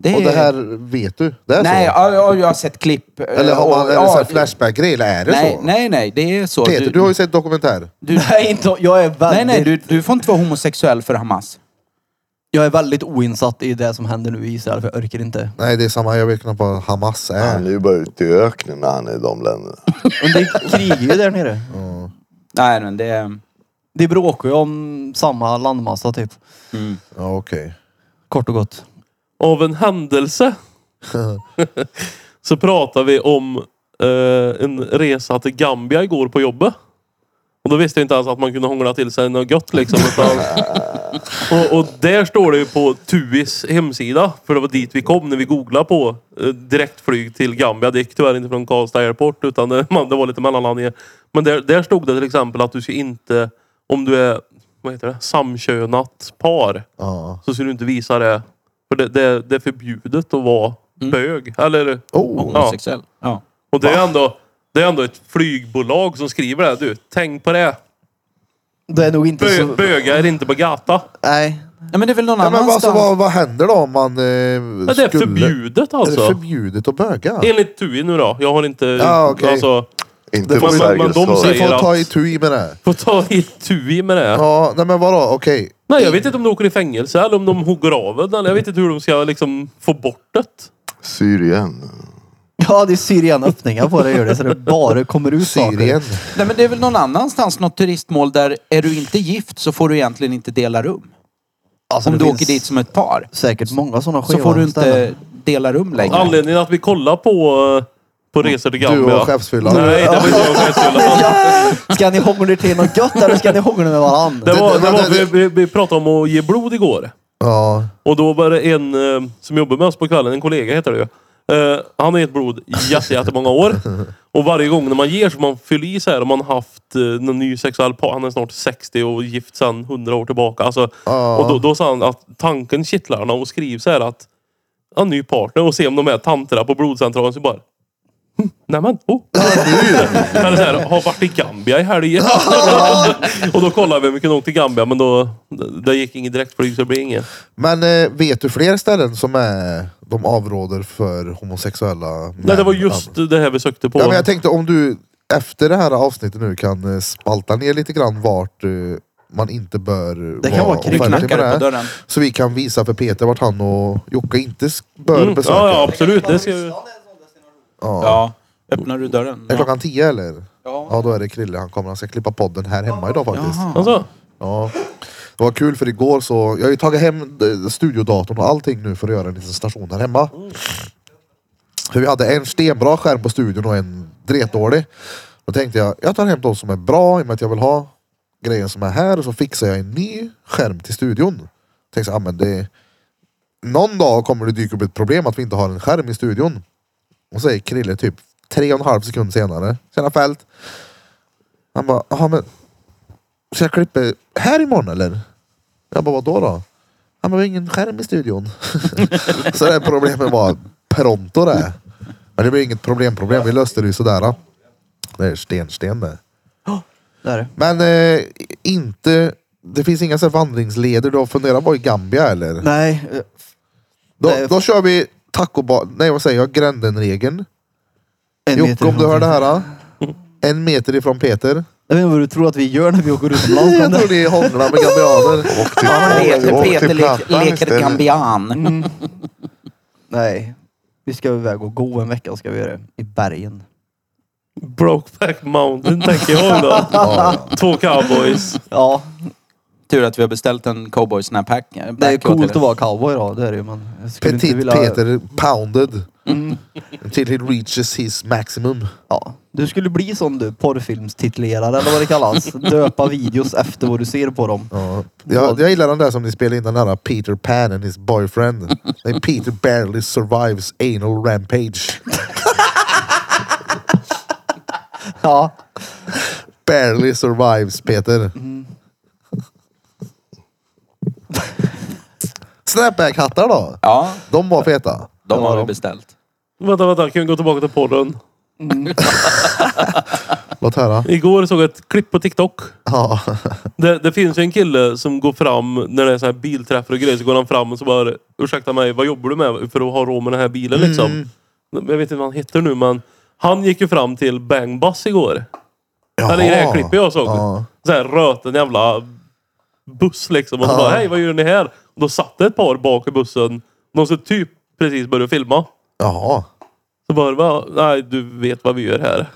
D: Det
A: Och det här vet du? Det är
D: Nej,
A: så?
D: ja, ja, jag har sett klipp. eh,
A: Eller har man,
D: och-
A: är det
D: ja,
A: så här
D: det-
A: flashback-grej eller är det
D: nej,
A: så?
D: nej, nej, det är så.
A: Peter, du har ju sett dokumentär.
D: du,
E: Nej, inte, jag är
D: nej,
E: väldigt...
D: nej, du, du får inte vara homosexuell för Hamas.
E: Jag är väldigt oinsatt i det som händer nu i Israel för jag orkar inte.
A: Nej, det är samma. Jag vet knappt vad Hamas
F: Han är
A: är.
F: ju bara ute i öknen när han är i de länderna.
E: Men det krigar ju där nere.
D: Nej, men det är...
E: Det bråkar ju om samma landmassa typ.
A: Ja, okej.
E: Kort och gott.
B: Av en händelse så pratar vi om eh, en resa till Gambia igår på jobbet. Och då visste jag inte ens att man kunde hångla till sig något gött liksom. Utan, och, och där står det ju på TUIs hemsida. För det var dit vi kom när vi googlade på eh, direktflyg till Gambia. Det gick tyvärr inte från Karlstad Airport utan det, man, det var lite mellanlandningar. Men där, där stod det till exempel att du ska inte, om du är vad heter det, samkönat par
A: Ja.
B: så skulle du inte visa det. För det, det, det är förbjudet att vara
A: Mm.
B: bög. Eller,
A: Oh,
D: Homosexuell. Ja.
B: och det är, ändå, det är ändå ett flygbolag som skriver det. Du, tänk på det.
E: Det är nog inte
B: Bö,
E: så...
B: Bögar är inte på gata.
E: Nej.
D: Nej, men det är väl någon
A: Ja, men alltså,
D: annanstans.
A: vad, vad händer då om man eh,
B: Ja, det är
A: skulle...
B: förbjudet alltså.
A: Är det förbjudet att böga?
B: Enligt TUI nu då. Jag har inte...
A: Ja, okej.
B: alltså,
F: Inte
A: Det
F: på
A: får-
B: men- men
F: Sergels
B: de
A: Vi
F: torg.
B: säger-
A: får
B: att-
A: ta itu i med det.
B: får ta i TUI med det.
A: Ja, nej men vadå, okej.
B: Nej, jag vet inte om de åker i fängelse eller om de hugger av den. Eller Jag vet inte hur de ska liksom få bort det.
F: Syrien.
E: Ja, det syr igen öppningar på det gör det så det bara kommer ut
A: Syrien.
E: saker.
D: Nej, men det är väl någon annanstans, något turistmål där är du inte gift så får du egentligen inte dela rum.
E: Alltså,
D: Om
E: det
D: du
E: finns
D: åker dit som ett par
E: Säkert många sådana
D: så
E: skeva
D: får du
E: ställen.
D: inte dela rum längre.
B: Anledningen att vi kollar på, eh, på resor till
A: Du
B: Gambia.
A: och chefsfyllan.
B: Nej, det var inte jag som skulle.
E: Ska ni hångla till något gött eller ska ni hångla med varandra?
B: Det var,
A: det-
B: det,
A: det-
B: var,
A: det-
B: vi, vi, vi pratade om att ge blod igår.
A: Ja.
B: Och då var det en eh, som jobbar med oss på kvällen, en kollega heter det ju. Eh, han har gett blod jätte, jättemånga år. Och varje gång när man ger så man fyller i så här om man haft eh, någon ny sexuell par. Han är snart 60 och gift sedan 100 år tillbaka. Alltså,
A: Ja.
B: Och då, då sa han att tanken kittlar honom och skriv så här att en ny partner och se om de är tanterna på blodcentralen så bara "Hm, Nämen, oh. Eller så här, har varit i Gambia i helgen. och då kollade vi om vi kunde åka till Gambia men då, det gick inget direktflyg så det blev inget.
A: Men eh, vet du fler ställen som är, de avråder för homosexuella män?
B: Nej, det var just det här vi sökte på.
A: Ja, men jag tänkte om du efter det här avsnittet nu kan eh, spalta ner lite grann vart eh, man inte bör
E: Det kan vara
D: Du
A: offentlig med det
D: knackar
A: här.
D: på dörren.
A: Så vi kan visa för Peter vart han och Jocke inte s- bör
B: Mm,
A: besöka.
B: ja, ja, absolut. Det ska, ju-
D: Ja. Öppnar du dörren?
A: Är klockan tio eller?
D: Ja.
A: Ja, då är det Krille. Han kommer. Han ska klippa podden här hemma idag faktiskt.
D: Jaha.
B: Alltså,
A: Ja. Det var kul för igår så, jag har ju tagit hem eh, studiodatorn och allting nu för att göra en liten station där hemma. För vi hade en stenbra skärm på studion och en dretdålig. Då tänkte jag, jag tar hem de som är bra i och med att jag vill ha grejen som är här och så fixar jag en ny skärm till studion. Tänkte jag, ah, men det... Någon dag kommer det dyka upp ett problem att vi inte har en skärm i studion. Och säger Krille typ tre och en halv sekund senare. Tjena Fält! Han bara, jaha men så jag klipper här imorgon eller? Jag bara, vadå då? Han bara, vi har ingen skärm i studion. så det här problemet var pronto det. Men det blev inget problem, problem. Vi löste det ju sådär. Det är stensten det.
E: Där.
A: Men eh, inte, det finns inga så här vandringsleder du har funderat på i Gambia eller?
E: Nej, eh,
A: då,
E: nej.
A: då kör vi tacobar, nej vad säger jag, Grändenregeln.
E: en
A: Jocke
E: meter
A: om du
E: ifrån
A: hör det
E: Peter.
A: här. ah. En meter ifrån Peter.
E: Jag vet inte vad du tror att vi gör när vi åker utomlands.
A: Jag
E: men
A: tror ni hånglar med gambianer.
F: Åk till,
D: Ja, han leker,
F: åk
D: Peter
F: till
D: lek,
F: plattan
D: leker
F: istället.
D: gambian.
E: Mm. Nej. Vi ska iväg och gå en vecka ska vi göra det. I bergen.
B: Brokeback Mountain tänker jag då. Två cowboys.
E: Ja,
D: Tur att vi har beställt en cowboy snap hack.
E: det är coolt att vara cowboy då. Det är det ju. Men jag skulle
A: Petit
E: inte vilja...
A: Peter pounded. Until he reaches his maximum.
E: Ja. Du skulle bli sån du, porrfilmstitlerare eller vad det kallas. Döpa videos efter vad du ser på dem.
A: Ja. Jag, jag gillar den där som ni spelade in, den här Peter Pan and his boyfriend. Nej, Peter barely survives anal rampage.
E: Ja,
A: Barely survives Peter.
E: Mm.
A: Snapback-hattar då?
D: Ja,
A: De var feta.
D: de har
E: Ja.
D: vi beställt.
B: Vänta, vänta. Kan vi gå tillbaka till podden?
A: Låt höra.
B: Igår såg jag ett klipp på TikTok.
A: Ja.
B: Det, det finns ju en kille som går fram när det är så här bilträffar och grejer. Så går han fram och så bara, ursäkta mig, vad jobbar du med för att ha råd med den här bilen
A: Mm.
B: liksom? Jag vet inte vad han heter nu men han gick ju fram till Bang Bus igår.
A: Jaha.
B: Eller i det här klippet jag såg.
A: Ja.
B: Så här röten jävla buss liksom. Och så
A: Ja.
B: bara, hej vad gör ni här? Och då satt det ett par bak i bussen. De så typ precis började filma.
A: Jaha.
B: Så bara, "Va? nej du vet vad vi gör här.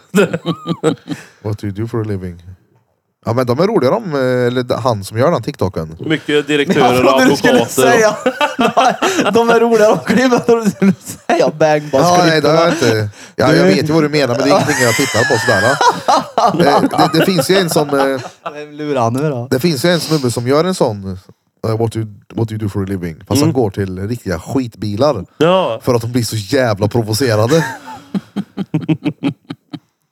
A: What do you do for a living? Ja men de är roliga de, eh, eller han som gör den TikToken.
B: Mycket direktörer och
E: du skulle
B: advokater.
E: säga. Nej, de är roliga de klippen. Jag trodde Du skulle säga bang boss
A: Ja, nej, det har jag
E: klippen.
A: inte. Ja, jag vet ju vad du menar, men det är ingenting jag tittar på sådär. va? Eh, Det, det finns ju en som... eh,
E: Vem lurar han nu då?
A: Det finns ju en snubbe som gör en sån... eh, What you, what you do for a living. Fast han går till riktiga skitbilar.
B: Ja.
A: För att de blir så jävla provocerade.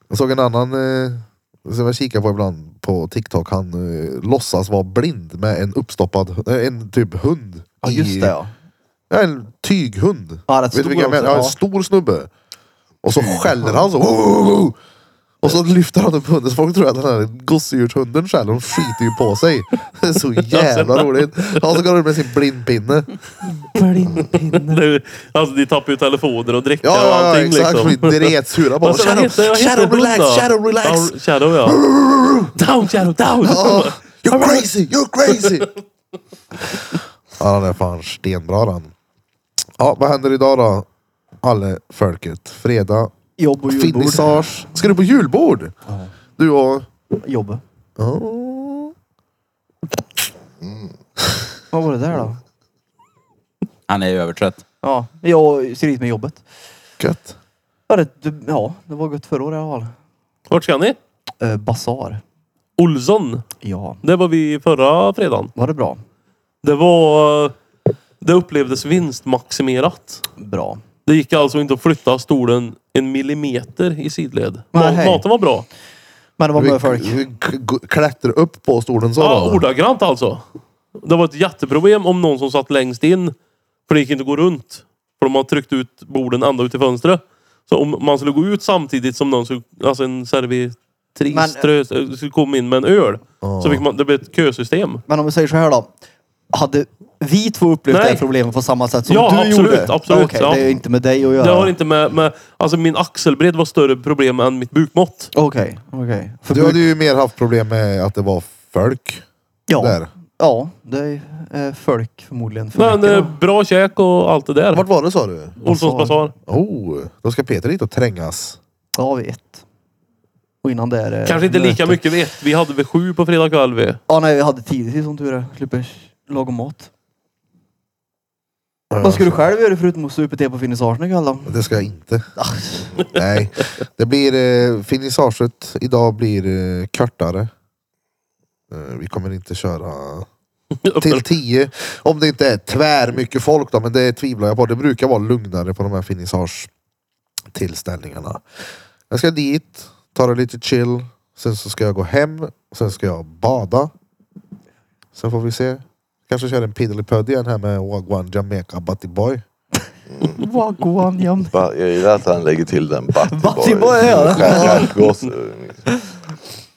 A: Jag såg en annan eh, som jag kikar på ibland på TikTok. Han eh, låtsas vara blind med en uppstoppad, eh, en typ hund.
E: Ja, just
A: i-
E: det ja.
A: Ja, en tyghund.
E: Ja, rätt
A: Vet du
E: stor
A: vilka jag menar?
E: också,
A: Ja, en
E: ja.
A: stor snubbe. Och så skäller han så. "Wow, wow, wow." Och så lyfter han upp hunden så folk tror att den här gosedjurshunden skäller. De skiter ju på sig. Det är så jävla roligt. Han så går runt med sin blindpinne.
B: Nu, alltså de tappar ju telefoner och dricker
A: Ja,
B: och
A: ja, ja
B: allting
A: exakt.
B: liksom.
A: Liksom. Dretsura på
B: Vad
A: honom.
B: sa- vad
A: Shadow,
B: heter- vad heter
A: shadow
B: hon
A: relax,
B: då?
A: shadow relax.
B: Ja, Shadow ja. down Shadow, down!
A: Ja, you're crazy, you're crazy. ja, han är fan stenbra han. Ja, vad händer idag då? Alle folket. Fredag.
E: Jobb och julbord.
A: Finissage. Ska du på julbord? Du och...
E: Jobb.
A: Oh.
E: Mm. Vad var det där då?
D: Han är ju övertrött.
E: Ja, jag ser dit med jobbet.
A: Gött.
E: Ja, det, det- ja, det var gött förra året i alla fall.
B: Vart ska ni?
E: Eh, basar.
B: Olsson.
E: Ja.
B: Det var vi förra fredagen.
E: Var det bra?
B: Det var... Det upplevdes vinstmaximerat.
E: Bra.
B: Det gick alltså inte att flytta stolen en millimeter i sidled.
E: Nej,
B: Ma-
E: hej.
B: Maten var bra.
E: Men det var bra folk.
A: Klättra upp på stolen så
B: Ja,
A: då.
B: ordagrant alltså. Det var ett jätteproblem om någon som satt längst in. För det gick inte att gå runt. För de har tryckt ut borden ända ut i fönstret. Så om man skulle gå ut samtidigt som någon skulle, alltså en
E: Men-
B: servitris trö- skulle komma in med en öl. Så fick man, det blev ett kösystem.
E: Men om vi säger så här då. Hade vi två upplevt
B: Nej.
E: det här problemet på samma sätt som
B: Ja,
E: du
B: absolut,
E: gjorde?
B: absolut,
E: Okej,
B: ja.
E: det är inte med dig att göra.
B: Det har inte med, med... Alltså min axelbredd var större problem än mitt bukmått.
E: Okej, okej. För
A: Du
E: bruk-
A: hade ju mer haft problem med att det var folk
E: ja,
A: där.
E: Ja, det är eh, folk förmodligen för
B: Men
E: mycket
B: eh,
E: då.
B: bra käk och allt det där.
A: Vart var det sa du?
B: Olssons basar.
A: Oh, då ska Peter dit och trängas.
E: Ja, vi ett. Och innan det är det
B: Kanske inte lika
E: möte.
B: mycket vi ett. Vi hade väl sju på fredag kväll vi.
E: Ja, nej, vi hade tidigt som tur är. Slipper lagom mat.
A: Ja,
E: Vad ska du själv göra förutom att supa te på vernissagen ikväll då?
A: Det ska jag inte.
E: Ah,
A: Nej, det blir eh, finissaget idag blir eh, kortare. Eh, vi kommer inte köra till 10 om det inte är tvär mycket folk då, men det tvivlar jag på. Det brukar vara lugnare på de här finissage tillställningarna. Jag ska dit, ta det lite chill. Sen så ska jag gå hem. Sen ska jag bada. Sen får vi se. Kanske köra en piddelipudd igen här med Wagwan Jamaica Butty Boy.
E: Wagwan jam.
F: Ba- Jag gillar att han lägger till den
E: Butty
F: Butty
E: boy, ja.
F: Stjärtgosse.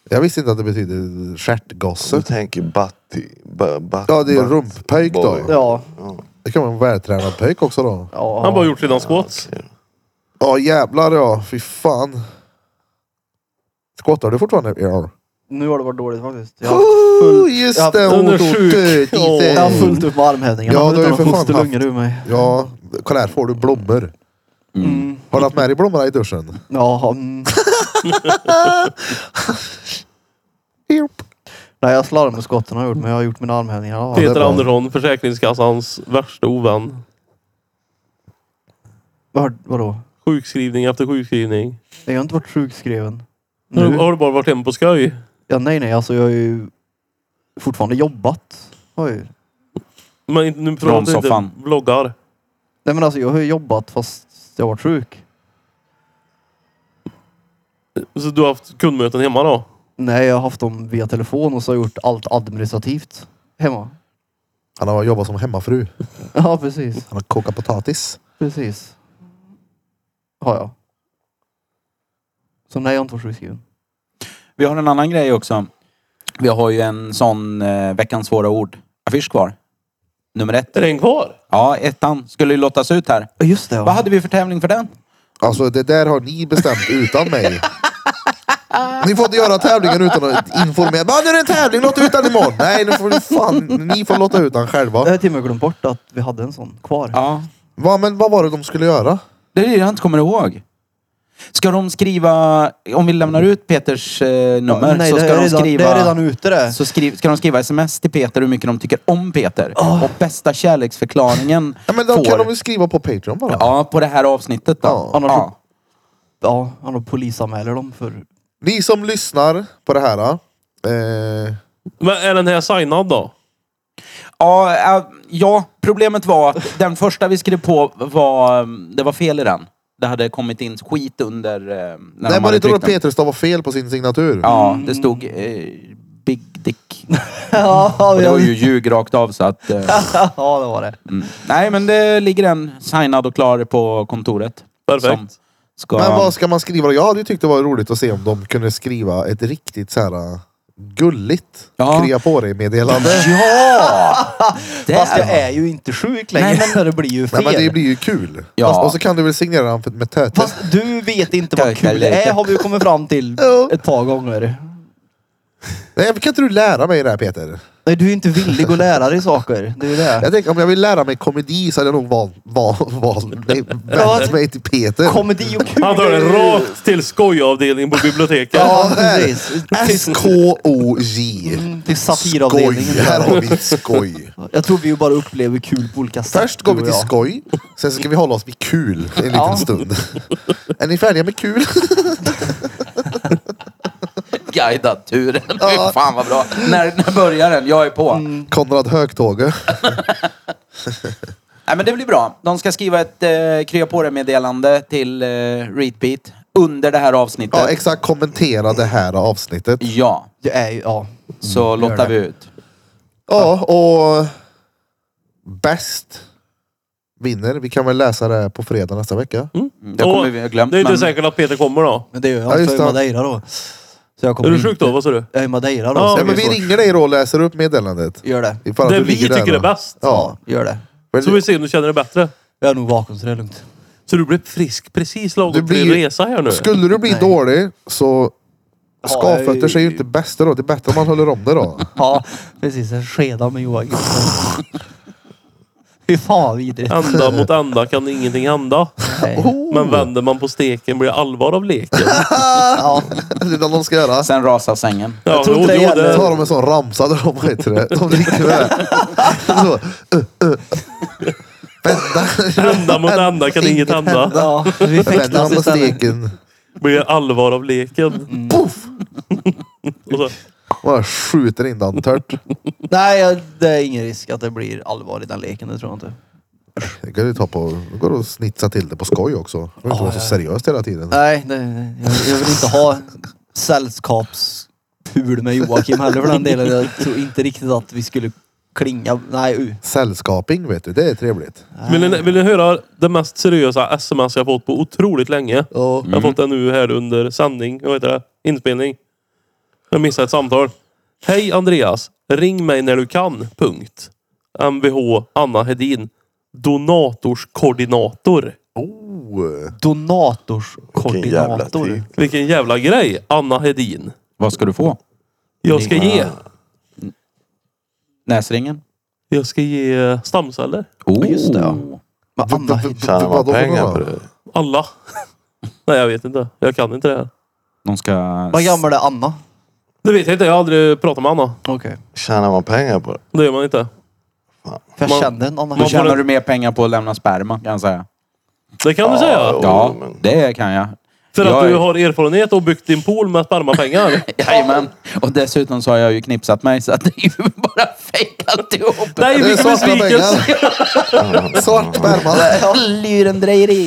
A: Jag visste inte att det betyder
F: Du
A: stjärtgosse.
F: tänker Butty. ba- ba-
A: Ja, det är
F: Butt-
A: rumppöjk då.
F: boy.
E: Ja.
A: Det kan vara en vältränad pöjk också då.
E: ja.
B: Han bara gjort sina
A: alltså,
B: squats.
A: Ja jävlar ja, fy fan. Skottar du fortfarande? Ja.
E: Nu har det varit dåligt faktiskt. Jag har haft full...
A: Oh, just
E: ja,
A: det!
B: den är
A: ont, ont,
B: sjuk.
A: död,
B: Ja.
A: lite.
E: Jag har fullt upp med armhävningarna.
A: Ja,
E: Jag
A: du har ju
E: Mm. har
A: för fan
E: haft lungor ur mig.
A: Ja, kolla här får du blommor.
E: Mm.
A: Har du haft med dig blommorna i duschen?
E: Ja, mm.
A: Japp.
E: Nej, jag slarvar med skotten har jag gjort, men jag har gjort mina armhävningar. Ja,
A: det är
B: Peter
A: bra.
B: Andersson, Försäkringskassans värsta ovän.
E: Vad, vadå?
B: Sjukskrivning efter sjukskrivning.
E: Jag har inte varit sjukskriven.
B: Nu.
E: Nu?
B: Har du bara varit hemma på skoj?
E: Ja, nej, nej, alltså jag har ju fortfarande jobbat. Oj.
B: Men inte- nu pratar jag
D: soffan.
B: inte vloggar.
E: Nej, men alltså jag har ju jobbat fast jag har varit sjuk.
B: Så du har haft kundmöten hemma då?
E: Nej, jag har haft dem via telefon och så har jag gjort allt administrativt hemma.
A: Han har jobbat som hemmafru.
E: Ja, precis.
A: Han har kokat potatis.
E: Precis. Har jag. Så nej, jag har inte varit sjukskriven.
D: Vi har en annan grej också. Vi har ju en sån eh, veckans svåra ord-affisch kvar. Nummer ett.
B: Är den kvar?
D: Ja, ettan skulle ju lottas ut här.
E: Ja, just det. Ja.
D: Vad hade vi för tävling för den?
A: Alltså det där har ni bestämt utan mig. Ni får inte göra tävlingen utan att informera. Bara, nu är det en tävling, låt ut den imorgon. Nej, nu får, fan, ni får låta ut den själva.
E: Jag har till och med glömt bort att vi hade en sån kvar.
D: Ja.
A: Va, men vad var det de skulle göra?
D: Det är det jag inte kommer ihåg. Ska de skriva, om vi lämnar ut Peters eh, nummer
E: nej,
D: så
E: det
D: ska
E: är
D: de
E: redan,
D: skriva...
E: Det är redan ute det.
D: så skri, ska de skriva sms till Peter hur mycket de tycker om Peter. Och bästa kärleksförklaringen
A: Ja, men då
D: får...
A: kan de väl skriva på Patreon bara.
D: Ja, på det här avsnittet då.
A: Ja,
E: annars
D: ja.
E: Ja, han har polisanmäler dem för...
A: Ni som lyssnar på det här. Eh,
B: Men är den här signad då?
D: Ja, äh, ja, problemet var att den första vi skrev på var... um, Det var fel i den. Det hade kommit in skit under... eh, När de
A: nej,
D: hade
A: man inte då
D: tryckt den.
A: Peter stavar fel på sin signatur.
D: Ja,
E: Mm.
D: det stod eh, Big Dick.
E: ja,
D: Och det var ju ljug rakt av så att... eh,
E: ja, det var det.
D: mm. Nej, men det ligger en signad och klar på kontoret.
B: Perfekt.
D: Som ska...
A: Men vad ska man skriva? Jag hade ju tyckt det var roligt att se om de kunde skriva ett riktigt så här eh, gulligt
D: Ja.
A: krya på dig meddelande.
D: Ja! Det
E: Fast jag
D: är...
E: är ju inte sjuk längre.
D: Nej,
E: men det blir ju fel.
A: Nej men det blir ju kul.
D: Ja.
A: Fast- Och så kan du väl signera den för- med töten.
E: Fast du vet inte vad
D: Tökar
E: kul det
D: lite.
E: är har vi ju kommit fram till
A: Jo.
E: ett par gånger.
A: Nej, kan inte du lära mig det här Peter?
E: Nej, du är inte villig att lära dig saker. Det är ju det.
A: Jag tänker om jag vill lära mig komedi så hade jag nog valt val, val, nej, vänt mig till Peter.
E: Komedi och kul.
B: Han tar den rakt till skojavdelningen på biblioteket.
A: Ja,
E: Ja,
A: här.
E: precis.
A: S-K-O-J.
E: Mm, Till
A: Skoj.
E: satiravdelningen.
A: Här har vi skoj.
E: Jag tror vi ju bara upplever kul på olika sätt.
A: Först går
E: du
A: vi
E: och
A: till
E: jag.
A: skoj, sen ska vi hålla oss vid kul en liten
E: Ja.
A: stund. Är ni färdiga med kul?
D: Guidad turen. Fy Fan vad bra. När, när börjar den? Jag är på.
E: Mm.
A: Konrad Högtåge.
D: Nej men det blir bra. De ska skriva ett eh, krya på det meddelande till eh, Readbeat under det här avsnittet.
A: Ja, exakt. Kommentera det här avsnittet.
D: ja.
E: Jag är ju, ja.
D: Så lottar
E: Mm, det.
D: vi ut.
A: Ja, och bäst vinner. Vi kan väl läsa det här på fredag nästa vecka.
D: Det Mm, kommer
B: Och
D: vi ha glömt.
B: Det är inte
D: men-
B: säkert att Peter kommer då.
E: Men det är ju
A: Ja,
E: jag.
A: just
E: Ja,
A: det.
E: Madeira då. Så jag kommer
B: Är du
A: Mm.
E: inte-
B: sjuk då? Vad sa du?
E: Jag är i Madeira då.
B: Ja,
E: så
A: Ja,
E: det
A: men
E: är
A: vi
E: svårt.
A: ringer dig då och läser upp meddelandet.
E: Gör det.
A: Ifall att
B: Det
A: du
B: vi
A: ligger där
B: tycker
A: då.
B: är bäst.
A: Ja.
E: Gör det.
A: Men
B: Så vi ser om du känner dig bättre.
E: Jag är nog vaken så det är lugnt.
B: Så du blir frisk precis
A: Du
B: lagom
A: blir-
B: till din resa här nu.
A: Skulle du bli
E: Nej.
A: dålig så Skavfötter ser ju inte bäst då. Det är bättre om man håller om det då.
E: Ja, precis. En skeda med Joakim. Fy fan vidrigt.
B: Ända mot ända kan ingenting hända.
E: Nej.
A: Oh.
B: Men vänder man på steken blir det allvar av leken.
E: Ja,
A: det är det de ska göra.
D: Sen rasar sängen.
B: Ja,
E: tror inte det
B: jo,
A: Då
E: gäller.
A: tar de en sån ramsa där de, vad heter det? De dricker med. Så, uh, uh. Vända.
B: Ända mot ända kan inget hända.
E: ja. Alltså, Vi
A: Vända
E: fäktas
A: dem på
E: istället.
A: steken.
B: Blir det allvar av leken.
A: Poff!
B: Och så,
A: Bara skjuter in den tört.
E: Nej, jag- det är ingen risk att det blir allvar i den leken. Det tror jag inte.
A: Det kan du ta på. Det går att snitsa till det på skoj också. Det behöver inte vara så seriöst hela tiden.
E: Nej, det, jag, jag vill inte ha sällskapspul med Joakim heller för den delen. Jag tror inte riktigt att vi skulle klinga. Nej, u.
A: Sällskaping vet du, det är trevligt.
B: vill, ni, vill ni höra det mest seriösa sms jag fått på otroligt länge?
A: Ja.
B: Jag har fått den nu här under sändning. Vad heter det? Inspelning. Jag missade ett samtal. Hej Andreas. Ring mig när du kan. Punkt. Mvh Anna Hedin. Donatorskoordinator.
A: Oh.
F: Vilken jävla tid.
E: Donatorskoordinator.
B: Vilken jävla grej. Anna Hedin.
D: Vad ska du få?
B: Jag ska ge.
D: Näsringen?
B: Jag ska ge eh, stamceller.
D: Oh.
E: just det, ja. Vad Anna heter.
F: Tjänar man
A: Vadå för
F: pengar
A: några?
F: på det?
B: Alla. Nej jag vet inte. Jag kan inte det här.
D: De ska...
E: Vad gammal är Anna?
B: Det vet jag inte. Jag har aldrig pratat med Anna.
E: Okej.
F: Tjänar man pengar på det?
B: Det gör man inte.
E: För jag
B: Man-
E: kände en Anna.
B: man-
D: Då
E: Hedin.
D: tjänar du mer pengar på att lämna sperma kan jag säga.
B: Det kan du säga.
F: jo,
D: Ja,
F: men-
D: det kan jag.
B: För att
D: jag
B: du har erfarenhet och byggt din pool med spermapengar.
D: Jajamän. Och dessutom så har jag ju knipsat mig så att det är ju bara fejkat ihop.
B: Nej,
A: Det är
B: vilken
A: svarta
B: besvikelse!
A: pengar. Svart sperma.
D: Jag lurendrejeri.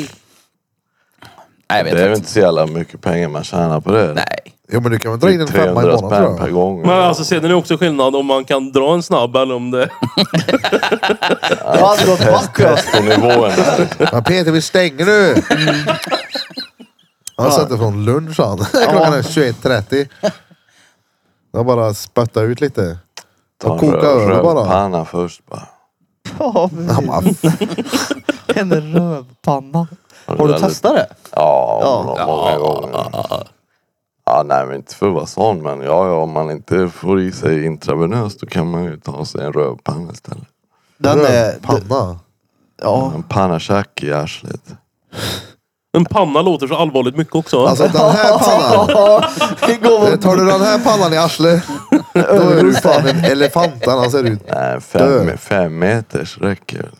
D: Nej, jag vet
F: Det är väl
D: inte.
F: inte så jävla mycket pengar man tjänar på det?
D: Nej.
A: Jo men du kan väl dra in
F: Typ
A: en femma i
F: 300
A: månaden
F: spänn
A: tror
F: per
A: jag.
F: gång.
B: Men alltså ser ni också skillnad om man kan dra en snabb eller om det...
E: Jag hade gått back. jag.
F: På nivåerna.
A: Men Peter vi stänger nu! Han satt från lunch han. Klockan är 21.30. Jag bara spötta ut lite.
F: Ta
A: Och koka över bara.
F: panna först bara.
E: Ja, precis.
A: Han bara, "F-
E: En rövpanna.
F: Har
E: Har du
F: aldrig-
E: testat det?
F: Ja, ja. många gånger. Ja, nej men inte för att vara sån men ja, ja, om man inte får i sig intravenöst då kan man ju ta sig en rövpanna istället.
E: Den är...
A: panna.
E: Ja.
F: En pannachack i arslet.
B: En panna låter så allvarligt mycket också.
A: Alltså den här pannan.
E: Det går
A: Eh, Tar du den här pannan i arslet. Då är du fan en elefant. Annars är du
F: Nej,
A: Dö.
F: fem, fem meters räcker.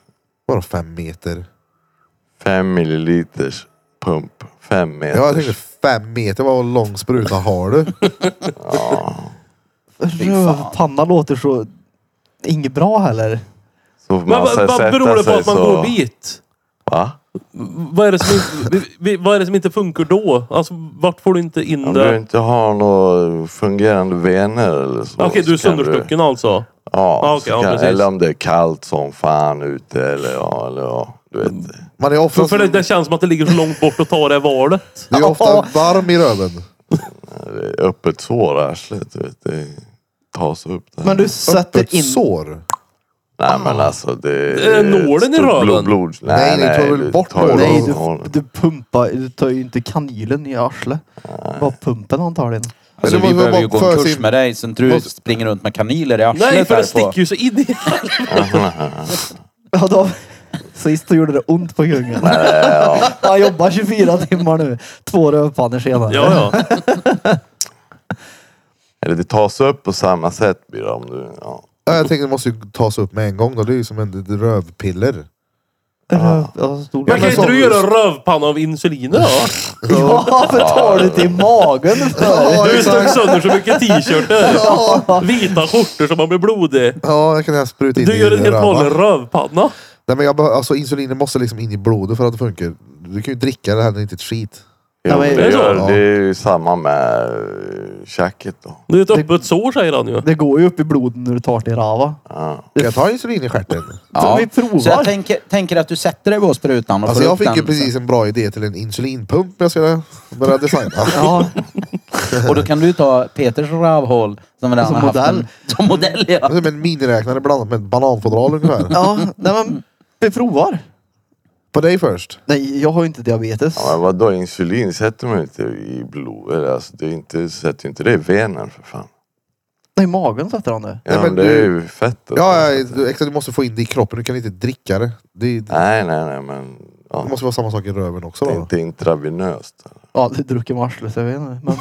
A: bara fem meter.
F: Fem milliliters pump. Fem meters.
A: Ja, Jag tänkte fem meter. Vad lång spruta har du?
E: Rövpanna låter så... Inget bra heller.
F: Så får
B: men
F: man
B: vad,
F: så
B: vad
F: sätta
B: beror det på
F: sig
B: att man
F: så...
B: går dit?
F: Va?
B: Vad är, det som inte, vi- vi- vad är det som inte funkar då? Alltså vart får du inte in
F: Om du
B: det?
F: inte har några fungerande vener eller så.
B: Okej, du är
F: så kan
B: sönderstucken alltså.
F: Ja,
B: Ah,
F: så
B: okej, ja,
F: kan,
B: precis.
F: eller om det är kallt som fan ute eller ja, eller ja. Du
B: Mm.
F: vet.
A: Man är
B: För,
A: ofta,
B: för det, det känns som att det ligger så långt bort att ta det valet.
A: du är ofta varm i röven.
F: Det är öppet sår i arslet. Du vet. Det tas upp där.
E: Men du
A: Öppet
E: sätter in...
A: sår.
F: Nej men alltså det...
B: Är Eh, nålen i
F: stort
B: röven?
F: Blod, blod.
A: Nej, ni tar väl bort
F: ju
A: nålen?
E: Nej,
F: nålen.
E: du, du pumpar... Du tar ju inte kanylen i arslet. Bara pumpen antagligen.
D: Alltså,
A: det
D: vi
A: var-
D: behöver ju
A: var-
D: gå en
A: för
D: kurs
A: sin-
D: med dig så inte du
A: måste-
D: springer runt med kaniler i arslet
B: Nej, för det
D: här på-
B: sticker ju så in i...
E: Ja, då... Sist då gjorde det ont på kungen. Han jobbar 24 timmar nu. Två rövpannor senare.
B: Ja, ja.
F: Eller det tas upp på samma sätt blir det om du... Ja.
A: Ja, jag tänkte det måste ju tas upp med en gång då. Det är ju som en rövpiller.
E: Röv... Ja, stor...
B: Men kan
A: så-
B: inte du göra en rövpanna av insulin då?
E: Ja, för tar du till magen för?
B: Du stod sönder så mycket t-shirtar. Vita skjortor så man blir blodig.
A: Ja, jag kan gärna spruta in
B: Du
A: i
B: gör en helt
A: rövan.
B: vanlig rövpanna.
A: Nej men jag behöver, alltså insulinet måste liksom in i blodet för att det funkar. Du kan ju dricka det här, det är inte ett skit.
F: Jo,
E: men-
F: men
B: Är
F: det,
B: det så?
F: gör,
A: Ja.
F: det är ju samma med eh, tjacket då.
B: Det är ett öppet sår säger han ju.
E: Det går ju upp i blodet när du tar till rava.
F: Ja.
A: Kan jag ta insulin i stjärten?
D: Ja.
E: Vi provar.
D: Så jag tänker, tänker att du sätter dig på sprutan och
A: Alltså
D: får
A: jag
D: upp
A: fick ju
D: den
A: precis en bra idé till en insulinpump jag ska börja designa.
E: Ja,
D: sen. Och då kan du ta Peters rövhål som redan
E: Som
D: har haft
E: modell.
D: En, som modell ja.
A: Som en miniräknare blandat med ett bananfodral ungefär.
E: ja nej, men vi provar.
A: På dig först.
E: Nej, jag har ju inte diabetes.
F: Ja, men vadå, insulin sätter man inte i blod. eller, Alltså, det är inte, sätter inte det i venen för fan.
E: Nej, magen sätter han det.
F: Ja,
A: Nej, men
F: men det är
A: du-
F: ju fettet.
A: Ja, ja, du- exakt. Du måste få in det i kroppen. Du kan inte dricka det. Det, det
F: Nej, nej, nej, men... Ja.
A: måste vara samma sak i röven också
F: Det är
A: då.
F: inte intravenöst.
E: Ja, du druckit med arslet, jag vet inte. Men...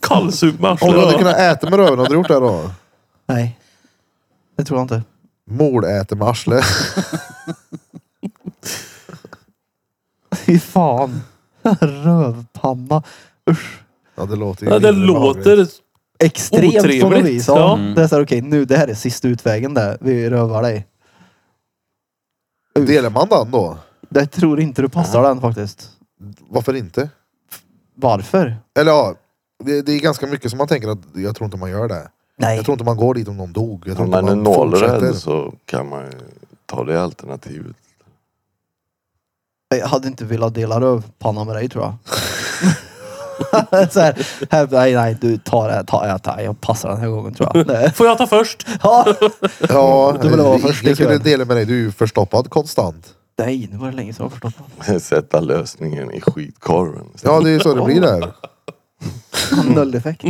B: Kallsug med
A: Om du hade
B: arslet.
A: kunnat äta med röven, hade du gjort det då?
E: Nej, det tror jag inte.
A: Mordäter med arslet.
E: Fy fan. Rövpanna. Usch.
A: Ja, det låter ju
B: Ja, det
A: mindre
B: låter...
A: behagligt.
E: Extremt på något
B: Otrevligt,
E: vis. Ja.
B: ja.
E: Det är såhär, okej nu det här är sista utvägen där. Vi rövar dig.
A: Delar man den då?
E: Jag tror inte du passar den faktiskt.
A: Varför inte?
E: Varför?
A: Eller ja, det, det är ganska mycket som man tänker att jag tror inte man gör det.
E: Nej.
A: Jag tror inte man går dit om någon dog. Jag tror
F: Om
A: inte
F: man är
A: man fortsätter.
F: nålrädd så kan man ju ta det alternativet.
E: Jag hade inte velat dela rövpanna med dig tror jag. så här, här, nej, nej, du tar det. här, Ta, jag, tar, jag passar den här gången tror jag. Nej.
B: Får jag ta först?
E: Ja.
A: Ja,
E: Du vill vara
A: jag-
E: först
A: jag skulle
E: ikväll.
A: dela med dig. Du är ju förstoppad konstant.
E: nej, nu var det länge sedan jag förstått.
F: Sätta lösningen i skitkorven.
A: Ja, det är ju så det blir där.
E: Mm. Nulleffekt.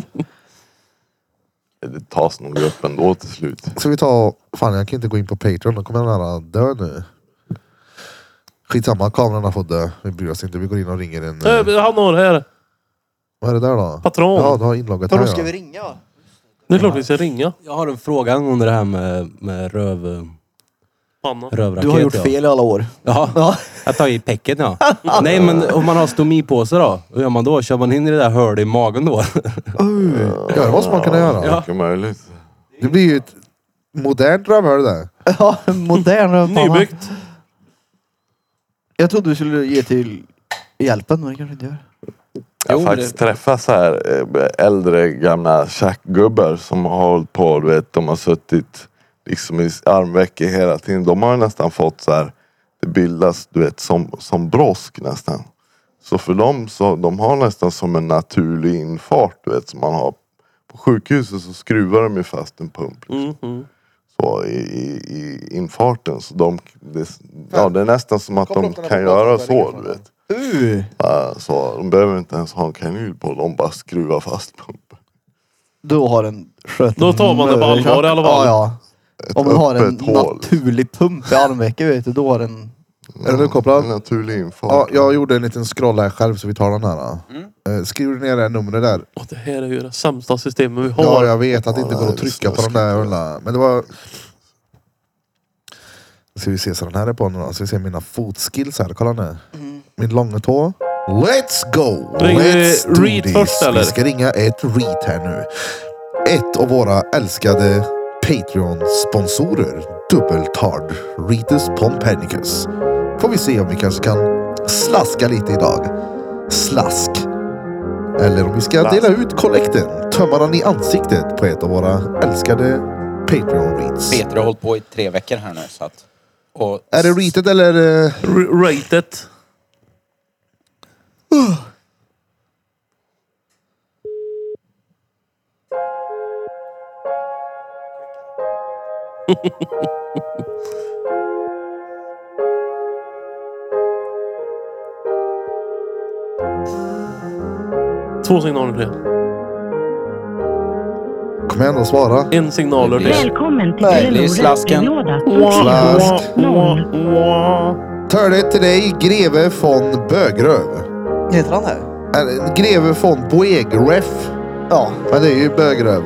F: Det tas nog upp ändå till slut.
A: Ska vi ta... Fan, jag kan inte gå in på Patreon. Då kommer den här dö nu. Skitsamma, kamerorna får dö. Vi bryr oss inte. Vi går in och ringer en... eh,
B: Eh, Han har det här.
A: Vad är det där då?
B: Patron.
A: Ja, du har inloggat här ja.
E: ringa?
B: Det är klart vi ska ringa.
H: Jag har en fråga angående det här med, med röv,
B: Panna.
H: rövraket.
E: Du har gjort
H: ja.
E: fel i alla år.
H: Ja, jag tar i pecken ja. Nej men om man har stomipåse då? Hur gör man då? Kör man in i det där hålet i magen då?
A: Ja, det måste man kunna göra.
F: Ja. Mycket möjligt.
A: Det blir ju ett modernt rövhål det.
E: Ja, modern rövpanna.
B: Nybyggt.
E: Jag trodde du skulle ge till hjälpen, men det kanske inte gör.
F: Jag
H: Jo,
F: har faktiskt träffat så här eh, äldre gamla tjackgubbar som har hållit på, du vet, de har suttit liksom i armvecket hela tiden. De har ju nästan fått så här, det bildas du vet som, som brosk nästan. Så för dem så, de har nästan som en naturlig infart du vet som man har. På sjukhuset så skruvar de ju fast en pump
B: Mm, mm.
F: så i, i, i infarten. Så de, det, ja, det är nästan som att
A: Koppla
F: de
A: upp den här
F: kan
A: på datorn där inne
F: göra så
A: från
F: du
A: den.
F: vet.
E: Uh.
F: Ja, Så de behöver inte ens ha en kanyl på, de bara skruvar fast pumpen.
E: Då har en sköt
B: Då tar man det på allvar i alla fall.
E: Ja, ja.
F: Ett
E: Om man har en
F: öppet hål.
E: naturlig pump i armvecket, vet du, då har den...
A: Är du
F: En
A: uppkopplad?
F: naturlig infart.
A: Ja, jag gjorde en liten scroll här själv så vi tar den här. Mm. Skriv ner det här numret där.
B: Åh, det här är ju det sämsta systemet vi
A: Ja,
B: har.
A: jag vet att det inte
F: Ja,
A: går att
F: det är
A: trycka på de där
F: snuskigt.
A: jävla... Men det var... Nu ska vi se så den här är på nu då. Ska vi se mina fotskills här. Kolla nu.
F: Mm.
A: Min långa tå. Let's go!
B: Ringer vi
A: Let's do
B: Reed
A: this.
B: först, eller?
A: Vi ska ringa ett REIT här nu. Ett av våra älskade Patreon-sponsorer. Dubbeltard. Ritus Pompernicus. Får vi se om vi kanske kan slaska lite idag. Slask. Eller om vi ska dela ut kollekten, tömma den i ansiktet på ett av våra älskade Patreon-reads.
D: Peter har hållit på i tre veckor här nu så att... Och
A: Är det readet eller? eh,
B: R- Rated. Två signaler till.
A: Kom igen och svara.
B: En signaler till.
I: Välkommen till
D: Nej, det är
I: Telenor
D: slasken.
I: räntelåda.
A: Slask.
I: Noll.
A: Törligt till dig, greve von Bögröv.
E: Heter han det?
A: Eller, Greve von Boegref.
E: Ja.
A: Men det är ju Bögröv.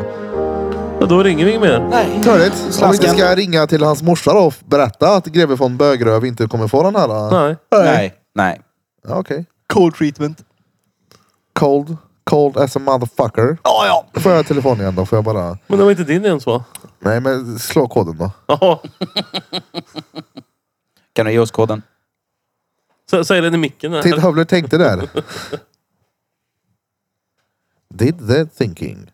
B: Ja, Då ringer vi inget mer.
E: Nej.
A: Törligt. Om vi inte
D: Slasken.
A: ska ringa till hans morsa då och berätta att greve von Bögröv inte kommer få den här. då?
B: Nej.
D: nej, nej.
A: Ja, Okej.
E: Cold treatment.
A: Cold. Cold as a motherfucker.
E: Ja, ja.
A: Får jag telefon igen då? Får jag bara...
B: Men det var inte din ens va?
A: Nej men slå koden då.
B: Jaha.
D: Kan du ge oss koden?
B: Sä- Säg den i micken. här.
A: Till Hövler tänkte där. Did the thinking.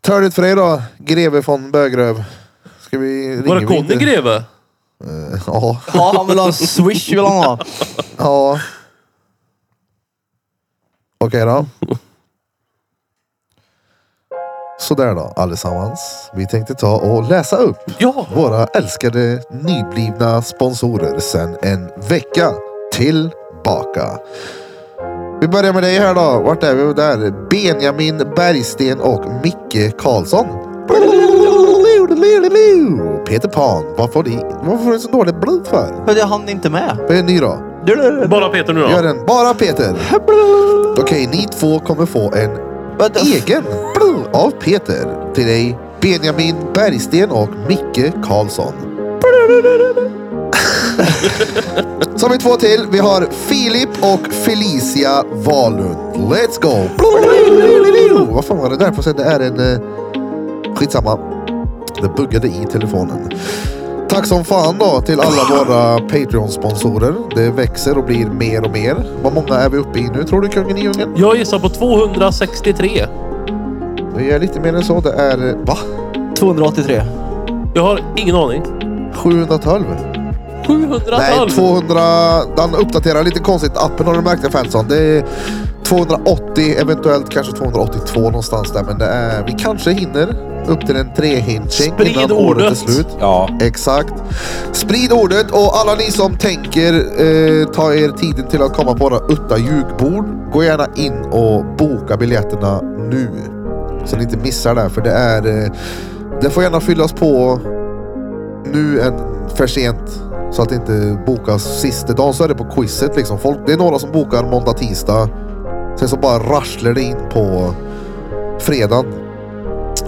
A: Törligt för dig då, greve von Bögröv. Ska vi ringa
B: Var det Conny Greve?
A: Ja.
E: Ja, han vill ha en swish vill han ha.
A: ja. Okej då. Sådär då allesammans. Vi tänkte ta och läsa upp
B: Ja!
A: våra älskade nyblivna sponsorer sedan en vecka tillbaka. Vi börjar med dig här då. Vart är vi där? Benjamin Bergsten och Micke Karlsson. Peter Pan. Vad får ni, varför får du så dåligt blod för?
E: Men jag hann inte med.
A: Vad är ni då?
B: Bara Peter nu
A: Gör
B: då.
A: den. Bara Peter. Okej, ni två kommer få en
E: Vänta.
A: egen av Peter till dig Benjamin Bergsten och Micke Karlsson. Så har vi två till. Vi har Filip och Felicia Wahlund. Let's go! Vad fan var det där? Får se, det är en... eh, Skitsamma. Det buggade i telefonen. Tack som fan då till alla våra Patreon-sponsorer. Det växer och blir mer och mer. Vad många är vi uppe i nu tror du, kungen i djungeln?
B: Jag gissar på 263.
A: Vi är lite mer än så. Det är... eh, Va?
E: 283.
B: Jag har ingen aning.
A: 712?
B: 712.
A: Nej, 200... Den uppdaterar lite konstigt appen har du märkt det Fanson. Det är 280, eventuellt kanske 282 någonstans där. Men det är... vi kanske hinner upp till en trehinching
B: Sprid
A: innan året är
B: ordet.
A: slut.
D: Ja.
A: Exakt. Sprid ordet och alla ni som tänker eh, ta er tiden till att komma på våra utta ljudbord. Gå gärna in och boka biljetterna nu. Så ni inte missar det här, för det är... Eh, det får gärna fyllas på nu än för sent. Så att det inte bokas sista dagen. Så är det på quizet liksom. Folk, det är några som bokar måndag, tisdag. Sen så bara rasslar det in på fredagen.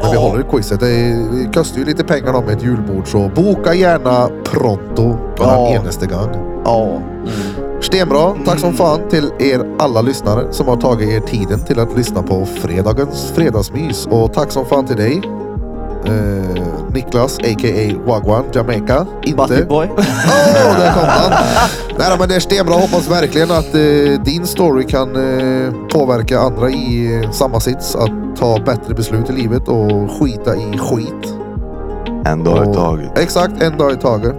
A: När vi håller i quizet. Det är- det kostar ju lite pengar då med ett julbord. Så boka gärna pronto. Varann
E: Ja.
A: eneste gång.
E: Ja.
A: Stenbra. Tack som fan till er alla lyssnare som har tagit er tiden till att lyssna på fredagens fredagsmys. Och tack som fan till dig. Eh, Niklas, a.k.a. Wagwan, Jamaica.
E: Buddy
A: Inte
E: boy.
A: Åh, där kom han! Nej då, men det är stenbra. Hoppas verkligen att eh, din story kan eh, påverka andra i eh, samma sits. Att ta bättre beslut i livet och skita i skit.
F: En dag i
A: Och-
F: taget.
A: Exakt, en dag i taget.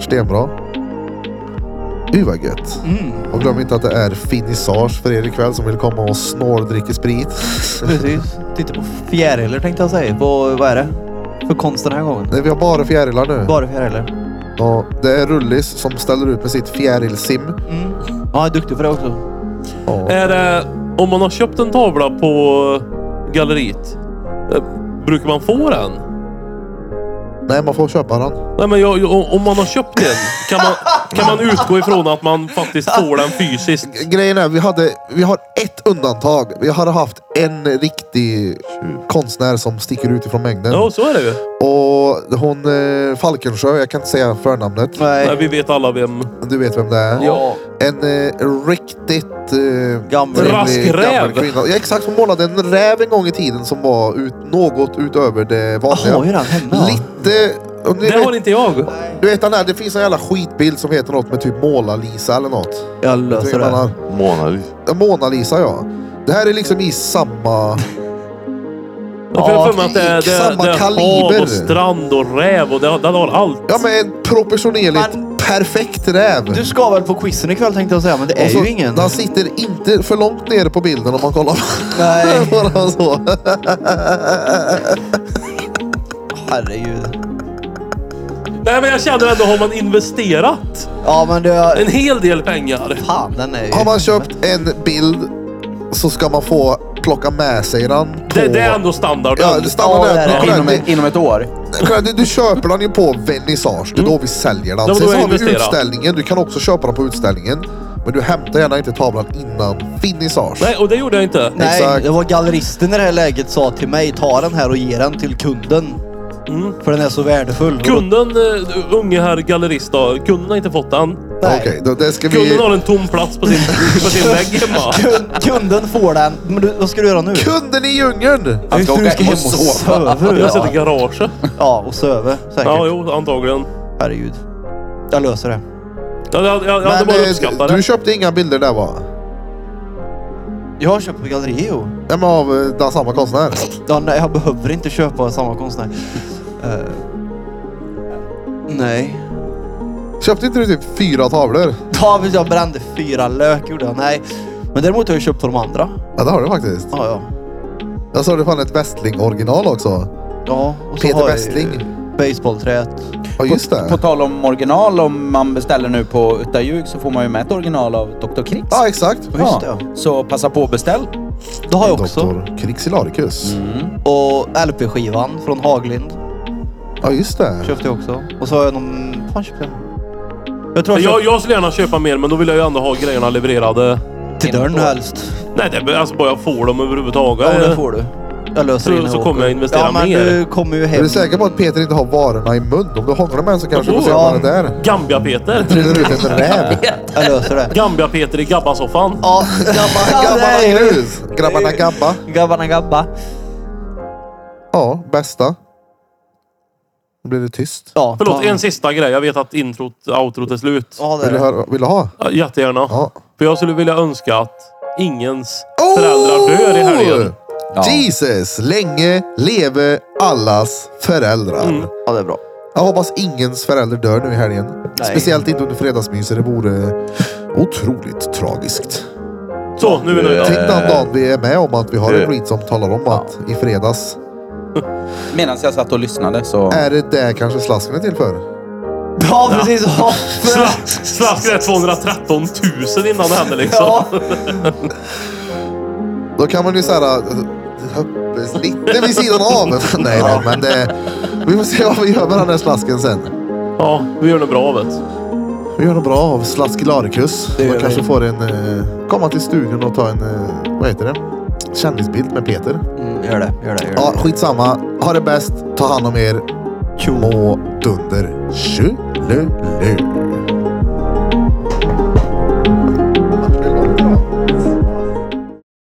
A: Stenbra. Gud vad gött. Och glöm inte att det är finissage för er ikväll som vill komma och snåldricka sprit.
E: Precis. Titta på fjärilar tänkte jag säga. På, vad är det? För konst den här gången.
A: Nej, vi har bara fjärilar nu.
E: Bara fjärilar.
A: Och det är Rullis som ställer ut med sitt fjärilsim.
E: Mm. Ja, jag är duktig på det också.
A: Ja.
B: Är det, om man har köpt en tavla på galleriet, eh, brukar man få den?
A: Nej, man får köpa den.
B: Nej, men jag, jag, om man har köpt den, kan man, kan man utgå ifrån att man faktiskt får den fysiskt?
A: Grejen är, vi, hade, vi har ett undantag. Vi hade haft en riktig konstnär som sticker ut ifrån mängden.
B: Ja, så är det ju.
A: Och hon eh, Falkensjö, jag kan inte säga förnamnet.
B: Nej,
E: Nej.
B: vi vet alla vem.
A: Du vet vem det är.
E: Ja.
A: En eh, riktigt... Eh,
E: Gammal.
A: trevlig
B: Raskräv.
A: gammal kvinna. Ja, exakt, hon målade en räv en gång i tiden som var ut, något utöver det
E: Jag
A: vanliga.
E: har ju den hemma.
A: Lite... och ni
B: Det
A: vet,
B: har inte jag.
A: du vet den här, det finns en jävla skitbild som heter något med typ Måla-Lisa eller något.
E: Jag
A: Vet
E: löser
A: du vad den
E: det.
A: har?
F: Månad.
A: Mona Lisa ja. Det här är liksom i samma...
B: Ja, för jag har för mig att det, är- det,
A: samma
B: är- det är
A: kaliber.
B: hav och strand och räv och det, det har allt.
A: Ja men en proportionerligt perfekt räv.
E: Du ska väl på quizen ikväll tänkte jag säga, men det är
A: Och så-
E: ju ingen.
A: Den sitter inte för långt ner på bilden om man kollar.
E: Nej.
A: Bara så.
E: Herregud.
B: Nej, men jag känner ändå, har man investerat
E: Ja, men det...
B: en hel del pengar?
E: Fan, den är ju...
A: Har man köpt en bild så ska man få plocka med sig den på...
B: Det, det är ändå standarden.
A: Ja, det stannar
E: Ja, det
A: där.
E: är det.
A: Kolla,
D: Inom, ett- inom ett år.
A: Kolla, du, du köper den ju på vernissage. Det är då vi säljer
B: Mm. Ja,
A: den.
B: men
A: Sen
B: då
A: så
B: är
A: har vi
B: investera.
A: utställningen. Du kan också köpa den på utställningen. Men du hämtar gärna inte tavlan innan vernissage.
B: Nej, och det gjorde jag inte.
E: Nej,
A: Exakt.
E: det var galleristen i det här läget sa till mig, ta den här och ge den till kunden.
B: Mm.
E: För den är så värdefull.
B: Kunden, eh, unge herr gallerist då, kunden har inte fått den.
E: Nej.
A: Okej, då det ska vi...
B: Kunden har en tom plats på sin, på sin vägg hemma.
E: Kun- Kunden får den. Men du, vad ska du göra nu?
A: Kunden i djungeln!
E: Jag
D: ska åka hem och sova.
E: söver.
B: Jag sitter i
E: Ja.
B: garaget.
E: ja, och söver säkert.
B: Ja, jo, antagligen.
E: Herregud. Jag löser det.
B: Jag, jag, jag, jag hade bara
A: eh,
B: uppskattat
A: du
B: det.
A: köpte inga bilder där va?
E: Jag har köpt på Gallerio.
A: Nej men av eh, den samma konstnär.
E: Ja, nej, jag behöver inte köpa av samma konstnär. Eh, nej.
A: Köpte inte du typ fyra tavlor?
E: Ta, visst, jag brände fyra lök gjorde jag. Nej. Men däremot har jag köpt på de andra.
A: Ja det har du faktiskt.
E: Ja, ja.
A: Jag sa det fan ett Westling-original också.
E: Ja, och så
A: Peter
E: har jag
A: Westling.
E: baseballträet.
A: Ja just
D: På
A: det.
D: tal om original, om man beställer nu på Utta Ljug så får man ju med ett original av Dr. Kritz.
A: Ah, Ja exakt.
E: just det.
D: Så passa på och beställ.
E: Det har jag också.
A: Doktor Krixilarikus.
E: Och LP-skivan från Haglind
A: Ja just det.
E: köpte jag också. Och så har jag någon... Fan köpte jag? Jag tror jag,
B: Jag, jag skulle gärna köpa mer, men då vill jag ju ändå ha grejerna levererade.
E: köpte till dörren helst.
B: Nej, det är alltså bara jag får dem överhuvudtaget.
E: Ja, det får du. Jag löser
B: Så-
E: det när
B: så
E: jag
B: kommer
E: åker.
B: jag investera
E: ja, men
B: mer.
E: Du kommer ju
A: Är
E: hem.
A: du säker på att Peter inte har varorna i mun? Om du hånglar med en så kanske du får se
E: Ja.
A: vad det är.
B: Gambia-Peter.
A: Trillar ut en räv.
E: Jag löser det.
B: Gambia-Peter i gabbasoffan.
E: Ja, grabbarna,
A: Grabbarna grus. Grabbarna gabba.
E: Grabbarna gabba.
A: Ja, bästa. Nu blir det tyst.
E: Ja,
B: Förlåt,
E: ta-
B: en sista grej. Jag vet att introt, outrot är slut.
E: Ja, det är
A: Vill du,
E: det.
A: höra, vill du ha?
B: Ja, Jättegärna.
A: Ja. Oh!
B: För jag skulle vilja önska att ingens föräldrar dör i helgen.
D: Ja.
A: Jesus! Länge leve allas föräldrar.
E: Ja, det är bra.
A: Jag hoppas ingens förälder dör nu i helgen. Speciellt inte under fredagsmyset. Det vore otroligt tragiskt.
B: Så, nu är vi nöjda.
A: Tänk
E: Eh,
A: den dagen vi är med om att vi har
F: Eh.
A: en read som talar om att i fredags
D: Medan jag satt och lyssnade så...
A: är det där kanske slasken är till för.
E: Ja, precis. Ja, för...
B: Slask- Slask är 213 000 innan det hände liksom.
E: Ja.
A: Då kan man ju såhär lite vid sidan av. Nej, nej, men det, vi får se vad vi gör med den här slasken sen.
B: Ja, vi gör det bra av det.
A: Vi gör något bra av Slaskilarikus. Man kanske får en... Eh, komma till studion och ta en... Eh, vad heter det? Kändisbild med Peter.
E: Mm, gör det, gör det. Gör det.
A: Ja, skitsamma. Ha det bäst. Ta hand om er. Må dunder. Tjolulu.